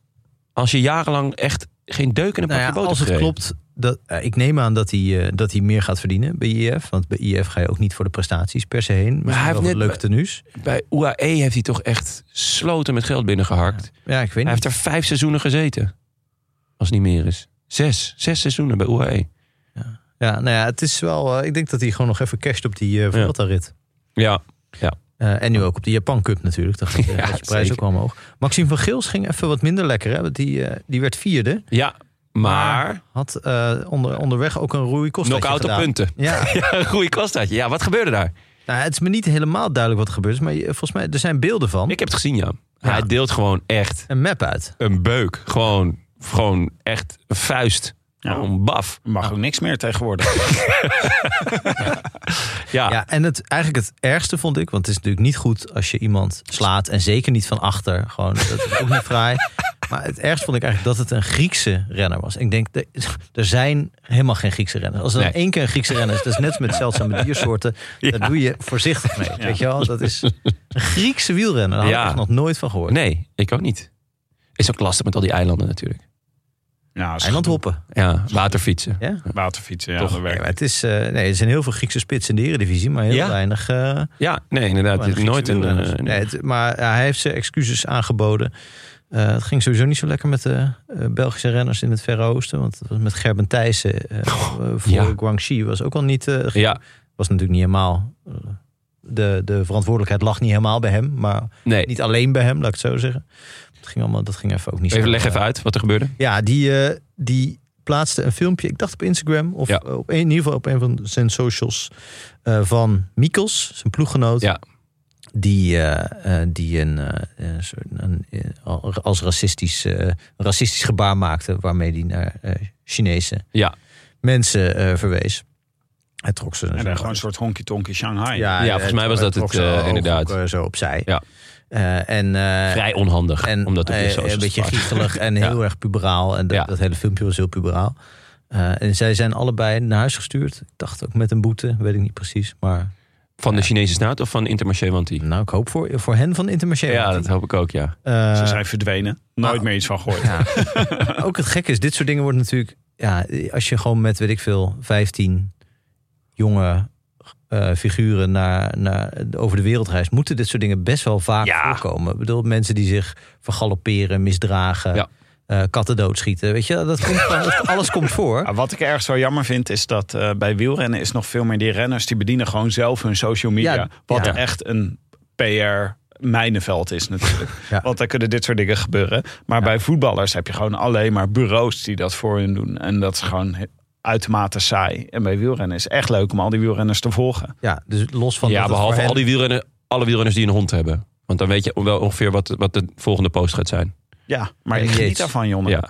Speaker 3: Als je jarenlang echt geen deuk in een
Speaker 2: Nou ja,
Speaker 3: pakje boter
Speaker 2: als het
Speaker 3: kreeg.
Speaker 2: klopt, dat, eh, ik neem aan dat hij, eh, dat hij meer gaat verdienen bij IF. Want bij IF ga je ook niet voor de prestaties per se heen. Maar hij
Speaker 3: hij heeft
Speaker 2: heeft wel
Speaker 3: net-
Speaker 2: leuke tenues.
Speaker 3: Bij UAE heeft hij toch echt sloten met geld binnengeharkt.
Speaker 2: Ja, ik weet
Speaker 3: Hij
Speaker 2: niet.
Speaker 3: heeft er vijf seizoenen gezeten. Als het niet meer is. Zes. Zes seizoenen bij E. UAE.
Speaker 2: Ja, nou ja, het is wel. eh, ik denk dat hij gewoon nog even casht op die eh Vuelta-rit.
Speaker 3: Ja.
Speaker 2: Eh, en nu ook op de Japan Cup natuurlijk. Dan gaat eh,
Speaker 3: Ja,
Speaker 2: gaat je prijs
Speaker 3: zeker.
Speaker 2: ook wel omhoog. Maxime van Geels ging even wat minder lekker. Hè, want die, eh, die werd vierde.
Speaker 3: Ja, maar
Speaker 2: Had eh, onder, onderweg ook een Rui Costa
Speaker 3: knock-out op punten.
Speaker 2: Ja,
Speaker 3: Een goede kostaatje. Ja, wat gebeurde daar?
Speaker 2: nou, het is me niet helemaal duidelijk wat er gebeurd is. Maar je- volgens mij, er zijn beelden van.
Speaker 3: Ik heb het gezien, ja. Hij deelt gewoon echt
Speaker 2: Een map uit.
Speaker 3: een beuk. Gewoon, gewoon echt een vuist. Gewoon baf.
Speaker 1: Mag ook niks meer tegenwoordig.
Speaker 3: Ja,
Speaker 2: Ja, en het, eigenlijk het ergste vond ik, want het is natuurlijk niet goed als je iemand slaat en zeker niet van achter. Gewoon, dat is ook niet fraai. Maar het ergste vond ik eigenlijk dat het een Griekse renner was. Ik denk, er, er zijn helemaal geen Griekse renners. Als er dan
Speaker 3: Nee.
Speaker 2: één keer een Griekse renner is, dat is net als met zeldzame diersoorten. Daar doe je voorzichtig mee. Weet je wel? Dat is een Griekse wielrenner. Daar had
Speaker 3: Ja.
Speaker 2: ik echt nog nooit van gehoord.
Speaker 3: nee, ik ook niet. Is ook lastig met al die eilanden natuurlijk.
Speaker 1: Ja, is goed.
Speaker 2: Eilandhoppen.
Speaker 3: Ja, waterfietsen.
Speaker 2: Ja?
Speaker 1: Waterfietsen, ja,
Speaker 3: Toch.
Speaker 1: dat
Speaker 2: Nee,
Speaker 1: werkt.
Speaker 2: maar het is, eh, nee, er zijn heel veel Griekse spitsen in de eredivisie, maar heel
Speaker 3: Ja.
Speaker 2: weinig... eh,
Speaker 3: Ja, nee, inderdaad. Het is nooit een... eh,
Speaker 2: Nee, het- maar hij heeft zijn excuses aangeboden. Eh, het ging sowieso niet zo lekker met de eh, Belgische renners in het Verre Oosten. Want het was met Gerben Thijssen eh, eh, voor
Speaker 3: Oh, ja.
Speaker 2: Guangxi was ook al niet... eh, ge-
Speaker 3: ja,
Speaker 2: was natuurlijk niet helemaal... eh, de, de verantwoordelijkheid lag niet helemaal bij hem. Maar
Speaker 3: nee.
Speaker 2: niet alleen bij hem, laat ik het zo zeggen. Het ging allemaal, dat ging even ook niet
Speaker 3: Even,
Speaker 2: zo...
Speaker 3: leg even uit wat er gebeurde.
Speaker 2: Ja, die, eh, die plaatste een filmpje, ik dacht op Instagram... of
Speaker 3: Ja.
Speaker 2: eh, op een, in ieder geval op een van zijn socials... eh, van Mikkels, zijn ploeggenoot
Speaker 3: Ja,
Speaker 2: die, eh, eh, die een, eh, eh, soort- een, eh, al- als racistisch, eh, racistisch gebaar maakte, waarmee hij naar eh, Chinese
Speaker 3: ja.
Speaker 2: mensen eh, verwees. Hij trok ze
Speaker 1: En
Speaker 2: zo-
Speaker 1: dan gewoon een soort honky-tonky Shanghai.
Speaker 3: Ja,
Speaker 2: hij-
Speaker 3: volgens mij
Speaker 2: hij
Speaker 3: was dat
Speaker 2: trok
Speaker 3: het,
Speaker 2: ze
Speaker 3: eh,
Speaker 2: hoog
Speaker 3: inderdaad.
Speaker 2: ook, eh, zo opzij.
Speaker 3: Ja.
Speaker 2: Eh, en, eh,
Speaker 3: Vrij onhandig.
Speaker 2: en
Speaker 3: omdat
Speaker 2: eh, een beetje giechelig en heel erg puberaal. En dat,
Speaker 3: Ja.
Speaker 2: dat hele filmpje was heel puberaal. Eh, en zij zijn allebei naar huis gestuurd. Ik dacht ook met een boete, weet ik niet precies. Maar
Speaker 3: Van de Chinese staat of van Intermarché Wanti?
Speaker 2: nou, ik hoop voor, voor hen van Intermarché.
Speaker 3: Ja, dat hoop ik ook, ja.
Speaker 2: Eh,
Speaker 1: Ze zijn verdwenen. Nooit
Speaker 2: Ah.
Speaker 1: meer iets van gehoord.
Speaker 2: Ja. Maar eh, ook het gekke is, dit soort dingen wordt natuurlijk... Ja, als je gewoon met, weet ik veel, 15 jonge eh, figuren naar, naar, over de wereld reist... moeten dit soort dingen best wel vaak
Speaker 3: Ja.
Speaker 2: voorkomen. Ik bedoel, mensen die zich vergalopperen, misdragen...
Speaker 3: Ja.
Speaker 2: eh, katten doodschieten, weet je, dat komt, dat- alles komt voor.
Speaker 1: Ah, wat ik ergens wel jammer vind, is dat eh, bij wielrennen is nog veel meer die renners die bedienen gewoon zelf hun social media.
Speaker 2: Ja,
Speaker 1: wat
Speaker 2: ja.
Speaker 1: echt een PR mijnenveld is natuurlijk.
Speaker 2: Ja.
Speaker 1: Want daar kunnen dit soort dingen gebeuren. Maar bij voetballers heb je gewoon alleen maar bureaus die dat voor hun doen. En dat is gewoon he- uitermate saai. En bij wielrennen is het echt leuk om al die wielrenners te volgen.
Speaker 2: Ja, dus los van...
Speaker 3: ja,
Speaker 2: dat het voor
Speaker 3: behalve
Speaker 2: hen-
Speaker 3: al die wielrenners, alle wielrenners die een hond hebben. Want dan weet je wel ongeveer wat, wat de volgende post gaat zijn.
Speaker 1: Ja, maar
Speaker 2: En
Speaker 1: ik geniet
Speaker 2: Yates.
Speaker 1: daarvan, jongen. Ja,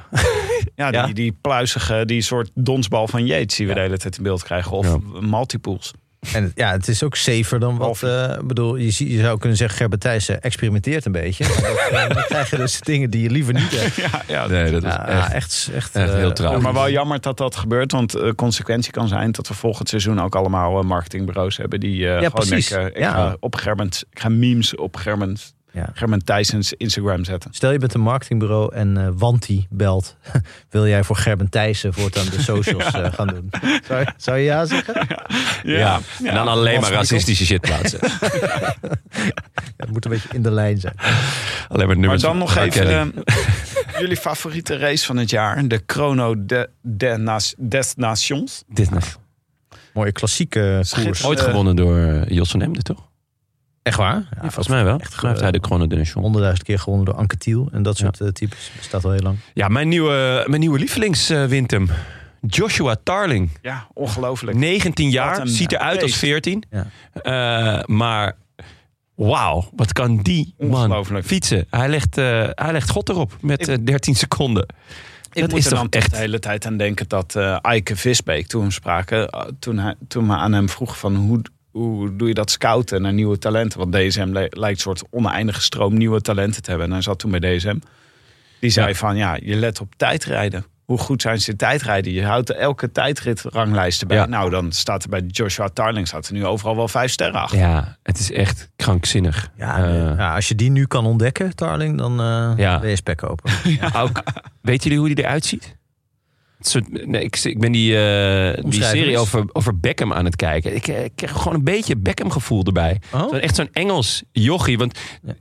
Speaker 3: Ja.
Speaker 1: die,
Speaker 3: Ja.
Speaker 1: die pluizige, die soort donsbal van Yates die we de hele tijd in beeld krijgen. Of multipools.
Speaker 2: En het- ja, het is ook safer dan wat.
Speaker 1: Of-
Speaker 2: eh, Ik bedoel, je, zie- je zou kunnen zeggen: Gerber Thijssen experimenteert een beetje. Maar dat, eh, dan krijg je dus dingen die je liever niet hebt.
Speaker 1: Ja, ja,
Speaker 3: Nee, dat
Speaker 2: Ja,
Speaker 3: is echt...
Speaker 2: echt, echt,
Speaker 3: echt
Speaker 2: eh,
Speaker 3: heel trouw.
Speaker 1: Ja, maar wel jammer dat dat gebeurt, want de consequentie kan zijn dat we volgend seizoen ook allemaal eh, marketingbureaus hebben die eh
Speaker 2: Ja,
Speaker 1: gewoon
Speaker 2: precies.
Speaker 1: denken, ik
Speaker 2: Ja.
Speaker 1: ga op Germans, ik ga memes op Germans
Speaker 2: Ja.
Speaker 1: Gerben Thijsens Instagram zetten.
Speaker 2: Stel je bent een marketingbureau en eh Wanti belt. Wil jij voor Gerben Thijssen voortaan de socials eh, gaan doen? Zou, zou je ja zeggen?
Speaker 3: Ja. En dan alleen maar racistische shit plaatsen.
Speaker 2: Het moet een beetje in de lijn zijn.
Speaker 3: alleen maar
Speaker 1: Maar
Speaker 3: nummers.
Speaker 1: dan nog
Speaker 3: van R.
Speaker 1: even
Speaker 3: Kelly.
Speaker 1: eh, jullie favoriete race van het jaar. De Chrono de, de Nas- des Nations.
Speaker 3: Dit nog.
Speaker 2: Mooie klassieke koers.
Speaker 1: Schitterend.
Speaker 3: Ooit
Speaker 1: Eh,
Speaker 3: gewonnen door eh, Jos van Emden, toch?
Speaker 2: Echt waar? Ja,
Speaker 3: Ja, volgens mij wel.
Speaker 2: echt
Speaker 3: Echt heeft hij de Chrono de Nation.
Speaker 2: Honderdduizend keer gewonnen door Anke Thiel en dat soort eh, types. Bestaat al heel lang.
Speaker 3: Ja, mijn nieuwe, mijn nieuwe lievelings, eh, wint hem. Joshua Tarling.
Speaker 1: Ja, ongelooflijk.
Speaker 3: 19
Speaker 1: Wat
Speaker 3: jaar,
Speaker 1: een
Speaker 3: ziet eruit als
Speaker 1: beest.
Speaker 3: 14. Eh, maar wauw, wat kan die man
Speaker 1: Ongelooflijk.
Speaker 3: fietsen. Hij legt, eh, hij legt God erop met
Speaker 1: Ik-
Speaker 3: eh, 13 seconden.
Speaker 1: Ik
Speaker 3: dat
Speaker 1: moet
Speaker 3: is
Speaker 1: er
Speaker 3: toch
Speaker 1: dan toch
Speaker 3: echt-
Speaker 1: de hele tijd aan denken dat eh Eike Visbeek, toen we hem spraken, eh, toen, hij, toen we aan hem vroegen van hoe, hoe doe je dat scouten naar nieuwe talenten? Want DSM le- lijkt een soort oneindige stroom nieuwe talenten te hebben. En hij zat toen bij DSM. Die zei van ja, je let op tijdrijden. Hoe goed zijn ze in tijdrijden? Je houdt er elke tijdrit ranglijsten bij.
Speaker 3: Ja.
Speaker 1: Nou, dan staat er bij Joshua Tarling staat er nu overal wel vijf sterren achter.
Speaker 3: Ja, het is echt krankzinnig.
Speaker 2: Ja,
Speaker 3: Eh,
Speaker 2: ja, als je die nu kan ontdekken, Tarling, dan eh
Speaker 3: Ja.
Speaker 2: ben je spekkoper.
Speaker 3: Ook, weet jullie hoe die eruit ziet? Het soort- Nee, ik, ik ben die, eh, die
Speaker 2: Omschrijf
Speaker 3: serie
Speaker 2: eens.
Speaker 3: over, over Beckham aan het kijken. Ik, eh, ik krijg gewoon een beetje Beckham gevoel erbij.
Speaker 2: Oh?
Speaker 3: Zo'n- Echt zo'n Engels jochie. Want
Speaker 2: Ja.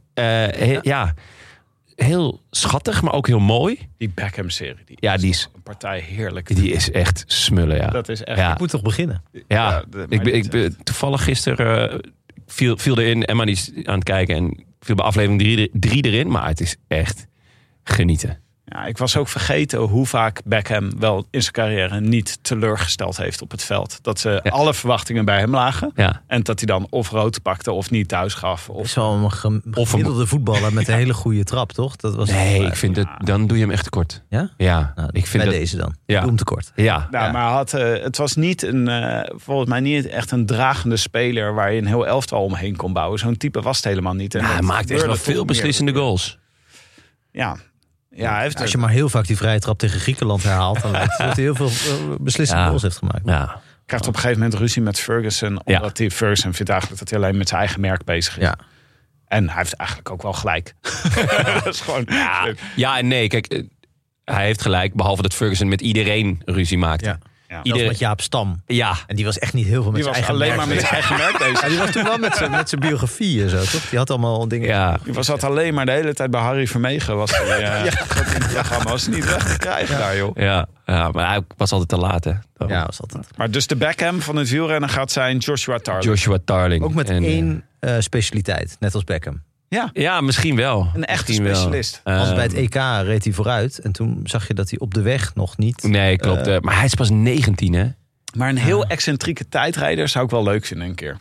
Speaker 3: eh, he- ja, heel schattig, maar ook heel mooi.
Speaker 1: Die Beckham-serie, die
Speaker 3: Ja, die is,
Speaker 1: een partij heerlijk.
Speaker 3: die is echt smullen, ja.
Speaker 1: dat is echt...
Speaker 3: Ja.
Speaker 2: Ik moet toch beginnen?
Speaker 3: Ja,
Speaker 1: Ja, de- maar
Speaker 3: ik, ben-
Speaker 1: dit
Speaker 3: ik ben- toevallig gisteren eh, viel, viel erin. Emma die is aan het kijken en ik viel bij aflevering 3 drie erin. Maar het is echt genieten.
Speaker 1: Ja, ik was ook vergeten hoe vaak Beckham wel in zijn carrière niet teleurgesteld heeft op het veld. Dat ze
Speaker 3: Ja.
Speaker 1: alle verwachtingen bij hem lagen.
Speaker 3: Ja,
Speaker 1: En dat hij dan of rood pakte of niet thuis gaf.
Speaker 3: Dus-
Speaker 1: Of...
Speaker 2: Zo'n gem-
Speaker 3: een-
Speaker 2: gemiddelde voetballer met een hele goede trap, toch? Dat was
Speaker 3: nee, ik vind het, dan doe je hem echt tekort.
Speaker 2: Ja?
Speaker 3: Ja,
Speaker 2: Nou,
Speaker 3: ik vind
Speaker 2: bij
Speaker 3: dat,
Speaker 2: deze dan.
Speaker 3: Ja.
Speaker 2: Doe hem tekort.
Speaker 3: ja,
Speaker 1: Nou,
Speaker 3: ja.
Speaker 1: maar hij had, eh, het was niet een, eh, volgens mij niet echt een dragende speler waar je een heel elftal omheen kon bouwen. Zo'n type was het helemaal niet. En
Speaker 3: Ja, hij
Speaker 1: dat
Speaker 3: maakt echt
Speaker 1: gebeurde
Speaker 3: wel
Speaker 1: toch
Speaker 3: veel
Speaker 1: meer.
Speaker 3: beslissende goals.
Speaker 1: Ja, ja hij heeft
Speaker 2: Als je maar heel vaak die vrije trap tegen Griekenland herhaalt, dan weet je dat hij heel veel eh, beslissende
Speaker 3: Ja.
Speaker 2: goals heeft gemaakt.
Speaker 3: Ja,
Speaker 1: krijgt op een gegeven moment ruzie met Ferguson.
Speaker 3: Ja.
Speaker 1: Omdat hij Ferguson vindt eigenlijk dat hij alleen met zijn eigen merk bezig is.
Speaker 2: Ja.
Speaker 1: En hij heeft eigenlijk ook wel gelijk. dat is gewoon...
Speaker 3: ja en nee, kijk, eh, hij heeft gelijk. Behalve dat Ferguson met iedereen ruzie maakt.
Speaker 2: Ja.
Speaker 1: Ja.
Speaker 2: Dat was
Speaker 3: Iedereen,
Speaker 2: met Jaap Stam.
Speaker 3: ja,
Speaker 2: En die was echt niet heel veel met
Speaker 1: Die
Speaker 2: zijn
Speaker 1: was
Speaker 2: eigen
Speaker 1: alleen
Speaker 2: merk
Speaker 1: maar met
Speaker 2: bezig.
Speaker 1: zijn eigen merk bezig.
Speaker 2: Ja, die was toen wel met zijn, met zijn biografie en zo, toch? Die had allemaal dingen.
Speaker 3: ja.
Speaker 1: Die was dat alleen maar de hele tijd bij Harry Vermegen. Was die, eh, dat die programma was niet weg te krijgen daar, joh.
Speaker 3: Ja, ja, maar hij was altijd te laat, hè. Daarom.
Speaker 2: Ja, was altijd.
Speaker 1: Maar dus de Beckham van het wielrennen gaat zijn Joshua Tarling.
Speaker 3: Joshua Tarling.
Speaker 2: Ook met
Speaker 3: En, eh,
Speaker 2: één eh, specialiteit, net als Beckham.
Speaker 1: Ja,
Speaker 3: Ja, misschien wel.
Speaker 1: Een echte
Speaker 3: Misschien wel.
Speaker 1: specialist.
Speaker 3: Eh,
Speaker 2: Want bij het E EK reed hij vooruit en toen zag je dat hij op de weg nog niet...
Speaker 3: Nee, klopt.
Speaker 2: Eh,
Speaker 3: eh, maar hij is pas 19, hè?
Speaker 1: maar een heel excentrieke tijdrijder zou ik wel leuk vinden een keer.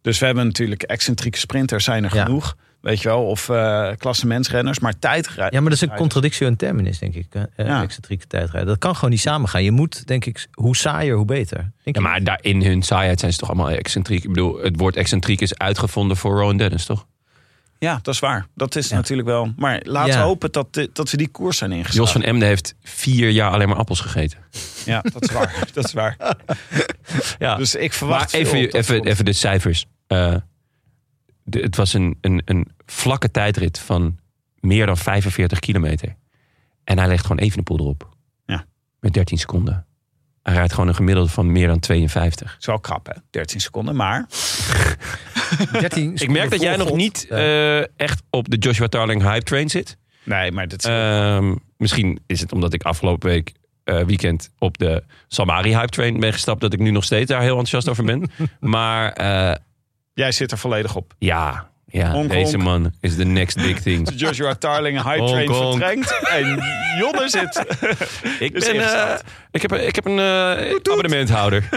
Speaker 1: Dus we hebben natuurlijk excentrieke sprinters zijn er
Speaker 2: Ja.
Speaker 1: genoeg. Weet je wel, of eh klassementsrenners. Maar tijdrijden...
Speaker 2: Ja, maar dat is een contradictie in terminis, denk ik. eh, eh,
Speaker 1: Ja.
Speaker 2: Excentrieke tijdrijden. Dat kan gewoon niet samengaan. Je moet, denk ik, hoe saaier, hoe beter. Denk ik.
Speaker 3: Ja, maar daar in hun saaiheid zijn ze toch allemaal excentriek. Ik bedoel, het woord excentriek is uitgevonden voor Rowan Dennis, toch?
Speaker 1: Ja, dat is waar. Dat is natuurlijk wel... Maar laten
Speaker 2: Ja.
Speaker 1: we hopen dat, dit- dat we die koers zijn ingeslagen.
Speaker 3: Jos van Emden heeft vier jaar alleen maar appels gegeten.
Speaker 1: Ja, dat is waar. dat is waar.
Speaker 3: Ja.
Speaker 1: Dus ik
Speaker 3: maar
Speaker 1: verwacht
Speaker 3: even,
Speaker 1: veel op dat
Speaker 3: even,
Speaker 1: front.
Speaker 3: even de cijfers. Eh, de- het was een, een, een vlakke tijdrit van meer dan 45 kilometer. En hij legt gewoon even de poel erop.
Speaker 1: Ja.
Speaker 3: Met 13 seconden. Hij rijdt gewoon een gemiddelde van meer dan 52.
Speaker 1: Het is wel krap, hè? 13 seconden, maar...
Speaker 2: 13
Speaker 3: Ik merk dat jij nog niet eh, echt op de Joshua Tarling hype train zit.
Speaker 1: Nee, maar dit is
Speaker 3: Ehm, misschien is het omdat ik afgelopen week eh, weekend op de Samari hype train ben gestapt, dat ik nu nog steeds daar heel enthousiast over ben. maar eh,
Speaker 1: Jij zit er volledig op.
Speaker 3: ja, ja
Speaker 1: Honk,
Speaker 3: deze
Speaker 1: honk.
Speaker 3: man is the next big thing.
Speaker 1: Joshua Tarling, high train
Speaker 3: Honk, honk.
Speaker 1: vertrengt. En Jonne zit.
Speaker 3: ik,
Speaker 1: Is
Speaker 3: ben, eh,
Speaker 1: ingestapt.
Speaker 3: ik heb, ik heb een eh, abonnementhouder.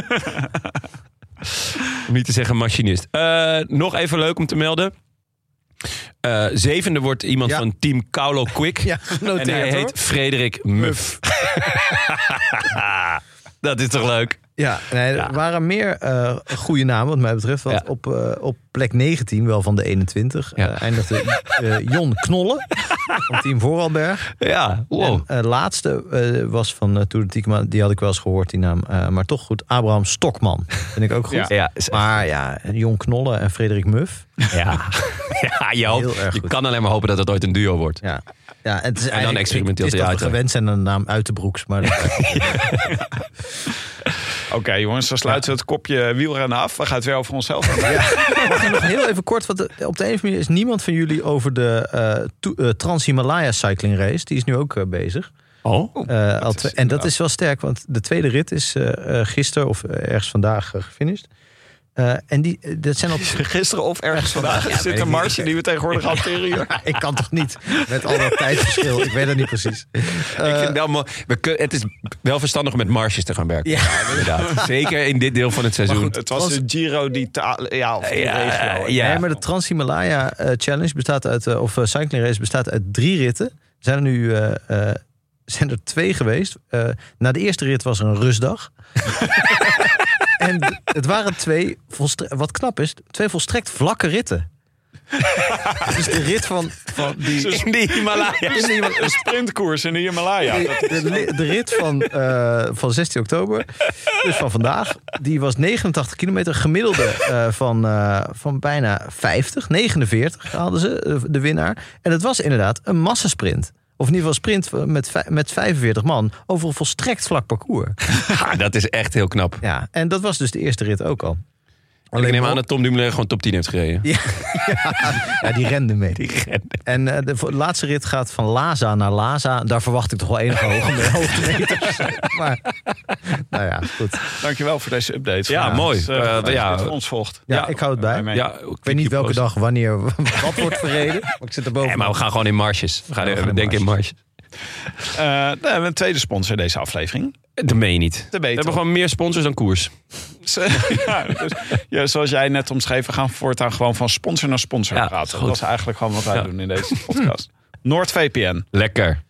Speaker 3: om niet te zeggen machinist. Eh, nog even leuk om te melden. Eh, zevende wordt iemand
Speaker 2: Ja.
Speaker 3: van team Kaulo Quick.
Speaker 2: Ja,
Speaker 3: En hij
Speaker 2: genoteerd hoor.
Speaker 3: heet Frederik Muff. dat is toch leuk?
Speaker 2: Ja, nee, er
Speaker 3: Ja.
Speaker 2: waren meer eh, goede namen wat mij betreft. Want
Speaker 3: Ja.
Speaker 2: op, eh, op plek 19, wel van de 21,
Speaker 3: Ja.
Speaker 2: eh, eindigde eh, Jon Knolle. van Team Vooralberg.
Speaker 3: Ja, wow.
Speaker 2: En, eh, laatste eh, was van uh, Tour de Tiekema. Die had ik wel eens gehoord, die naam. Eh, maar toch goed. Abraham Stokman. Vind ik ook goed.
Speaker 1: Ja.
Speaker 3: Ja, is-
Speaker 2: Maar ja, Jon Knolle en Frederik Muff.
Speaker 3: ja. ja je, hoopt-
Speaker 2: Heel erg
Speaker 3: je
Speaker 2: goed.
Speaker 3: kan alleen maar hopen dat het ooit een duo wordt.
Speaker 2: Ja. Ja, het is
Speaker 3: dan
Speaker 2: eigenlijk-
Speaker 3: experimenteel
Speaker 2: het is
Speaker 3: hij
Speaker 2: dat we
Speaker 3: uit, hè?
Speaker 2: gewend zijn aan de naam Uiterbroeks. Maar dat-
Speaker 1: Oké jongens, dan sluiten we het kopje wielrennen af. We gaan het weer over onszelf hebben.
Speaker 2: Mag ik nog heel even kort, want eh, op de een of andere manier is niemand van jullie over de eh, to- eh, Trans-Himalaya Cycling Race. Die is nu ook eh, bezig.
Speaker 3: Oh,
Speaker 2: Eh, al
Speaker 1: is
Speaker 2: twee- en dat
Speaker 1: inderdaad.
Speaker 2: is wel sterk, want de tweede rit is eh, eh, gisteren of eh, ergens vandaag eh, gefinished. Eh, en die, eh, dat zijn al.
Speaker 1: Gisteren of ergens vandaag
Speaker 2: weet
Speaker 1: zit
Speaker 2: ik
Speaker 1: een
Speaker 2: niet.
Speaker 1: marsje die we tegenwoordig hanteren hier.
Speaker 2: ik kan toch niet met al dat tijdverschil? Ik weet het niet precies.
Speaker 1: Eh,
Speaker 3: ik vind wel, mooi. we kun- het is wel verstandig om met marges te gaan werken.
Speaker 2: Ja.
Speaker 3: inderdaad. Zeker in dit deel van het
Speaker 1: Maar
Speaker 3: seizoen.
Speaker 1: goed, het was de Giro d'Italia. Ja, of de
Speaker 3: Ja,
Speaker 1: regio.
Speaker 3: ja.
Speaker 2: Nee, maar de Trans-Himalaya eh, Challenge bestaat uit, eh, of eh, Cycling Race bestaat uit drie ritten. Zijn er nu eh, eh, zijn er twee geweest. Eh, na de eerste rit was er een rustdag. en het waren twee, volstre- wat knap is, twee volstrekt vlakke ritten. dus de rit van, van die.
Speaker 3: In de Himalaya.
Speaker 2: is iemand-
Speaker 1: Een sprintkoers in de Himalaya. Dat-
Speaker 2: de, li- de rit van, eh, van 16 oktober, dus van vandaag, die was 89 kilometer. Gemiddelde eh, van, eh, van bijna 50, 49 hadden ze, eh, de winnaar. En het was inderdaad een massasprint. Of in ieder geval sprint met, vij- met 45 man over een volstrekt vlak parcours.
Speaker 3: Ja, dat is echt heel knap.
Speaker 2: Ja, en dat was dus de eerste rit ook al.
Speaker 3: ik neem
Speaker 2: maar-
Speaker 3: aan dat Tom Dumoulin gewoon top 10 heeft gereden.
Speaker 2: Ja, die rende mee. En eh, de vo- laatste rit gaat van Laza naar Laza. Daar verwacht ik toch wel enige hoge hoogtemeters. maar, nou ja, goed.
Speaker 1: Dankjewel voor deze update.
Speaker 3: Ja, mooi.
Speaker 1: Dus, eh,
Speaker 3: Eh,
Speaker 1: dat
Speaker 3: ja.
Speaker 1: je dit ons volgt.
Speaker 2: Ja, ik hou het bij.
Speaker 1: mij.
Speaker 3: Ja,
Speaker 2: Ik weet niet welke dag wanneer wat wordt verreden. Maar ik zit er boven.
Speaker 3: Nee, maar we gaan gewoon in marges. We gaan,
Speaker 2: We gaan
Speaker 3: we
Speaker 2: in
Speaker 3: denken in marges.
Speaker 1: Eh, nou, we hebben een tweede sponsor deze aflevering.
Speaker 3: Dat meen je niet.
Speaker 1: De
Speaker 3: We hebben gewoon meer sponsors dan koers.
Speaker 1: ja, dus, ja, zoals jij net omschreef, we gaan voortaan gewoon van sponsor naar sponsor
Speaker 3: Ja,
Speaker 1: praten.
Speaker 3: goed.
Speaker 1: Dat is eigenlijk gewoon wat wij
Speaker 3: Ja.
Speaker 1: doen in deze podcast. NoordVPN.
Speaker 3: Lekker.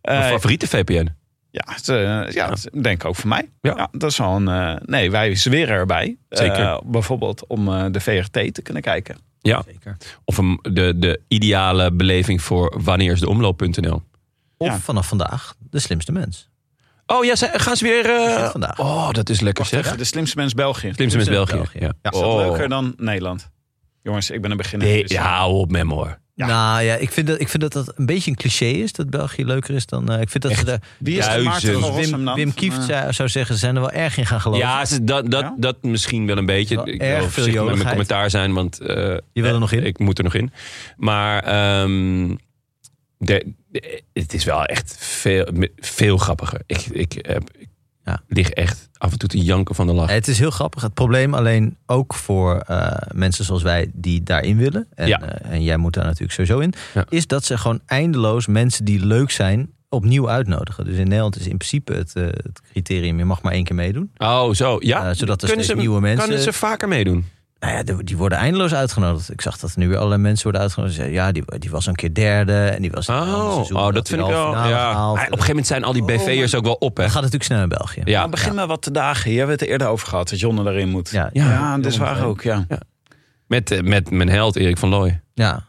Speaker 1: Eh,
Speaker 3: Mijn favoriete VPN.
Speaker 1: ja, het, eh, ja, het is- denk ik ook voor mij.
Speaker 3: Ja.
Speaker 1: Ja. dat is wel een... eh, nee, wij zweren erbij.
Speaker 3: Zeker.
Speaker 1: Eh, bijvoorbeeld om eh, de VRT te kunnen kijken.
Speaker 3: Ja. Of een, de, de ideale beleving voor wanneer is de omloop.nl.
Speaker 2: Of
Speaker 1: Ja.
Speaker 2: vanaf vandaag de slimste mens.
Speaker 3: Oh ja, ze- gaan ze weer... eh,
Speaker 2: Begint vandaag. dus-
Speaker 3: Oh, dat is lekker zeg.
Speaker 1: De slimste mens België. Dus, eh,
Speaker 3: Slimste mens België.
Speaker 2: België.
Speaker 3: Ja.
Speaker 2: Ja.
Speaker 1: Is dat
Speaker 3: Oh.
Speaker 1: leuker dan Nederland? Jongens, ik ben een beginner.
Speaker 3: Nee,
Speaker 1: dus-
Speaker 3: ja, hou op met me hoor.
Speaker 1: Ja.
Speaker 2: Nou ja, ik vind, dat, ik vind dat dat een beetje een cliché is. Dat België leuker is dan... eh, ik vind dat ze daar...
Speaker 1: Wie is dat? Maarten
Speaker 3: Duizend.
Speaker 1: van
Speaker 2: Wim,
Speaker 1: Rossumland?
Speaker 2: Wim Kieft
Speaker 1: Eh,
Speaker 2: zou, zou zeggen, ze zijn er wel erg in gaan geloven.
Speaker 3: Ja, ze- dat, dat,
Speaker 1: Ja?
Speaker 3: dat misschien wel een beetje.
Speaker 2: Wel
Speaker 3: ik
Speaker 2: erg veel
Speaker 3: wil voorzichtig met mijn
Speaker 2: joligheid.
Speaker 3: commentaar zijn, want... eh,
Speaker 2: wil er
Speaker 3: eh,
Speaker 2: nog in?
Speaker 3: Ik moet er nog in. Maar ehm, de, de- het is wel echt veel, veel grappiger. Ik, ik, heb- ik
Speaker 2: Ja.
Speaker 3: lig echt af en toe te janken van de lach.
Speaker 2: Eh, Het is heel grappig. Het probleem alleen ook voor eh, mensen zoals wij die daarin willen. En,
Speaker 3: Ja.
Speaker 2: eh, en jij moet daar natuurlijk sowieso in.
Speaker 3: Ja.
Speaker 2: Is dat ze gewoon eindeloos mensen die leuk zijn opnieuw uitnodigen. Dus in Nederland is in principe het, eh, het criterium... je mag maar één keer meedoen.
Speaker 3: Oh, zo. Ja,
Speaker 2: Eh, zodat er
Speaker 3: Kunnen
Speaker 2: steeds nieuwe mensen...
Speaker 3: Kunnen ze vaker meedoen?
Speaker 2: Nou ja, die- die worden eindeloos uitgenodigd. Ik zag dat er nu weer allerlei mensen worden uitgenodigd. Ze zeiden, Ja, die, die was een keer derde en die was in het andere
Speaker 3: Oh,
Speaker 2: seizoen,
Speaker 3: oh
Speaker 2: had
Speaker 3: dat
Speaker 2: die
Speaker 3: vind ik
Speaker 2: halve
Speaker 3: wel.
Speaker 2: finale Oh,
Speaker 3: Ja. Ah, Op
Speaker 2: gehaald.
Speaker 3: een gegeven moment zijn al die BV'ers ook wel op, hè?
Speaker 2: Dat gaat natuurlijk snel in België.
Speaker 3: Ja.
Speaker 1: Nou, begin maar wat te dagen. Je hebt het er eerder over gehad dat Jonne erin moet.
Speaker 2: Ja, ja.
Speaker 3: Ja.
Speaker 1: dat is waar ook, ja.
Speaker 3: Met, eh, met mijn held Erik van Looy.
Speaker 2: ja.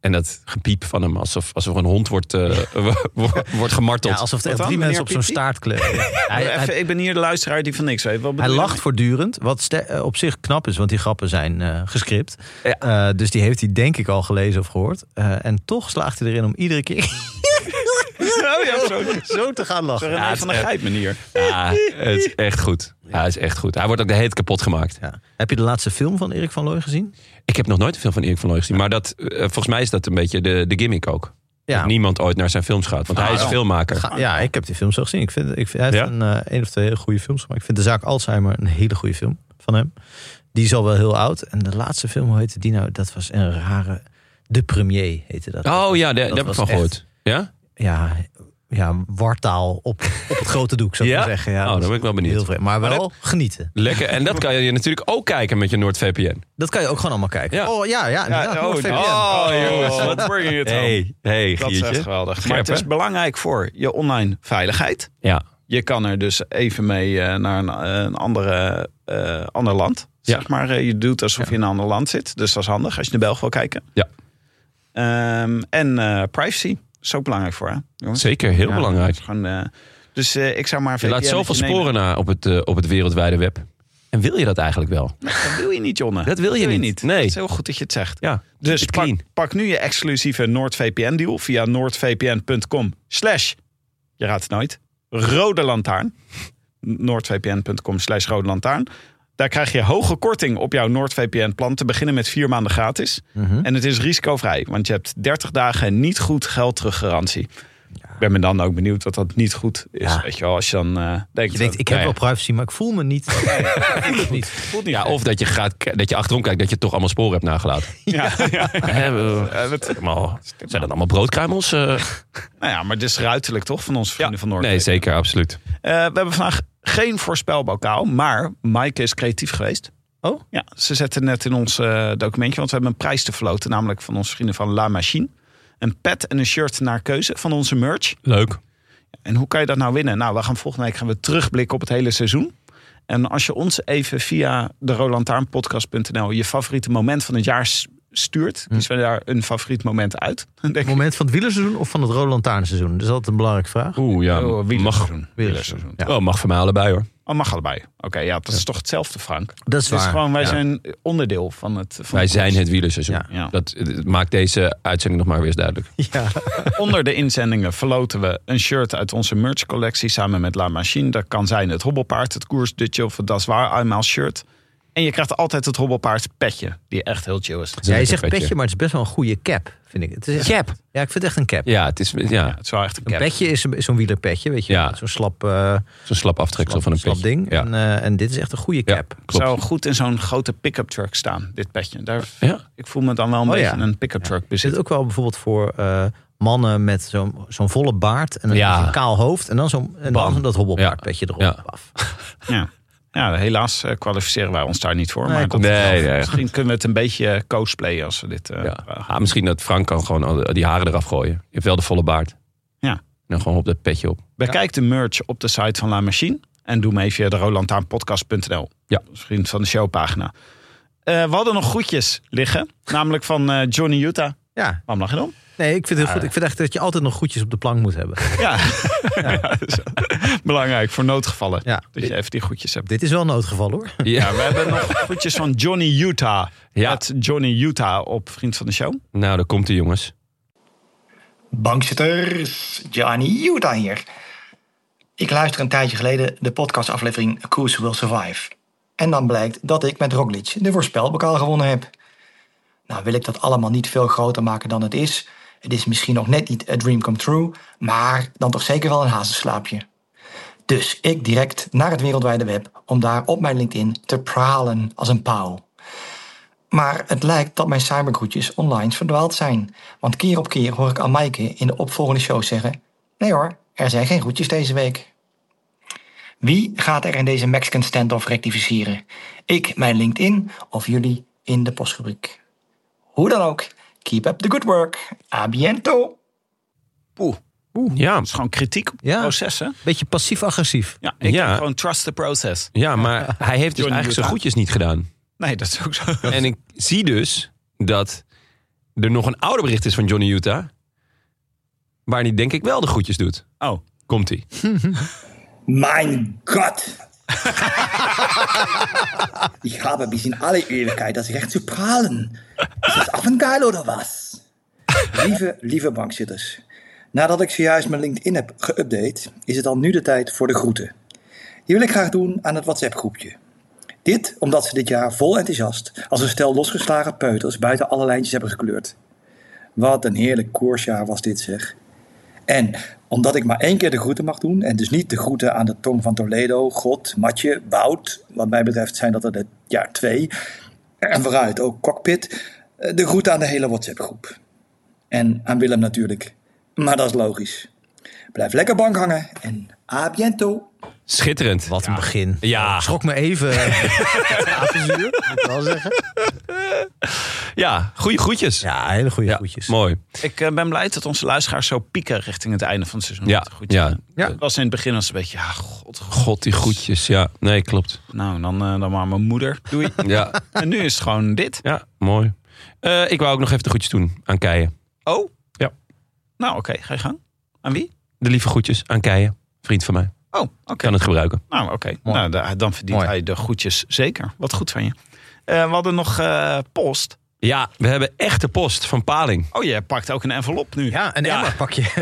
Speaker 3: En dat gepiep van hem alsof, alsof er een hond wordt, eh, wo- wo- wordt gemarteld.
Speaker 2: alsof er
Speaker 1: Wat
Speaker 2: echt
Speaker 1: dan,
Speaker 2: drie mensen op
Speaker 1: meneer
Speaker 2: zo'n
Speaker 1: Piet?
Speaker 2: staart kleuren. hij,
Speaker 1: Even,
Speaker 2: hij,
Speaker 1: ik ben hier de luisteraar die van niks weet. Wat
Speaker 2: hij
Speaker 1: bedoel je
Speaker 2: lacht voortdurend, wat ster- eh, op zich knap is, want die grappen zijn eh, gescript. Eh, dus die heeft hij denk ik al gelezen of gehoord. Eh, en toch slaagt hij erin om iedere keer
Speaker 1: daarmee? Oh, ja, zo.
Speaker 2: zo te gaan lachen.
Speaker 1: René
Speaker 3: het-
Speaker 1: van de Gijp manier.
Speaker 3: Ja, het is echt goed. Ja, het is echt goed. Hij wordt ook de hele tijd kapot gemaakt.
Speaker 2: Ja. Heb je de laatste film van Erik van Looy gezien?
Speaker 3: Ik heb nog nooit een film van Erik van Looy gezien. Maar dat, eh, volgens mij is dat een beetje de, de gimmick ook. Dat niemand ooit naar zijn films gaat. Want hij is
Speaker 1: ja.
Speaker 3: filmmaker.
Speaker 2: Nou. Oh. Ga- ja, ik heb die films zo gezien. Ik vind, ik vind, hij heeft
Speaker 3: Ja?
Speaker 2: een, eh, één of twee hele goede films gemaakt. Ik vind De Zaak Alzheimer een hele goede film van hem. Die is al wel heel oud. En de laatste film, hoe heette die nou? Dat was een rare... De Premier heette dat.
Speaker 3: Oh ja, daar daar heb ik
Speaker 2: was
Speaker 3: van
Speaker 2: echt-
Speaker 3: gehoord. Ja?
Speaker 2: Ja, ja wartaal op, op het grote doek, zou ik
Speaker 3: Ja?
Speaker 2: maar zeggen. Ja,
Speaker 3: Oh,
Speaker 2: dat
Speaker 3: dan
Speaker 2: was
Speaker 3: ben ik wel benieuwd.
Speaker 2: Heel vreemd. maar wel genieten.
Speaker 3: Lekker. En dat kan je natuurlijk ook kijken met je NoordVPN.
Speaker 2: Dat kan je ook gewoon allemaal kijken.
Speaker 3: Ja.
Speaker 2: Oh ja, ja. inderdaad,
Speaker 1: oh,
Speaker 2: NordVPN.
Speaker 3: Oh, jongens,
Speaker 1: jongens,
Speaker 3: wat-
Speaker 1: wat bring je het home.
Speaker 3: hey,
Speaker 1: Dat is echt geweldig. maar
Speaker 3: Scherp,
Speaker 1: het is
Speaker 3: hè?
Speaker 1: belangrijk voor je online veiligheid.
Speaker 3: Ja.
Speaker 1: Je kan er dus even mee eh, naar een, een andere, eh, ander land.
Speaker 3: Ja.
Speaker 1: Zeg maar, Eh, je doet alsof je in een ander land zit. Dus dat is handig als je naar België wil kijken.
Speaker 3: Ja.
Speaker 1: Ehm, en eh, privacy is ook belangrijk voor, hè? jongens?
Speaker 3: Zeker, heel
Speaker 1: Ja,
Speaker 3: belangrijk.
Speaker 1: dat is gewoon, eh, dus eh, ik zou maar
Speaker 3: Je laat
Speaker 1: VPN
Speaker 3: zoveel
Speaker 1: nemen.
Speaker 3: sporen na op het, eh, op het wereldwijde web. En wil je dat eigenlijk wel?
Speaker 1: Dat wil je niet, Jonne.
Speaker 3: Dat wil je niet. Nee.
Speaker 1: Het is heel goed dat je het zegt.
Speaker 3: Ja,
Speaker 1: Dus
Speaker 3: het
Speaker 1: pak,
Speaker 3: clean.
Speaker 1: pak nu je exclusieve NoordVPN deal via noordvpn.com slash, je raadt het nooit, rode lantaarn. noordvpn.com slash rode lantaarn. Daar krijg je hoge korting op jouw NoordVPN plan te beginnen met vier maanden gratis.
Speaker 3: Mhm.
Speaker 1: En het is risicovrij, want je hebt 30 dagen niet goed geld teruggarantie. Ik ben me dan ook benieuwd wat dat niet goed is.
Speaker 2: Ja.
Speaker 1: Weet je wel, als je dan eh, denkt...
Speaker 2: Je denkt, ik heb
Speaker 3: Nee.
Speaker 2: wel privacy, maar ik voel me niet.
Speaker 3: Ja, of dat je, gaat, k- dat je achterom kijkt dat je toch allemaal sporen hebt nagelaten.
Speaker 1: Ja, ja.
Speaker 3: Hè, we-
Speaker 1: Eh, wat-
Speaker 3: allemaal- zijn dat allemaal broodkruimels? eh?
Speaker 1: Nou ja, maar dit is ruiterlijk toch van onze vrienden van Noord.
Speaker 3: nee, zeker, absoluut.
Speaker 1: Eh, we hebben vandaag geen voorspelbokaal, maar Maaike is creatief geweest.
Speaker 2: Oh?
Speaker 1: Ja, ze zette net in ons eh, documentje, want we hebben een prijs te verloten, namelijk van onze vrienden van La Machine. Een pet en een shirt naar keuze van onze merch.
Speaker 3: Leuk.
Speaker 1: En hoe kan je dat nou winnen? Nou, we gaan volgende week gaan we terugblikken op het hele seizoen. En als je ons even via de rolantaarnpodcast.nl je favoriete moment van het jaar s- stuurt, kiezen we daar een favoriet moment uit. Dan denk ik,
Speaker 2: Moment van het wielerseizoen of van het rode lantaarnseizoen? Dat is altijd een belangrijke vraag.
Speaker 3: Oeh, ja.
Speaker 1: oh,
Speaker 3: mag,
Speaker 1: wielerseizoen. Wielerseizoen.
Speaker 2: Ja.
Speaker 3: oh, mag voor mij allebei hoor.
Speaker 1: Oh, mag allebei. Oké, ja, dat is toch hetzelfde, Frank?
Speaker 2: Dat is
Speaker 1: Het is
Speaker 2: waar.
Speaker 1: gewoon, wij
Speaker 2: Ja.
Speaker 1: zijn onderdeel van het. Van
Speaker 3: Wij
Speaker 1: het
Speaker 3: zijn het wielerseizoen.
Speaker 2: Ja.
Speaker 1: Ja.
Speaker 3: Dat, eh, het maakt deze uitzending nog maar weer eens duidelijk.
Speaker 2: Ja.
Speaker 1: Onder de inzendingen verloten we een shirt uit onze merchcollectie samen met La Machine. Dat kan zijn het hobbelpaard, het koers, de chill of het Das Waar eenmaal shirt. En je krijgt altijd het hobbelpaard petje, die echt heel chill is.
Speaker 2: Ja, je zegt petje, maar het is best wel een goede cap, vind ik. Het is echt-
Speaker 3: Cap.
Speaker 2: Ja, ik vind het echt een cap.
Speaker 3: Ja, het is ja,
Speaker 1: Ja, het is wel echt een
Speaker 2: Een
Speaker 1: cap.
Speaker 2: petje is een- is zo'n wielerpetje, weet je.
Speaker 3: Ja.
Speaker 2: wel. Zo'n slap, eh,
Speaker 3: zo'n slap aftreksel
Speaker 2: slap,
Speaker 3: van een
Speaker 2: slap
Speaker 3: petje.
Speaker 2: ding.
Speaker 3: Ja,
Speaker 2: En, eh, en dit is echt een goede
Speaker 3: Ja,
Speaker 2: cap.
Speaker 3: klopt.
Speaker 1: Zou goed in zo'n grote pick-up truck staan, dit petje. Daar,
Speaker 3: Ja.
Speaker 1: Ik voel me dan wel een
Speaker 2: Oh,
Speaker 1: beetje
Speaker 2: ja.
Speaker 1: een pick-up truck
Speaker 2: Er zit
Speaker 1: bezit.
Speaker 2: ook wel bijvoorbeeld voor eh, mannen met zo'n zo'n volle baard en een,
Speaker 3: Ja.
Speaker 2: een kaal hoofd. En dan zo'n en dan
Speaker 3: Bam.
Speaker 2: zo'n dat hobbelpaardpetje erop
Speaker 3: Ja.
Speaker 2: af.
Speaker 1: Ja. ja, helaas eh, kwalificeren wij ons daar niet voor.
Speaker 2: Nee,
Speaker 1: maar dat
Speaker 2: klopt.
Speaker 3: Nee, nee.
Speaker 1: Misschien kunnen we het een beetje eh, cosplayen als we dit... eh,
Speaker 3: ja.
Speaker 1: vragen.
Speaker 3: Ah, misschien dat Frank kan gewoon al die haren eraf gooien. Je hebt wel de volle baard.
Speaker 1: Ja.
Speaker 3: En dan gewoon op dat petje op.
Speaker 1: Bekijk de merch op de site van La Machine. En doe mee via de rolantaarnpodcast.nl.
Speaker 3: Ja.
Speaker 1: Dat is Vriend van de showpagina. Eh, we hadden nog groetjes liggen. Namelijk van eh, Johnny Utah.
Speaker 2: Ja,
Speaker 1: Waarom lach je dan?
Speaker 2: nee, ik vind het goed. Ik vind echt dat je altijd nog goedjes op de plank moet hebben.
Speaker 1: Ja. Ja, dat is Belangrijk voor noodgevallen.
Speaker 2: Ja.
Speaker 1: Dat je even die groetjes hebt.
Speaker 2: Dit is wel een noodgeval hoor.
Speaker 1: Ja, we hebben nog groetjes van Johnny Utah.
Speaker 3: Ja.
Speaker 1: Het Johnny Utah op Vriend van de Show.
Speaker 3: Nou, daar komt hij jongens.
Speaker 4: Bankzitters, Gianni Utah hier. Ik luister een tijdje geleden de podcastaflevering A Cruise Will Survive. En dan blijkt dat ik met Roglic de voorspelbokaal gewonnen heb. Nou wil ik dat allemaal niet veel groter maken dan het is. Het is misschien nog net niet a dream come true, maar dan toch zeker wel een hazenslaapje. Dus ik direct naar het wereldwijde web om daar op mijn LinkedIn te pralen als een pauw. Maar het lijkt dat mijn cybergroetjes online verdwaald zijn. Want keer op keer hoor ik aan Maaike in de opvolgende show zeggen... Nee hoor, er zijn geen groetjes deze week. Wie gaat er in deze Mexican standoff rectificeren? Ik, mijn LinkedIn of jullie in de postrubriek? Hoe dan ook, keep up the good work. A biento.
Speaker 1: Poeh.
Speaker 3: Ja,
Speaker 1: Dat is gewoon kritiek op
Speaker 2: Ja.
Speaker 1: het proces, hè?
Speaker 2: Beetje passief-agressief.
Speaker 1: Ja, ik
Speaker 3: Ja.
Speaker 1: heb gewoon trust the process.
Speaker 3: ja, maar hij heeft
Speaker 1: Johnny
Speaker 3: dus eigenlijk zijn
Speaker 1: Utah.
Speaker 3: goedjes niet gedaan.
Speaker 1: Nee, dat is ook zo.
Speaker 3: En ik zie dus dat er nog een ouder bericht is van Johnny Utah. Waar hij denk ik wel de groetjes doet.
Speaker 1: Oh,
Speaker 3: Komt hij.
Speaker 5: Mein Gott! ich habe bis in alle Ewigkeit das Recht zu prahlen. Ist das affengeil oder was? Lieve, lieve bankzitters. Nadat ik zojuist mijn LinkedIn heb geüpdate, is het dan nu de tijd voor de groeten. Die wil ik graag doen aan het WhatsApp-groepje. Dit omdat ze dit jaar vol enthousiast als een stel losgeslagen peuters buiten alle lijntjes hebben gekleurd. Wat een heerlijk koersjaar was dit zeg. En omdat ik maar één keer de groeten mag doen, en dus niet de groeten aan de tong van Toledo, God, Matje, Wout, wat mij betreft zijn dat er dit jaar twee, en vooruit ook Cockpit, eh, de groeten aan de hele WhatsApp-groep. En aan Willem natuurlijk, maar dat is logisch. Blijf lekker bank hangen en a biento.
Speaker 3: Schitterend.
Speaker 2: Wat een begin.
Speaker 3: Ja.
Speaker 2: Ik Schrok me even. Het apenzuur, moet ik wel zeggen.
Speaker 3: Ja, goede groetjes.
Speaker 2: Ja, hele goede
Speaker 3: Ja,
Speaker 2: groetjes.
Speaker 3: Mooi.
Speaker 1: Ik eh, ben blij dat onze luisteraars zo pieken richting het einde van het seizoen.
Speaker 3: Ja,
Speaker 1: Goed,
Speaker 3: ja.
Speaker 2: Ja.
Speaker 1: Het was in het begin was het een beetje, ja, god, god.
Speaker 3: God, die groetjes. Ja, nee, klopt.
Speaker 1: Nou, dan, eh, dan maar mijn moeder. Doei.
Speaker 3: Ja,
Speaker 1: en nu is het gewoon dit.
Speaker 3: ja mooi. Eh, ik wou ook nog even de groetjes doen aan Keijen.
Speaker 1: Oh?
Speaker 3: Ja.
Speaker 1: Nou, oké, ga je gang. Aan wie?
Speaker 3: De lieve groetjes aan Keijen, vriend van mij.
Speaker 1: Oh, oké.
Speaker 3: Kan het gebruiken.
Speaker 1: Nou, oké.
Speaker 2: Mooi.
Speaker 1: Nou, da- dan verdient
Speaker 2: Mooi.
Speaker 1: hij de goedjes zeker. Wat goed van je. Eh, we hadden nog eh, post.
Speaker 3: Ja, we hebben echte post van Paling.
Speaker 1: Oh, jij pakt ook een envelop nu.
Speaker 2: Ja, een
Speaker 3: Ja.
Speaker 2: emmer pak je.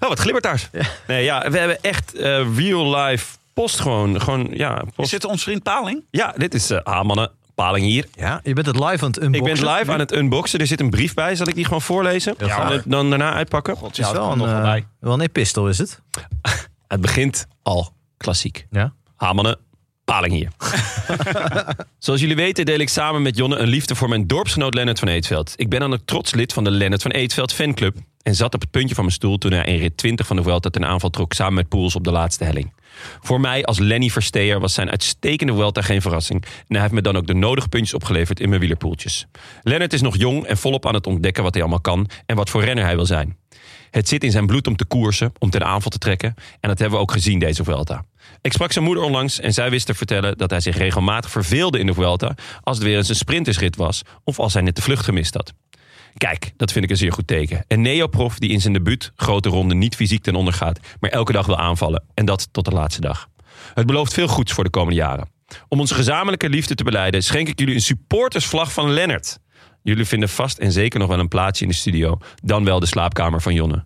Speaker 3: Oh, wat glibbertaars. Nee, ja, we hebben echt eh, real life post gewoon. gewoon ja,
Speaker 1: Is
Speaker 3: post.
Speaker 1: dit ons vriend Paling?
Speaker 3: ja, dit is eh ah, mannen, Paling hier.
Speaker 2: Ja, je bent het live aan het
Speaker 3: Ik
Speaker 2: unboxen.
Speaker 3: ben live aan het unboxen. Er zit een brief bij. Zal ik die gewoon voorlezen?
Speaker 2: Heel
Speaker 3: Ja,
Speaker 2: graag.
Speaker 3: en het dan daarna uitpakken?
Speaker 2: Het is wel een,
Speaker 1: nog wel
Speaker 2: eh,
Speaker 1: bij.
Speaker 2: wel een epistel is het.
Speaker 3: Het begint al klassiek.
Speaker 2: Ja.
Speaker 3: Hamanen, paling hier. Zoals jullie weten deel ik samen met Jonne een liefde voor mijn dorpsgenoot Lennart van Eetveld. Ik ben dan ook trots lid van de Lennart van Eetveld fanclub. En zat op het puntje van mijn stoel toen hij in rit 20 van de Vuelta ten aanval trok samen met Poels op de laatste helling. Voor mij als Lenny Versteer was zijn uitstekende Vuelta geen verrassing. En hij heeft me dan ook de nodige puntjes opgeleverd in mijn wielerpoeltjes. Lennart is nog jong en volop aan het ontdekken wat hij allemaal kan en wat voor renner hij wil zijn. Het zit in zijn bloed om te koersen, om ten aanval te trekken. En dat hebben we ook gezien deze Vuelta. Ik sprak zijn moeder onlangs en zij wist te vertellen dat hij zich regelmatig verveelde in de Vuelta... als het weer eens een sprintersrit was of als hij net de vlucht gemist had. Kijk, dat vind ik een zeer goed teken. Een neoprof die in zijn debuut grote ronde niet fysiek ten onder gaat... maar elke dag wil aanvallen en dat tot de laatste dag. Het belooft veel goeds voor de komende jaren. Om onze gezamenlijke liefde te beleiden schenk ik jullie een supportersvlag van Lennart. Jullie vinden vast en zeker nog wel een plaatsje in de studio... dan wel de slaapkamer van Jonne.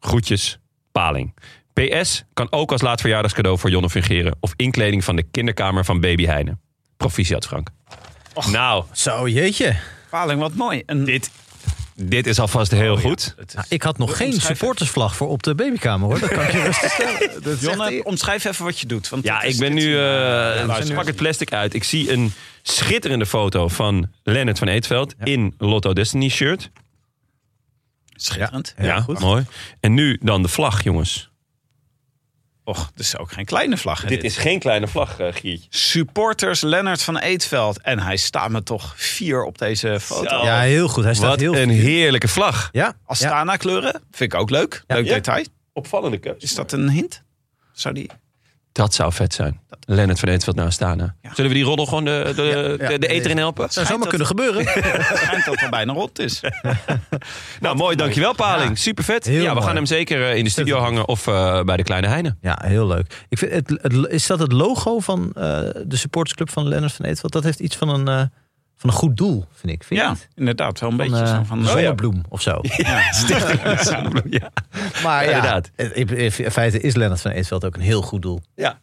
Speaker 3: Groetjes, Paling. PS kan ook als laat verjaardagscadeau voor Jonne fungeren... of inkleding van de kinderkamer van baby Heine. Proficiat, Frank. Nou,
Speaker 2: Zo, Oh, jeetje.
Speaker 1: Paling, wat mooi. Een,
Speaker 3: dit, dit is alvast
Speaker 1: Oh,
Speaker 3: heel goed.
Speaker 1: Het is-
Speaker 2: Nou, ik had nog geen
Speaker 1: Omschrijf
Speaker 2: supportersvlag voor op de babykamer hoor. Dat kan ik je rustig stellen. Dat is echt-
Speaker 1: Jonne, omschrijf even wat je doet. Want
Speaker 3: Ja,
Speaker 1: dit is-
Speaker 3: ik ben
Speaker 1: dit-
Speaker 3: nu... eh
Speaker 1: luister nu.
Speaker 3: pak het plastic uit. Ik zie een schitterende foto van Lennart van Eetveld... in Lotto Destiny shirt.
Speaker 1: Schitterend.
Speaker 3: Ja, mooi. En nu dan de vlag, jongens.
Speaker 1: Och, dit is ook geen kleine vlag. hè,
Speaker 3: Dit is geen kleine vlag, eh Giertje.
Speaker 1: Supporters Lennart van Eetveld. En hij staat me toch vier op deze foto.
Speaker 3: Zo.
Speaker 2: Ja, heel goed. Hij staat
Speaker 3: Wat
Speaker 2: heel
Speaker 3: een heerlijke vlag.
Speaker 2: Ja, ja.
Speaker 1: Astana kleuren. Vind ik ook leuk.
Speaker 2: Ja.
Speaker 1: leuk
Speaker 3: Ja.
Speaker 1: detail.
Speaker 3: Opvallende keuze.
Speaker 1: Is dat een hint? Zou die...
Speaker 3: Dat zou vet zijn. Lennart van Eetveld naast staan. hè? Zullen we die roddel gewoon eh, de, de,
Speaker 2: Ja, ja.
Speaker 3: de, de eter in helpen?
Speaker 2: zou zomaar kunnen gebeuren.
Speaker 1: Schijnt dat er bijna rond is.
Speaker 3: Nou, mooi. Dankjewel, Paling. Super vet.
Speaker 2: Heel
Speaker 3: ja, we
Speaker 2: mooi.
Speaker 3: gaan hem zeker eh, in de studio hangen of eh, bij de Kleine Heine.
Speaker 2: Ja, heel leuk. Ik vind het, het- is dat het logo van eh, de supportersclub van Lennart van Eetveld? Dat heeft iets van een, eh, van een goed doel, vind ik. Vind je
Speaker 1: Ja,
Speaker 2: niet?
Speaker 1: inderdaad. Wel een
Speaker 2: Van,
Speaker 1: beetje
Speaker 2: eh,
Speaker 1: zo
Speaker 3: oh,
Speaker 1: van... Oh
Speaker 2: zonnebloem of zo.
Speaker 3: Ja.
Speaker 2: Maar ja,
Speaker 3: inderdaad.
Speaker 2: het- In feite is Lennart van Eetveld ook een heel goed doel.
Speaker 3: Ja.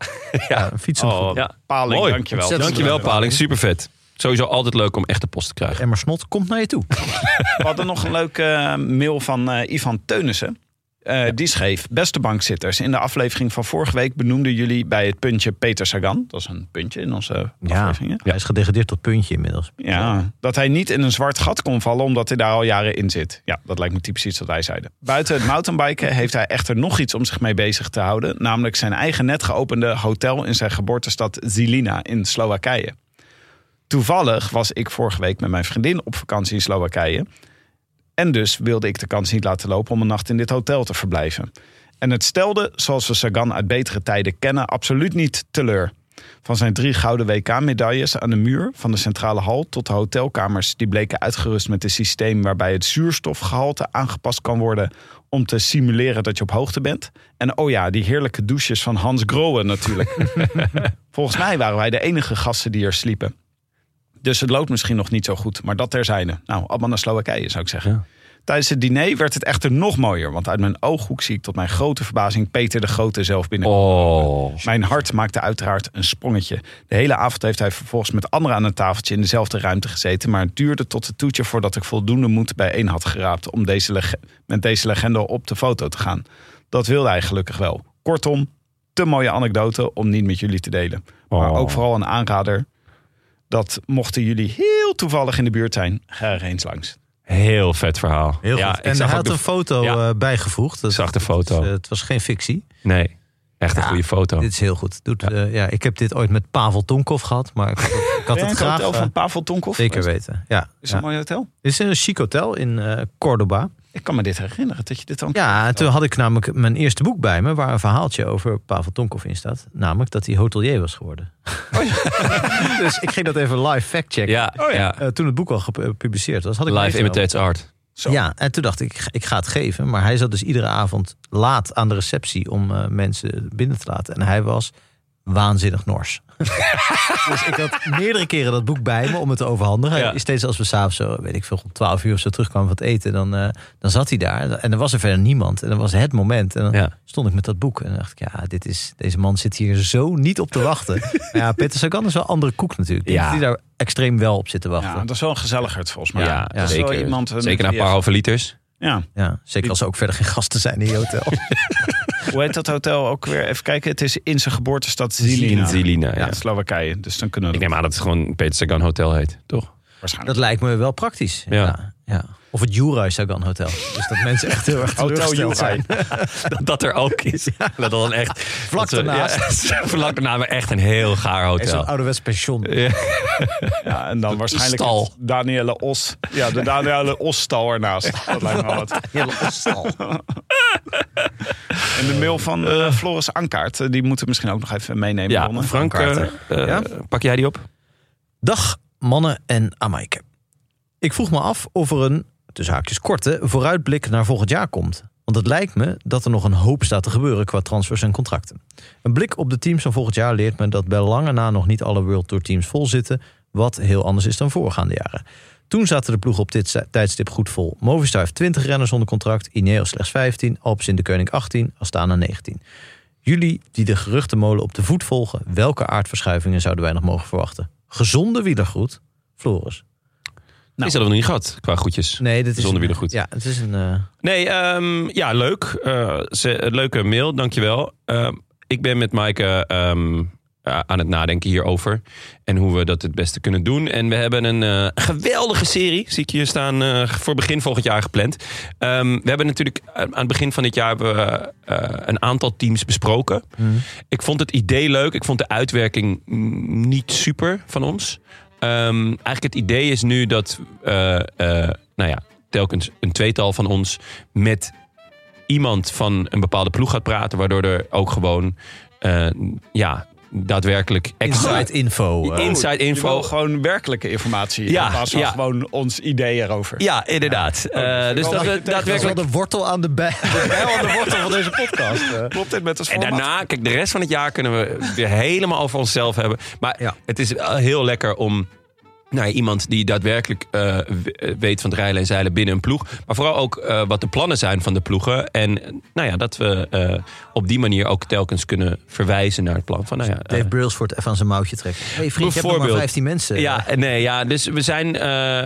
Speaker 2: Ja, een fiets en een goed
Speaker 1: Oh,
Speaker 2: doel.
Speaker 3: Ja.
Speaker 1: Paling,
Speaker 3: Mooi.
Speaker 1: dankjewel.
Speaker 2: Ontzettend
Speaker 3: Dankjewel, Paling. Super vet. Sowieso altijd leuk om echte post te krijgen.
Speaker 2: Emmer Snot komt naar je toe.
Speaker 1: We hadden nog een leuke eh, mail van eh, Ivan Teunissen. Eh, Die schreef, beste bankzitters, in de aflevering van vorige week benoemden jullie bij het puntje Peter Sagan, dat is een puntje in onze
Speaker 2: Ja,
Speaker 1: afleveringen,
Speaker 2: hij is gedegradeerd tot puntje inmiddels.
Speaker 1: ja, dat hij niet in een zwart gat kon vallen omdat hij daar al jaren in zit. Ja, dat lijkt me typisch iets wat wij zeiden. Buiten het mountainbiken heeft hij echter nog iets om zich mee bezig te houden, namelijk zijn eigen net geopende hotel in zijn geboortestad Zilina in Slowakije. Toevallig was ik vorige week met mijn vriendin op vakantie in Slowakije. En dus wilde ik de kans niet laten lopen om een nacht in dit hotel te verblijven. En het stelde, zoals we Sagan uit betere tijden kennen, absoluut niet teleur. Van zijn drie gouden WK-medailles aan de muur, van de centrale hal tot de hotelkamers, die bleken uitgerust met een systeem waarbij het zuurstofgehalte aangepast kan worden om te simuleren dat je op hoogte bent. En oh ja, die heerlijke douches van Hans Groen natuurlijk. Volgens mij waren wij de enige gasten die er sliepen. Dus het loopt misschien nog niet zo goed, maar dat terzijde. Nou, allemaal naar Slowakije zou ik zeggen.
Speaker 3: Ja.
Speaker 1: Tijdens het diner werd het echter nog mooier, want uit mijn ooghoek zie ik tot mijn grote verbazing Peter de Grote zelf binnen.
Speaker 3: Oh.
Speaker 1: Mijn hart maakte uiteraard een sprongetje. De hele avond heeft hij vervolgens met anderen aan een tafeltje in dezelfde ruimte gezeten. Maar het duurde tot het toetje voordat ik voldoende moed bijeen had geraapt om deze lege- met deze legende op de foto te gaan. Dat wilde hij gelukkig wel. Kortom, te mooie anekdote om niet met jullie te delen. Maar
Speaker 3: Oh.
Speaker 1: ook vooral een aanrader dat mochten jullie heel toevallig in de buurt zijn, ga er eens langs.
Speaker 3: Heel vet verhaal.
Speaker 2: Heel
Speaker 3: ja,
Speaker 2: goed. En
Speaker 3: ik
Speaker 2: hij
Speaker 3: zag ook
Speaker 2: had
Speaker 3: de-
Speaker 2: een foto
Speaker 3: Ja.
Speaker 2: eh, bijgevoegd. Dat,
Speaker 3: Ik zag de foto.
Speaker 2: dat is, eh, het was geen fictie.
Speaker 3: Nee, echt een
Speaker 2: Ja,
Speaker 3: goede foto.
Speaker 2: Dit is heel goed. Doet, ja. ja, ik heb dit ooit met Pavel Tonkov gehad, maar ik had het, ik had
Speaker 1: Ben
Speaker 2: het
Speaker 1: jij in
Speaker 2: graag
Speaker 1: hotel
Speaker 2: eh,
Speaker 1: van Pavel Tonkov?
Speaker 2: zeker weten. Ja,
Speaker 1: Is het
Speaker 2: ja.
Speaker 1: een mooi hotel?
Speaker 2: Dit is een chic hotel in eh Cordoba.
Speaker 1: Ik Ik kan me dit herinneren, dat je dit dan...
Speaker 2: Ja, en toen had ik namelijk mijn eerste boek bij me... waar een verhaaltje over Pavel Tonkov in staat. Namelijk dat hij hotelier was geworden. dus ik ging dat even live factchecken.
Speaker 3: Oh Ja,
Speaker 1: Oh ja.
Speaker 3: ja.
Speaker 2: Eh, toen het boek al gepubliceerd was, had ik
Speaker 3: Live
Speaker 2: meegenomen.
Speaker 3: imitates art.
Speaker 1: Zo.
Speaker 2: Ja, en toen dacht ik, ik, ga- ik ga het geven. Maar hij zat dus iedere avond laat aan de receptie om eh, mensen binnen te laten. En hij was waanzinnig nors. dus ik had meerdere keren dat boek bij me om het te overhandigen.
Speaker 3: Ja.
Speaker 2: En Steeds als we s'avonds, zo, weet ik veel, om 12 uur of zo terugkwamen van het eten, dan, eh, dan zat hij daar. En er was er verder niemand. En dat was het moment. En dan
Speaker 3: Ja.
Speaker 2: stond ik met dat boek. En dan dacht ik, ja, dit is, deze man zit hier zo niet op te wachten. Maar ja, Peter Sagan is wel een andere koek natuurlijk. Die,
Speaker 3: Ja.
Speaker 2: die daar extreem wel op zit te
Speaker 1: Ja,
Speaker 2: wachten.
Speaker 1: dat is wel een gezelligheid volgens mij.
Speaker 3: Ja,
Speaker 2: ja,
Speaker 1: dat is
Speaker 3: zeker.
Speaker 1: wel iemand... eh,
Speaker 3: zeker na een
Speaker 1: die-
Speaker 3: paar halve liters.
Speaker 1: Ja,
Speaker 2: Ja, zeker als er ook verder geen gasten zijn in je hotel.
Speaker 1: hoe heet dat hotel ook weer? Even kijken, het is in zijn geboortestad Zilina.
Speaker 3: In Zelina,
Speaker 1: Ja,
Speaker 3: ja.
Speaker 1: Slowakije. Dus dan kunnen we
Speaker 3: Ik neem aan dat het gewoon Peter Sagan Hotel heet, toch?
Speaker 2: Dat
Speaker 1: waarschijnlijk...
Speaker 2: lijkt me wel praktisch. Ja. Ja,
Speaker 3: Ja.
Speaker 2: Of het Juraj Sagan Hotel. Dus dat mensen echt heel erg teleurgesteld zijn.
Speaker 3: Dat dat er ook is. Dat dan echt...
Speaker 2: Vlak
Speaker 3: dat ze-
Speaker 2: daarnaast.
Speaker 3: Ja, vlak daarna, maar echt een heel gaar
Speaker 2: Zo'n
Speaker 3: hotel.
Speaker 2: ouderwets pension.
Speaker 1: Ja, en dan waarschijnlijk
Speaker 3: stal.
Speaker 1: het Danielle Os. Ja, de Danielle Os-stal ernaast. Dat lijkt me wel wat.
Speaker 2: Hele opstal.
Speaker 1: En de mail van eh, Floris Ankaart, eh, die moeten we misschien ook nog even meenemen.
Speaker 3: Ja,
Speaker 1: Ronne.
Speaker 3: Frank, eh, eh,
Speaker 2: Ja? Nou.
Speaker 3: pak jij die op?
Speaker 2: Dag mannen en Amaike. Ik vroeg me af of er een, tussen haakjes korte, vooruitblik naar volgend jaar komt. Want het lijkt me dat er nog een hoop staat te gebeuren qua transfers en contracten. Een blik op de teams van volgend jaar leert me dat bij lange na nog niet alle World Tour teams vol zitten. Wat heel anders is dan voorgaande jaren. Toen zaten de ploegen op dit tijdstip goed vol. Movistar heeft 20 renners onder contract, Ineos slechts 15, Alps in de Koning 18, Astana 19. Jullie die de geruchtenmolen op de voet volgen, welke aardverschuivingen zouden wij nog mogen verwachten? Gezonde wielergroet, Floris.
Speaker 3: Is dat nog niet gehad, qua goedjes?
Speaker 2: Nee, dit is
Speaker 3: Gezonde
Speaker 2: een-
Speaker 3: wielergroet.
Speaker 2: Ja, het is een. eh,
Speaker 3: Nee, ehm, ja, leuk. Eh, ze, een leuke mail, dankjewel. Ehm ik ben met Maaike ehm, a- aan het nadenken hierover. En hoe we dat het beste kunnen doen. En we hebben een eh, geweldige serie, zie ik hier staan, eh, voor begin volgend jaar gepland. Ehm, we hebben natuurlijk eh, aan het begin van dit jaar hebben we, eh, een aantal teams besproken. Ik vond het idee leuk. Ik vond de uitwerking mm, niet super van ons. Ehm, eigenlijk het idee is nu dat, eh, eh, nou ja, telkens een tweetal van ons met iemand van een bepaalde ploeg gaat praten, waardoor er ook gewoon, eh, ja, daadwerkelijk extra
Speaker 2: inside info. eh.
Speaker 3: inside
Speaker 1: Je wil
Speaker 3: info.
Speaker 1: gewoon werkelijke informatie.
Speaker 3: Ja,
Speaker 1: in plaats van
Speaker 3: ja.
Speaker 1: gewoon ons idee erover.
Speaker 3: Ja, inderdaad. Eh, dus dat we
Speaker 2: Oh, dat is wel
Speaker 3: daadwerkelijk
Speaker 2: de wortel aan de bij. De bijl aan de wortel van deze podcast. eh.
Speaker 1: Klopt dit met ons
Speaker 3: En
Speaker 1: format?
Speaker 3: daarna, kijk, de rest van het jaar kunnen we weer helemaal over onszelf hebben. Maar
Speaker 2: Ja.
Speaker 3: het is wel heel lekker om nou, ja, iemand die daadwerkelijk eh, w- eh, weet van het rijlen en zeilen binnen een ploeg. Maar vooral ook eh, wat de plannen zijn van de ploegen. En eh, nou ja, dat we eh, op die manier ook telkens kunnen verwijzen naar het plan van. Nou ja, eh,
Speaker 2: Dave Brailsford even aan zijn mouwtje trekken. hey vriend, je hebt nog maar
Speaker 3: Bijvoorbeeld.
Speaker 2: 15 mensen.
Speaker 3: ja, nee, ja, dus we, zijn, eh,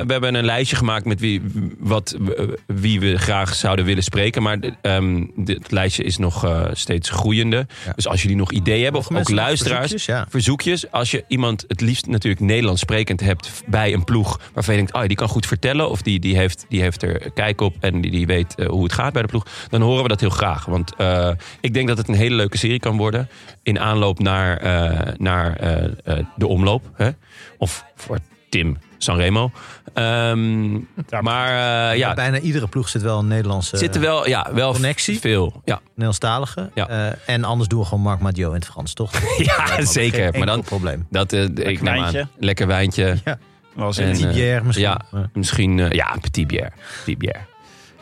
Speaker 3: we hebben een lijstje gemaakt met wie, wat, we- wie we graag zouden willen spreken. Maar de- ehm, dit lijstje is nog eh, steeds groeiende.
Speaker 2: Ja.
Speaker 3: Dus als jullie nog ideeën hebben, of ook
Speaker 2: mensen nog
Speaker 3: luisteraars,
Speaker 2: verzoekjes? Ja.
Speaker 3: verzoekjes. Als je iemand het liefst natuurlijk Nederlands sprekend hebt f- bij een ploeg waarvan je denkt, ah, die kan goed vertellen of die, die, heeft, die heeft er kijk op en die, die weet eh, hoe het gaat bij de ploeg, dan horen we dat heel graag. Want eh, ik denk dat het een hele leuke serie kan worden in aanloop naar, eh, naar eh, eh, de omloop. Hè? Of voor Tim Sanremo. Ehm, maar eh, ja,
Speaker 2: Bijna iedere ploeg zit wel een Nederlandse.
Speaker 3: zitten wel, ja, wel
Speaker 2: eh, Connectie?
Speaker 3: veel. Ja,
Speaker 2: Nederlandstalige.
Speaker 3: Ja.
Speaker 2: Eh, en anders doen we gewoon Mark Madio in het Frans, toch?
Speaker 3: ja
Speaker 2: Geen
Speaker 3: zeker. Maar
Speaker 2: enkel
Speaker 3: dan,
Speaker 2: probleem.
Speaker 3: dat, eh, ik neem
Speaker 1: wijntje.
Speaker 3: aan, lekker wijntje.
Speaker 2: Ja.
Speaker 1: Was
Speaker 3: En,
Speaker 1: het.
Speaker 3: eh,
Speaker 2: Tibier misschien.
Speaker 3: Ja,
Speaker 2: Ja.
Speaker 3: misschien. eh, ja, Petit Bière. Petit Bière.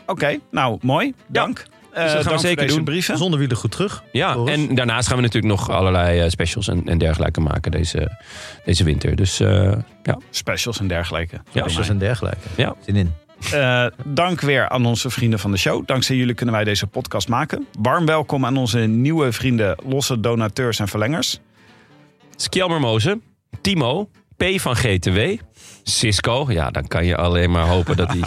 Speaker 1: Oké, nou mooi. Dank. Eh
Speaker 3: gaan we
Speaker 1: dank voor
Speaker 3: zeker
Speaker 1: deze
Speaker 3: doen.
Speaker 1: brieven.
Speaker 2: Zonder wielen goed terug.
Speaker 3: Ja,
Speaker 2: Floris?
Speaker 3: en daarnaast gaan we natuurlijk nog allerlei eh, specials en, en dergelijke maken deze, deze winter. Dus eh, ja.
Speaker 1: Specials en dergelijke.
Speaker 3: Ja.
Speaker 2: Dus dat is een dergelijke.
Speaker 3: Ja.
Speaker 2: Zin in.
Speaker 1: Eh, dank weer aan onze vrienden van de show. Dankzij jullie kunnen wij deze podcast maken. Warm welkom aan onze nieuwe vrienden, losse donateurs en verlengers.
Speaker 3: Skjelmer Mozen, Timo, P van GTW, Cisco. Ja, dan kan je alleen maar hopen dat die...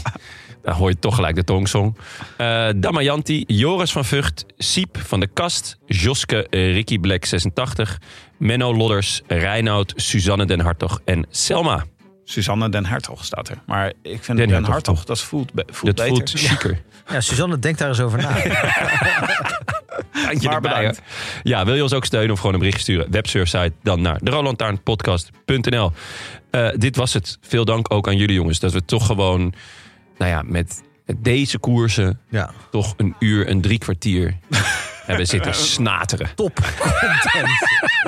Speaker 3: Dan hoor je toch gelijk de tongsong. Eh Damayanti, Joris van Vught, Siep van de Kast, Joske, eh, Ricky Black 86, Menno Lodders, Reinoud, Suzanne den Hartog en Selma.
Speaker 1: Susanne Den Hertog staat er. Maar ik vind Den,
Speaker 3: Den Hertog,
Speaker 1: Hertog,
Speaker 3: toch?
Speaker 1: dat voelt, be- voelt
Speaker 3: Dat
Speaker 1: beter.
Speaker 3: voelt chiquer.
Speaker 2: Ja, Suzanne, denk daar eens over na.
Speaker 3: Handje
Speaker 1: Maar
Speaker 3: erbij,
Speaker 1: bedankt.
Speaker 3: hoor. Ja, wil je ons ook steunen of gewoon een bericht sturen? Websurfsite dan naar derolantaarnpodcast.nl. Eh dit was het. Veel dank ook aan jullie jongens. Dat we toch gewoon, nou ja, met deze koersen
Speaker 2: Ja.
Speaker 3: toch een uur, een drie kwartier hebben zitten snateren.
Speaker 2: Top content.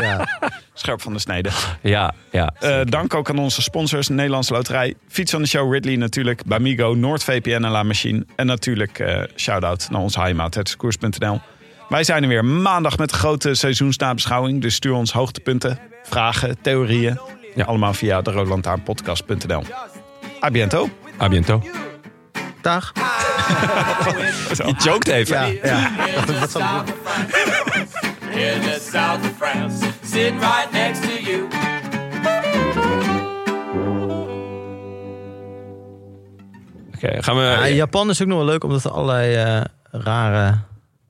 Speaker 2: ja.
Speaker 1: Scherp van de snede.
Speaker 3: Ja, ja.
Speaker 1: Eh, dank ook aan onze sponsors. Nederlandse Loterij, Fiets van de Show, Ridley natuurlijk. Bamigo, NoordVPN en La Machine. En natuurlijk eh shout-out naar onze heimaat, hetskoers.nl. Wij zijn er weer maandag met de grote seizoensnabeschouwing. Dus stuur ons hoogtepunten, vragen, theorieën.
Speaker 3: Ja.
Speaker 1: Allemaal via de roodlantaarnpodcast.nl. A biento.
Speaker 3: A biento.
Speaker 2: Dag.
Speaker 3: Je joked even.
Speaker 2: Ja, ja. Dat zal ik doen.
Speaker 6: in the south of France, sitting right next to you.
Speaker 3: Oké, gaan we...
Speaker 2: Ja, Japan is ook nog wel leuk, omdat er allerlei eh, rare,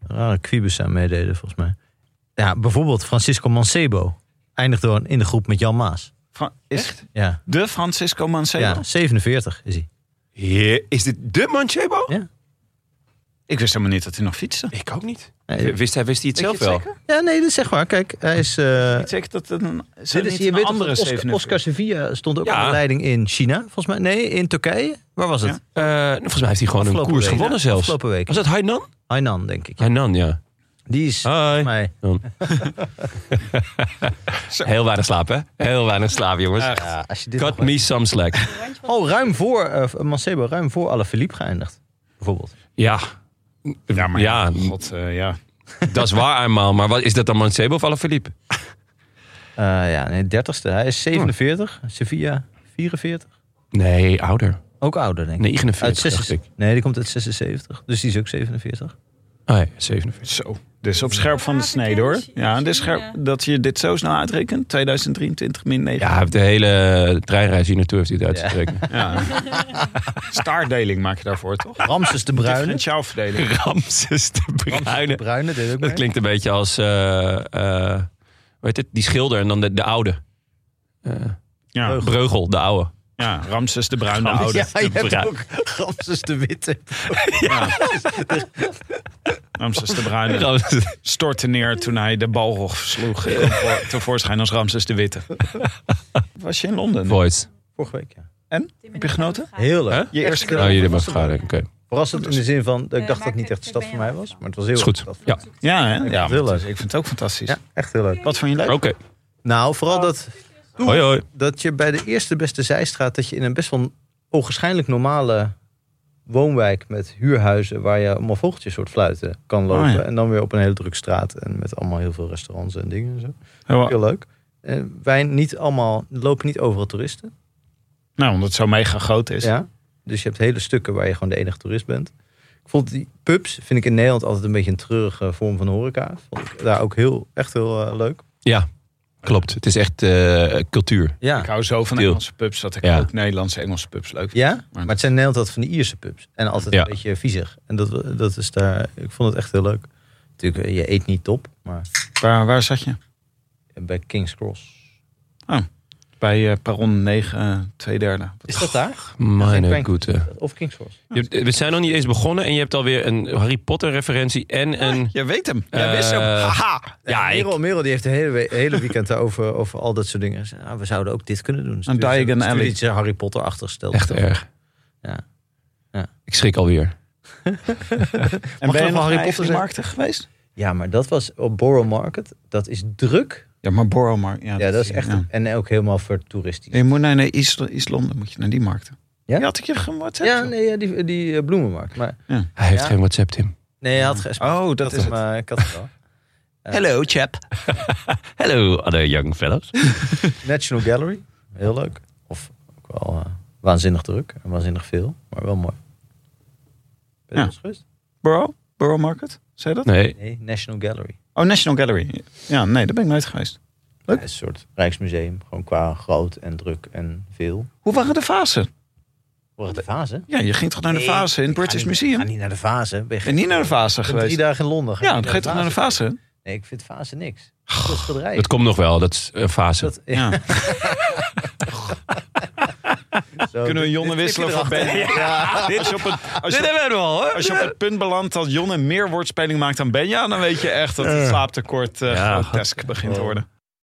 Speaker 2: rare quibus aan meededen, volgens mij. Ja, bijvoorbeeld Francisco Mancebo eindigt door in de groep met Jan Maas.
Speaker 1: Fra- Is
Speaker 2: Ja,
Speaker 1: de Francisco Mancebo?
Speaker 2: ja 47 is hij.
Speaker 3: Heer- is dit de Manchebo?
Speaker 2: Ja.
Speaker 1: Ik wist helemaal niet dat hij nog fietste.
Speaker 3: Ik ook niet.
Speaker 2: Nee,
Speaker 3: Wist hij, wist hij het zelf wel?
Speaker 2: ja, nee, dat is zeg maar. Kijk, hij is... eh,
Speaker 1: Ik zeg dat het een,
Speaker 2: dit is, je weet toch dat Oscar,
Speaker 1: 47?
Speaker 2: Oscar Sevilla stond ook
Speaker 3: Ja.
Speaker 2: aan de leiding in China, volgens mij. Nee, in Turkije. Waar was het?
Speaker 1: Ja.
Speaker 3: Eh, nou, volgens mij heeft hij gewoon
Speaker 2: Afgelopen
Speaker 3: een koers
Speaker 2: week.
Speaker 3: gewonnen
Speaker 2: Ja,
Speaker 3: zelfs.
Speaker 2: afgelopen week.
Speaker 3: Was dat Hainan?
Speaker 2: Hainan, denk ik.
Speaker 3: Hainan, ja.
Speaker 2: Die is
Speaker 3: Hi.
Speaker 2: volgens mij...
Speaker 3: Heel weinig slaap, hè? Heel weinig slaap, jongens.
Speaker 2: Ja, als je dit nog
Speaker 3: Cut me some slack.
Speaker 2: Oh, ruim voor eh Mancebo, ruim voor Alaphilippe geëindigd. Bijvoorbeeld.
Speaker 3: Ja,
Speaker 1: Ja, maar
Speaker 3: Ja.
Speaker 1: ja. God, eh, ja.
Speaker 3: dat is waar eenmaal. Maar wat, is dat dan Mancebo of Alaphilippe?
Speaker 2: Eh, ja, nee, 30ste. Hij is 47.
Speaker 3: Oh.
Speaker 2: Sevilla 44.
Speaker 3: Nee, ouder.
Speaker 2: Ook ouder, denk ik.
Speaker 3: 49,
Speaker 2: Uit zes-
Speaker 3: dacht ik.
Speaker 2: Nee, die komt uit 76. Dus die is ook 47.
Speaker 3: Ah, ja, 47.
Speaker 1: Zo. Dus op scherp van de snede hoor. Ja, dit is scherp, dat je dit zo snel uitrekent. 2023 min 9.
Speaker 3: Ja, hij heeft de hele treinreis hier naartoe heeft hij het uit te trekken.
Speaker 1: Ja. Staardeling maak je daarvoor toch?
Speaker 2: Ramses de Bruine.
Speaker 1: Differentiaalverdeling.
Speaker 3: Ramses de
Speaker 2: De
Speaker 3: Bruine.
Speaker 2: Bruine deed ook
Speaker 3: Dat
Speaker 2: mee.
Speaker 3: klinkt een beetje als, eh, eh, hoe heet het, die schilder en dan de, de oude.
Speaker 1: Ja.
Speaker 3: Breugel, de oude.
Speaker 1: ja, Ramses de Bruin, de oude.
Speaker 2: Ja, je
Speaker 3: de
Speaker 2: hebt
Speaker 3: Bruine.
Speaker 2: ook Ramses de Witte.
Speaker 1: Ramses de Bruin
Speaker 3: Ramses-
Speaker 1: stortte neer toen hij de bal sloeg. Tevoorschijn als Ramses de Witte. Was je in Londen?
Speaker 3: Voice.
Speaker 2: Vorige week, ja.
Speaker 1: En? Heb je genoten?
Speaker 2: Heel leuk.
Speaker 3: Hè?
Speaker 1: Je eerste keer?
Speaker 3: Oh, jullie hebben vergadering. Oké,
Speaker 2: Verrassend in de zin van, dat ik dacht dat het
Speaker 7: maar
Speaker 2: niet echt de
Speaker 7: ik-
Speaker 2: stad
Speaker 7: ik
Speaker 2: voor
Speaker 7: ben
Speaker 2: mij
Speaker 7: jou
Speaker 2: was. Maar het was heel
Speaker 3: is goed.
Speaker 2: leuk.
Speaker 3: Ja,
Speaker 1: Ja, hè? ja
Speaker 2: Heel
Speaker 1: maar het is-
Speaker 2: leuk.
Speaker 1: ik vind het ook fantastisch.
Speaker 2: Ja, echt heel leuk.
Speaker 1: Wat vond je leuk?
Speaker 3: oké.
Speaker 2: Nou, vooral dat,
Speaker 3: Hoi, hoi.
Speaker 2: dat je bij de eerste beste zijstraat... dat je in een best wel ogenschijnlijk normale woonwijk met huurhuizen... waar je allemaal vogeltjes soort fluiten kan lopen.
Speaker 1: Oh ja.
Speaker 2: En dan weer op een hele drukke straat. En met allemaal heel veel restaurants en dingen en zo.
Speaker 1: Oh,
Speaker 2: Heel leuk. Eh, wij niet allemaal, lopen niet overal toeristen.
Speaker 1: Nou, omdat het zo mega groot is.
Speaker 2: Ja. Dus je hebt hele stukken waar je gewoon de enige toerist bent. Ik vond die pubs, vind ik in Nederland altijd een beetje een treurige vorm van horeca. Vond ik daar ook heel, echt heel eh, leuk.
Speaker 3: Ja, klopt. Het is echt eh, cultuur.
Speaker 2: Ja.
Speaker 1: Ik hou zo van
Speaker 3: Deel.
Speaker 1: Engelse pubs dat ik
Speaker 3: Ja.
Speaker 1: ook Nederlandse Engelse pubs leuk vind.
Speaker 2: Ja,
Speaker 1: Maar-
Speaker 2: maar het zijn in Nederland altijd van die Ierse pubs. En altijd
Speaker 3: Ja.
Speaker 2: een beetje viezig. En dat, dat is daar, ik vond het echt heel leuk. Natuurlijk, eh, je eet niet top, maar
Speaker 1: Waar, waar zat je?
Speaker 2: bij King's Cross.
Speaker 1: Bij eh, Perron 9, eh, twee derde.
Speaker 2: Is dat daar? Ja,
Speaker 3: Mijn
Speaker 2: ik ben-
Speaker 3: goede.
Speaker 2: Of King's Cross.
Speaker 3: Je hebt- We zijn nog niet eens begonnen en je hebt alweer een Harry Potter referentie en een...
Speaker 1: Je weet hem.
Speaker 3: Jij wist hem. Eh,
Speaker 1: Haha.
Speaker 3: Ja, ik,
Speaker 2: Merel, Merel die heeft de hele, we- hele weekend over, over al dat soort dingen. Ze zei, Nou, we zouden ook dit kunnen doen. Stuur-
Speaker 1: Diagon
Speaker 2: stuur
Speaker 1: Alley.
Speaker 2: iets eh, Harry Potter achtergesteld.
Speaker 3: echt erg.
Speaker 2: Ja. Ja.
Speaker 3: Ik schrik alweer.
Speaker 1: En ben
Speaker 2: nog
Speaker 1: je nog Harry
Speaker 2: Harry Potter
Speaker 1: Potter
Speaker 2: zeggen?
Speaker 1: markten geweest?
Speaker 2: Ja, maar dat was op Borough Market. Dat is druk.
Speaker 1: Ja, maar Borrowmarkt.
Speaker 2: Ja, dat is echt. En ook helemaal voor toeristisch.
Speaker 1: Je moet naar naar East, East Londen, moet je naar die markten.
Speaker 2: Ja?
Speaker 1: Die had ik je gemot.
Speaker 2: Ja, nee, ja, die, die eh, bloemenmarkt. Maar
Speaker 3: Hij heeft
Speaker 2: Ja.
Speaker 3: geen WhatsApp, Tim.
Speaker 2: nee, hij had gesprek.
Speaker 1: Oh, dat, is het.
Speaker 2: maar ik had het wel.
Speaker 3: Hello, chap. Hello, other young fellows.
Speaker 2: National Gallery. Heel leuk. Of ook wel eh, waanzinnig druk en waanzinnig veel, maar wel mooi. Ben
Speaker 1: Ja.
Speaker 2: je wel eens geweest?
Speaker 1: Borough? Borough Market? Zei je dat?
Speaker 3: Nee,
Speaker 2: Nee, National Gallery.
Speaker 1: Oh, National Gallery. Ja, nee, daar ben ik nooit geweest.
Speaker 2: Het is een soort Rijksmuseum, gewoon qua groot en druk en veel.
Speaker 1: Hoe waren de fasen?
Speaker 2: Wat de fase?
Speaker 1: Ja, je ging toch naar de fase in het British
Speaker 2: Ik
Speaker 1: Museum?
Speaker 2: ga niet naar de fase. Ben je
Speaker 1: En niet naar de fase
Speaker 2: Ik ben drie
Speaker 1: geweest?
Speaker 2: dagen in Londen. Ga
Speaker 1: Ja,
Speaker 2: ik
Speaker 1: dan
Speaker 2: niet
Speaker 1: ga je toch naar de fase?
Speaker 2: Nee, ik vind fase niks. Dat is gedreig.
Speaker 3: dat komt nog wel. Dat is een fase.
Speaker 2: Dat-
Speaker 1: Ja.
Speaker 2: Zo,
Speaker 1: Kunnen we
Speaker 2: dit-
Speaker 1: Jonne
Speaker 2: dit
Speaker 1: wisselen
Speaker 2: knip je
Speaker 1: voor Ben?
Speaker 2: erachter. Ja.
Speaker 1: Als je op het- als je
Speaker 3: Dit
Speaker 1: op-
Speaker 3: hebben we al, hoor.
Speaker 1: Als je op het punt belandt dat Jonne meer woordspeling maakt dan Benja, dan weet je echt dat het slaaptekort eh
Speaker 3: Ja,
Speaker 1: grotesk begint te worden.